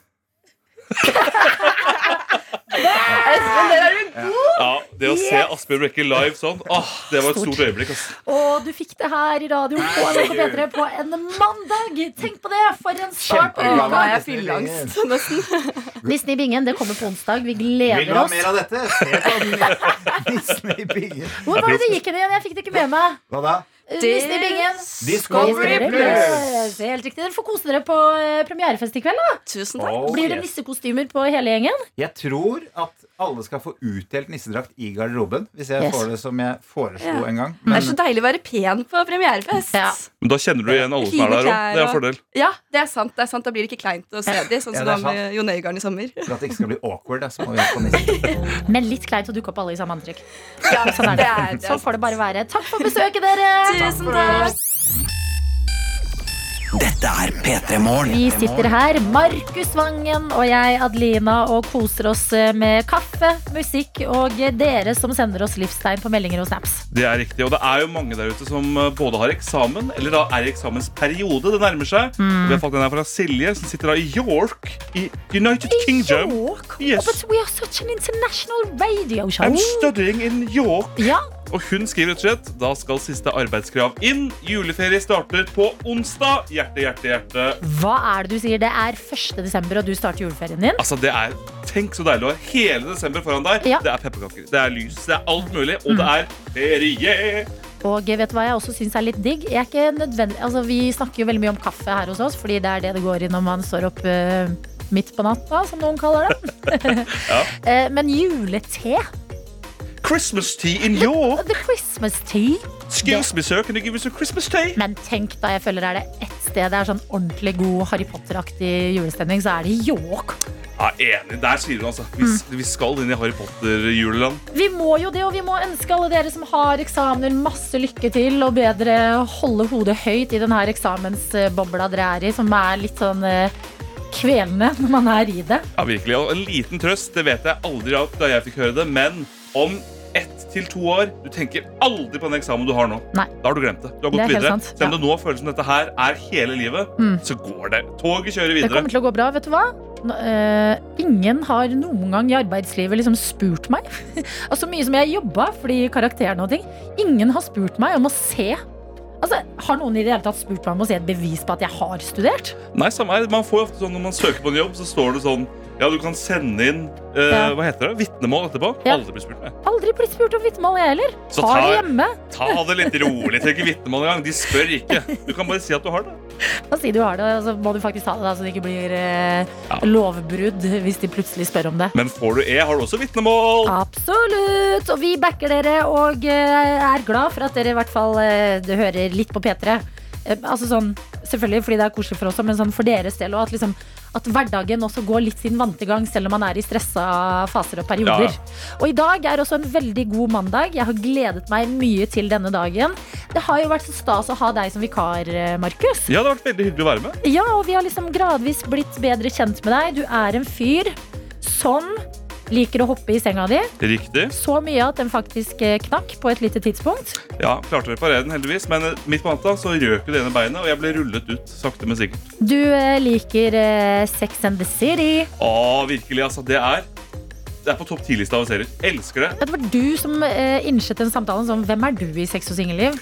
[SPEAKER 9] Men der er du god!
[SPEAKER 3] Ja, Det å se
[SPEAKER 2] Yes!
[SPEAKER 3] Asbjørn Brekke live sånn, åh, det var et stort øyeblikk. ass.
[SPEAKER 2] Og du fikk det her i radioen på NRK P3 på en mandag. Tenk på det! For en start på
[SPEAKER 9] Kjempeglad
[SPEAKER 2] uka.
[SPEAKER 9] nå er jeg fylleangst,
[SPEAKER 2] Nissen i bingen, det kommer på onsdag. Vi gleder
[SPEAKER 8] Vil du ha
[SPEAKER 2] oss.
[SPEAKER 8] mer av dette? Se på Nissen i bingen.
[SPEAKER 2] Hvor var det det gikk hen igjen? Jeg fikk det ikke med meg.
[SPEAKER 8] Hva da?
[SPEAKER 2] Eh, Nissen i bingen.
[SPEAKER 8] Discovery
[SPEAKER 2] Discovery
[SPEAKER 8] Plus.
[SPEAKER 2] Plus. Helt riktig. Dere får kose dere på eh, premierefest i kveld. da
[SPEAKER 9] Tusen
[SPEAKER 8] takk. Oh,
[SPEAKER 2] Blir det
[SPEAKER 8] yes.
[SPEAKER 2] nissekostymer på hele gjengen?
[SPEAKER 8] Jeg tror at alle skal få utdelt nissedrakt i garderoben, hvis jeg
[SPEAKER 2] Yes.
[SPEAKER 8] får det som jeg foreslo
[SPEAKER 9] Ja.
[SPEAKER 8] en gang.
[SPEAKER 2] Mm.
[SPEAKER 9] Det er så deilig å være pen på premierefest.
[SPEAKER 3] Men da kjenner du igjen alle som er der òg. Det er en fordel.
[SPEAKER 9] Ja, det er sant. det er sant Da blir det ikke kleint og snedig, sånn
[SPEAKER 8] Ja,
[SPEAKER 9] som
[SPEAKER 8] det er
[SPEAKER 9] det var med Jon Øigarden i sommer.
[SPEAKER 8] For at det ikke skal bli awkward, da, så må vi ha på nissen.
[SPEAKER 2] Men litt kleint å dukke opp alle i samme antrekk.
[SPEAKER 9] Ja,
[SPEAKER 2] Sånn er det.
[SPEAKER 9] det er det.
[SPEAKER 2] Sånn får det bare være. Takk for besøket, dere.
[SPEAKER 9] Tusen takk.
[SPEAKER 1] Dette er P3 Morgen.
[SPEAKER 2] Vi sitter her, Markus Vangen og jeg, Adelina, og koser oss med kaffe, musikk og dere som sender oss livstegn på meldinger og snaps.
[SPEAKER 3] Det er riktig, og det er jo mange der ute som eh, både har eksamen, eller da er i eksamensperiode. Det nærmer seg.
[SPEAKER 2] Mm.
[SPEAKER 3] Og Vi har fått en her fra Silje, som sitter da i York i United Kingdom.
[SPEAKER 2] York?
[SPEAKER 3] Yes.
[SPEAKER 2] Oh, but we are such an international radio show.
[SPEAKER 3] I'm studying in York.
[SPEAKER 2] Ja.
[SPEAKER 3] Og hun skriver rett og slett da skal siste arbeidskrav inn. Juleferie starter på onsdag. Hjerte, hjerte, hjerte.
[SPEAKER 2] Hva er det du sier? Det er 1. desember, og du starter juleferien din?
[SPEAKER 3] Altså, det er, Tenk så deilig å ha hele desember foran deg. Det er pepperkaker, det er lys, det er alt mulig. Og
[SPEAKER 2] Mm.
[SPEAKER 3] det er ferie.
[SPEAKER 2] Og vet du hva jeg også syns er litt digg? Jeg er ikke nødvendig, altså, vi snakker jo veldig mye om kaffe her hos oss, fordi det er det det går i når man står opp eh, midt på natta, som noen kaller det.
[SPEAKER 3] Ja.
[SPEAKER 2] Eh, men julete?
[SPEAKER 3] Christmas tea in York.
[SPEAKER 2] The Christmas tea?
[SPEAKER 3] Excuse me, sir. Can you give me some Christmas tea?
[SPEAKER 2] Men tenk da, jeg føler er det ett sted det er sånn ordentlig god Harry Potter-aktig julestemning, så er det i York.
[SPEAKER 3] Ja, enig. Der sier hun altså.
[SPEAKER 2] Mm.
[SPEAKER 3] Vi, vi skal inn i Harry Potter-juleland.
[SPEAKER 2] Vi må jo det, og vi må ønske alle dere som har eksamener, masse lykke til, og bedre holde hodet høyt i denne eksamensbobla dere er i, som er litt sånn eh, kvelende når man er i det.
[SPEAKER 3] Ja, virkelig. Og en liten trøst, det vet jeg aldri av da jeg fikk høre det, men om ett til to år Du tenker aldri på den eksamen du har nå.
[SPEAKER 2] Nei.
[SPEAKER 3] Da har du glemt det. Du
[SPEAKER 2] Det er
[SPEAKER 3] har gått
[SPEAKER 2] helt
[SPEAKER 3] videre.
[SPEAKER 2] sant.
[SPEAKER 3] Selv om det nå føles som dette her er hele livet,
[SPEAKER 2] Mm.
[SPEAKER 3] så går det. Toget kjører
[SPEAKER 2] Det
[SPEAKER 3] videre.
[SPEAKER 2] kommer til å gå bra, vet du hva? Nå, eh, ingen har noen gang i arbeidslivet liksom spurt meg. Og så mye som jeg jobba fordi karakterene og ting. Ingen har spurt meg om å se. Altså, Har noen i det hele tatt spurt meg om å se et bevis på at jeg har studert?
[SPEAKER 3] Nei, samme her. Man får jo ofte sånn Når man søker på en jobb, så står det sånn Ja, du kan sende inn eh,
[SPEAKER 2] Ja.
[SPEAKER 3] Hva heter det? Vitnemål etterpå. Aldri blir spurt med.
[SPEAKER 2] Aldri blitt spurt om vitnemål, jeg heller.
[SPEAKER 3] Så
[SPEAKER 2] Har det
[SPEAKER 3] tar-
[SPEAKER 2] hjemme.
[SPEAKER 3] Ta det litt rolig. Trenger ikke vitnemål engang. De spør ikke. Du kan bare si at du har det.
[SPEAKER 2] Da sier du har det, og så må du faktisk ta det, da, så det ikke blir eh, lovbrudd hvis de plutselig spør om det.
[SPEAKER 3] Men får du E, har du også vitnemål.
[SPEAKER 2] Absolutt! Og vi backer dere og eh, er glad for at dere i hvert fall eh, det hører litt på P3. Eh, Altså sånn, selvfølgelig fordi det er koselig for oss, men sånn for deres del òg. At, liksom, at hverdagen også går litt sin vante gang, selv om man er i stressa faser og perioder.
[SPEAKER 13] Ja.
[SPEAKER 2] Og i dag er også en veldig god mandag. Jeg har gledet meg mye til denne dagen. Det har jo vært så stas å ha deg som vikar, eh, Markus.
[SPEAKER 3] Ja, det har vært veldig hyggelig å være med.
[SPEAKER 2] Ja, og vi har liksom gradvis blitt bedre kjent med deg. Du er en fyr som liker å hoppe i senga di.
[SPEAKER 3] Riktig.
[SPEAKER 2] Så mye at den faktisk eh, knakk på et lite tidspunkt.
[SPEAKER 3] Ja, klarte å reparere den heldigvis, men eh, midt på natta så røk jo det ene beinet, og jeg ble rullet ut sakte, men sikkert.
[SPEAKER 2] Du eh, liker eh, Sex and the City.
[SPEAKER 3] Å, virkelig, altså. Det er, det er på topp 10-lista av serier. Elsker det.
[SPEAKER 2] Ja, Det var du som eh, innsett den samtalen som 'Hvem er du i sex og singelliv?'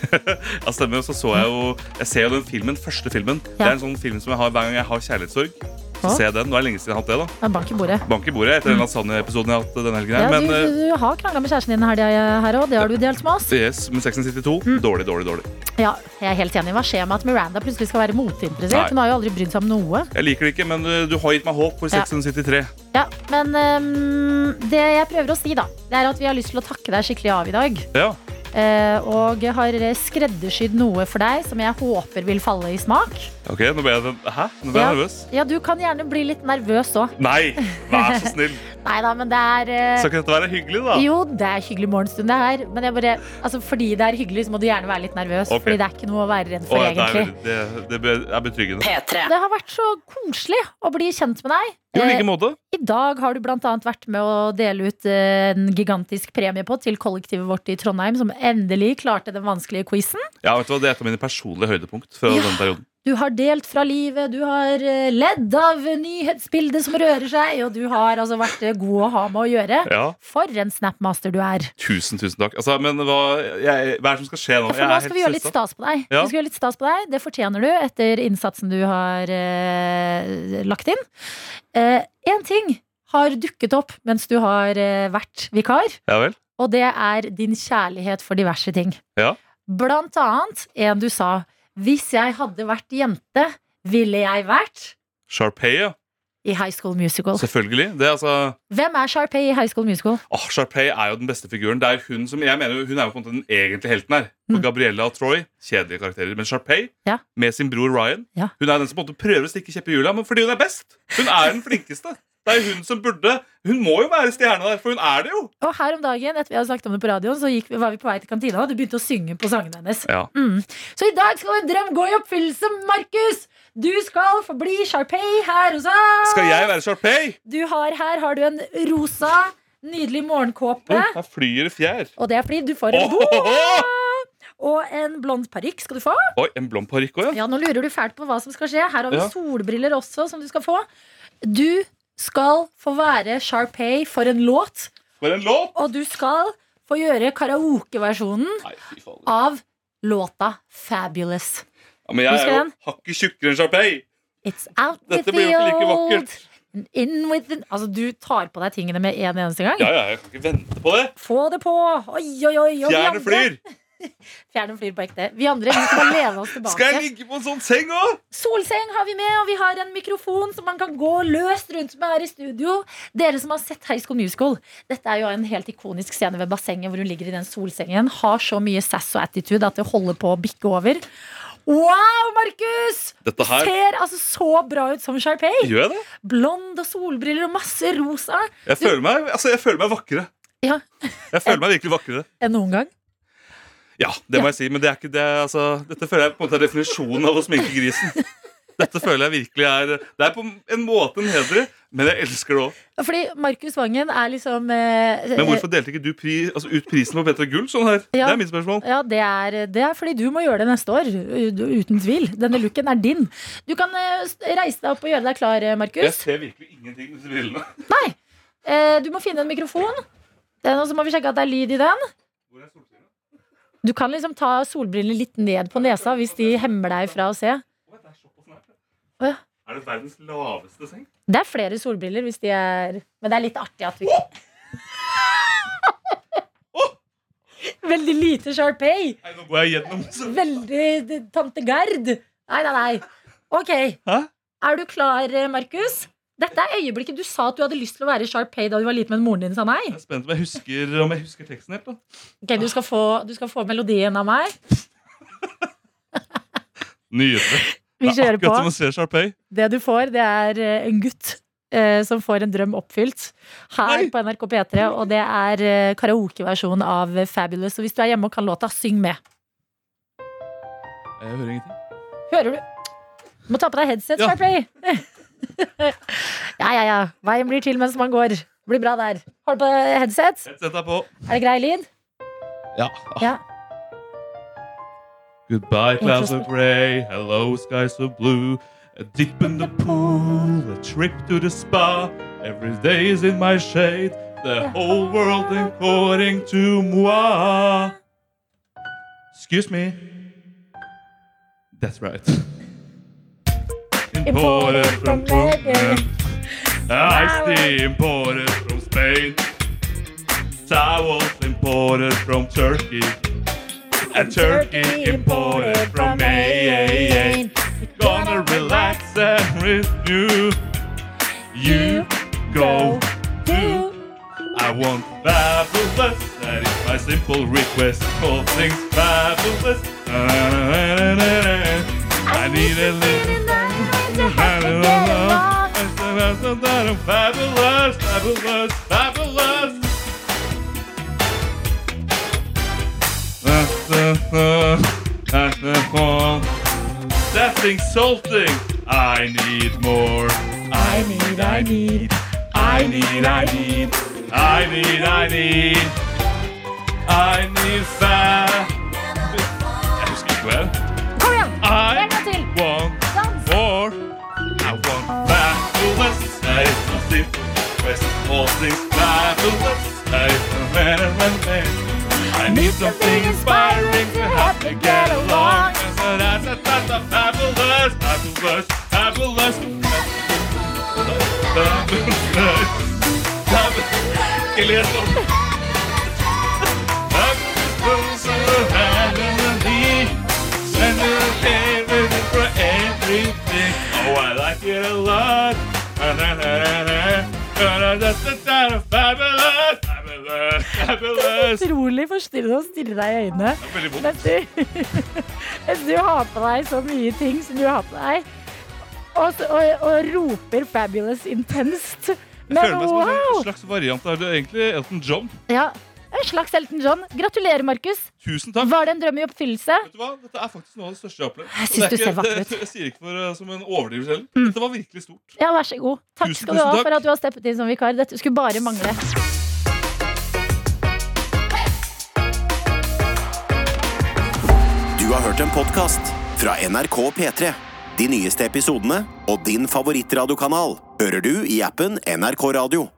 [SPEAKER 3] Ja, stemmer. Og så så jeg jo Jeg ser jo den filmen, første filmen. Det er en sånn film som jeg har hver gang jeg har kjærlighetssorg. Så
[SPEAKER 2] Å.
[SPEAKER 3] ser jeg den. Nå er det lenge siden jeg har hatt det, da.
[SPEAKER 2] Ja, Bank i bordet.
[SPEAKER 3] Bank i bordet etter den lasagne-episoden jeg har hatt denne helgen. her,
[SPEAKER 2] Ja, du,
[SPEAKER 3] men, eh, E
[SPEAKER 2] du har krangla med kjæresten din her, her òg. Det har du delt med oss.
[SPEAKER 3] Yes, men 1692,
[SPEAKER 2] Mm.
[SPEAKER 3] dårlig, dårlig, dårlig.
[SPEAKER 2] Ja, jeg er helt enig. Hva skjer med at Miranda plutselig skal være
[SPEAKER 3] Nei.
[SPEAKER 2] moteinteressert? Hun har jo aldri brydd seg om noe.
[SPEAKER 3] Jeg liker det ikke, men uh, du har gitt meg håp for
[SPEAKER 2] Ja.
[SPEAKER 3] 1693.
[SPEAKER 2] Ja, men ehm, det jeg prøver å si, da, det er at vi har lyst til å takke deg skikkelig av i dag.
[SPEAKER 3] Ja.
[SPEAKER 2] Eh, og har skreddersydd noe for deg som jeg håper vil falle i smak.
[SPEAKER 3] Ok, nå ble jeg, hæ? Nå ble jeg nervøs.
[SPEAKER 2] Ja, du kan gjerne bli litt nervøs òg.
[SPEAKER 3] Nei, vær så snill.
[SPEAKER 2] Nei da, men det er eh,
[SPEAKER 3] Skal ikke dette være hyggelig, da?
[SPEAKER 2] Jo, det er hyggelig morgenstund, det her. Men jeg bare, altså, fordi det er hyggelig, så må du gjerne være litt nervøs.
[SPEAKER 3] Ok.
[SPEAKER 2] Fordi det er ikke noe å være redd for,
[SPEAKER 3] Å, det, er,
[SPEAKER 2] egentlig.
[SPEAKER 3] veldig- det, det be- er betryggende.
[SPEAKER 2] Det har vært så koselig å bli kjent med deg.
[SPEAKER 3] Jo, i like
[SPEAKER 2] Eh,
[SPEAKER 3] måte.
[SPEAKER 2] I dag har du bl.a. vært med å dele ut eh, en gigantisk premie på til kollektivet vårt i Trondheim, som endelig klarte den vanskelige quizen.
[SPEAKER 3] Ja, vet du hva, Det er et av mine personlige høydepunkt fra
[SPEAKER 2] Ja.
[SPEAKER 3] denne perioden.
[SPEAKER 2] Du har delt fra livet, du har eh, ledd av nyhetsbildet som rører seg, og du har altså vært eh, god å ha med å gjøre.
[SPEAKER 3] Ja.
[SPEAKER 2] For en snapmaster du er.
[SPEAKER 3] Tusen, tusen takk. Altså, men hva, jeg, hva er det som skal skje nå?
[SPEAKER 2] Ja, For nå skal vi gjøre litt stas på deg.
[SPEAKER 3] Ja.
[SPEAKER 2] Vi skal gjøre litt stas på deg. Det fortjener du etter innsatsen du har eh, lagt inn. Én ting har dukket opp mens du har eh, vært vikar,
[SPEAKER 3] Ja vel?
[SPEAKER 2] og det er din kjærlighet for diverse ting.
[SPEAKER 3] Ja.
[SPEAKER 2] Blant annet en du sa 'Hvis jeg hadde vært jente, ville jeg vært'
[SPEAKER 3] Sharpay, ja.
[SPEAKER 2] i High School Musical.
[SPEAKER 3] Selvfølgelig. Det er altså
[SPEAKER 2] Hvem er Sharpay i High School Musical?
[SPEAKER 3] Åh, Sharpay er jo den beste figuren. Det er Hun som, jeg mener jo, hun er jo på en måte den egentlige helten her. For Gabriella og Troy, kjedelige karakterer. Men Sharpay,
[SPEAKER 2] Mm. Ja.
[SPEAKER 3] med sin bror Ryan,
[SPEAKER 2] Ja.
[SPEAKER 3] hun er den som på en måte prøver å stikke kjepp i hjula, men fordi hun er best. Hun er den flinkeste. Det er hun som burde Hun må jo være stjerne der, for hun er det jo.
[SPEAKER 2] Og her om dagen, etter vi hadde snakket om det på radioen, så gikk, vi- var vi på vei til kantina, og du begynte å synge på sangene hennes.
[SPEAKER 3] Ja.
[SPEAKER 2] Mm. Så i dag skal en drøm gå i oppfyllelse, Markus! Du skal få bli Sharpay her hos oss!
[SPEAKER 3] Skal jeg være Sharpay?
[SPEAKER 2] Du har her har du en rosa, nydelig morgenkåpe.
[SPEAKER 3] Her flyr det fjær.
[SPEAKER 2] Og det er fordi du får en boa! Og en blond parykk skal du få.
[SPEAKER 3] Oi, en blond parykk òg, ja.
[SPEAKER 2] Ja, nå lurer du fælt på hva som skal skje. Her har vi
[SPEAKER 3] Ja.
[SPEAKER 2] solbriller også, som du skal få. Du skal få være Sharpay for en låt.
[SPEAKER 3] For en låt!
[SPEAKER 2] Og du skal få gjøre karaokeversjonen av låta Fabulous.
[SPEAKER 3] ja men jeg
[SPEAKER 2] Husker
[SPEAKER 3] er jo
[SPEAKER 2] den?
[SPEAKER 3] hakket tjukkere enn Sharpay.
[SPEAKER 2] It's out with
[SPEAKER 3] Dette
[SPEAKER 2] the
[SPEAKER 3] blir jo ikke like
[SPEAKER 2] old
[SPEAKER 3] vakkert.
[SPEAKER 2] and in with the... Altså, du tar på deg tingene med en eneste gang.
[SPEAKER 3] Ja, ja, jeg kan ikke vente på det.
[SPEAKER 2] Få det på! Oi, oi, oi. og vi
[SPEAKER 3] Fjerne
[SPEAKER 2] andre-
[SPEAKER 3] flyr.
[SPEAKER 2] Fjerne flyr på ekte. Vi andre vi skal bare lene oss tilbake.
[SPEAKER 3] Skal jeg ligge på en sånn seng òg?
[SPEAKER 2] Solseng har vi med, og vi har en mikrofon som man kan gå løst rundt med her i studio. Dere som har sett High School Musical, dette er jo en helt ikonisk scene ved bassenget hvor hun ligger i den solsengen, har så mye sass og attitude at det holder på å bikke over. Wow, Markus!
[SPEAKER 3] Dette her-
[SPEAKER 2] Ser altså så bra ut som Sharpay.
[SPEAKER 3] Gjør jeg det?
[SPEAKER 2] Blond og solbriller og masse rosa.
[SPEAKER 3] Jeg
[SPEAKER 2] Du-
[SPEAKER 3] føler meg, altså, jeg føler meg vakrere.
[SPEAKER 2] Ja,
[SPEAKER 3] Jeg føler meg virkelig vakrere.
[SPEAKER 2] Enn noen gang.
[SPEAKER 3] Ja, det må jeg si, men det er ikke det, altså, dette føler jeg på en måte er definisjonen av å sminke grisen. Dette føler jeg virkelig er Det er på en måte en heder, men jeg elsker det òg.
[SPEAKER 2] Fordi Markus Vangen er liksom eh,
[SPEAKER 3] Men hvorfor delte ikke du pri, altså, ut prisen på Petra Gull sånn her?
[SPEAKER 2] Ja.
[SPEAKER 3] Det er mitt spørsmål.
[SPEAKER 2] eh, Ja, det er, det er fordi du må gjøre det neste år. u- u- Uten tvil. Denne looken er din. Du kan eh, s- reise deg opp og gjøre deg klar, eh,
[SPEAKER 3] Jeg
[SPEAKER 2] Markus.
[SPEAKER 3] ser virkelig ingenting med disse brillene.
[SPEAKER 2] Eh, Du må finne en mikrofon. Den, og så må vi sjekke at det er lyd i den. Du kan liksom ta solbrillene litt ned på nesa hvis de hemmer deg fra å se. Å ja.
[SPEAKER 3] Er det verdens laveste seng?
[SPEAKER 2] Det er flere solbriller hvis de er Men det er litt artig at vi Veldig lite Sharpay.
[SPEAKER 3] Nå går jeg gjennom så-
[SPEAKER 2] Veldig d- tante Gerd. Nei, nei, nei. Ok. Er du klar, eh, Markus? Dette er øyeblikket du sa at du hadde lyst til å være Sharpay da du var liten, men moren din sa nei.
[SPEAKER 3] Spent om jeg husker, om jeg husker teksten helt. da
[SPEAKER 2] Ok, Du skal få, du skal få melodien av meg.
[SPEAKER 3] Nydelig.
[SPEAKER 2] Vi
[SPEAKER 3] Det er
[SPEAKER 2] kjører på.
[SPEAKER 3] akkurat som å se Sharpay.
[SPEAKER 2] Det du får, det er eh, en gutt eh, som får en drøm oppfylt her på NRK P3. Og det er eh, karaokeversjon av Fabulous. Og hvis du er hjemme og kan låta, syng med.
[SPEAKER 3] Jeg hører ingenting.
[SPEAKER 2] Hører du? Du må ta på deg headset, Sharpay. ja, ja, ja. Veien blir til mens man går. Det blir bra der. Har du på deg headset?
[SPEAKER 3] Sett deg på.
[SPEAKER 2] Er det grei lyd?
[SPEAKER 3] Ja.
[SPEAKER 2] Ja.
[SPEAKER 3] Goodbye, clouds of gray. Hello, skies of blue. A dip in the pool, a trip to the spa. Every day is in my shade. The whole world according to moi. Excuse me. That's right. Imported from Ah, London. Iced tea imported from Spain. Towels imported from Turkey. And turkey imported from Maine. Gonna relax and with you. You go to. I want fabulous. That is my simple request. All things fabulous. I need a little time to happen. Fabulous, fabulous, fabulous. That's the that's the form. That's insulting. I need more. I need, I need, I need, I need, I need, I need, I need fat. Jeg husker ikke hva det er.
[SPEAKER 2] Kom igjen!
[SPEAKER 3] I
[SPEAKER 2] En gang til!
[SPEAKER 3] want more. I want fabulous. That is my simple request. All things fabulous. That is the man and man, man. I need something inspiring to help me get along. So that's a that's a fabulous, fabulous, fabulous. Fabulous. Fabulous. Ikke les om. Fabulous. Fabulous. And you're favorite for everything. Oh, I like it a lot. Da-da-da-da-da. Da-da-da-da-da. Fabulous, fabulous, fabulous.
[SPEAKER 2] Utrolig forstyrrende å stirre deg i øynene.
[SPEAKER 3] Veldig vondt.
[SPEAKER 2] Mens du, mens du har på deg så mye ting som du har på deg, og, så- og, og roper 'fabulous' intenst.
[SPEAKER 3] Jeg føler
[SPEAKER 2] Men
[SPEAKER 3] meg som en
[SPEAKER 2] wow!
[SPEAKER 3] slags variant av egentlig Elton John.
[SPEAKER 2] Ja, en slags Elton John. Gratulerer, Markus.
[SPEAKER 3] Tusen takk.
[SPEAKER 2] Var det en drøm i oppfyllelse?
[SPEAKER 3] Vet du hva? Dette er faktisk noe av det største jeg har opplevd.
[SPEAKER 2] Jeg
[SPEAKER 3] Og
[SPEAKER 2] synes
[SPEAKER 3] det er
[SPEAKER 2] du ser vakker ut.
[SPEAKER 3] det-
[SPEAKER 2] Mm.
[SPEAKER 3] Jeg sier ikke for, eh, som en overdrivelse heller. Dette var virkelig stort.
[SPEAKER 2] Ja, vær så god. Takk
[SPEAKER 3] Tusen,
[SPEAKER 2] skal du
[SPEAKER 3] tusen
[SPEAKER 2] ha
[SPEAKER 3] takk.
[SPEAKER 2] for at du har steppet inn som vikar. Dette skulle bare mangle.
[SPEAKER 13] Du har hørt en podcast fra NRK P3. De nyeste episodene og din favorittradiokanal hører du i appen NRK Radio.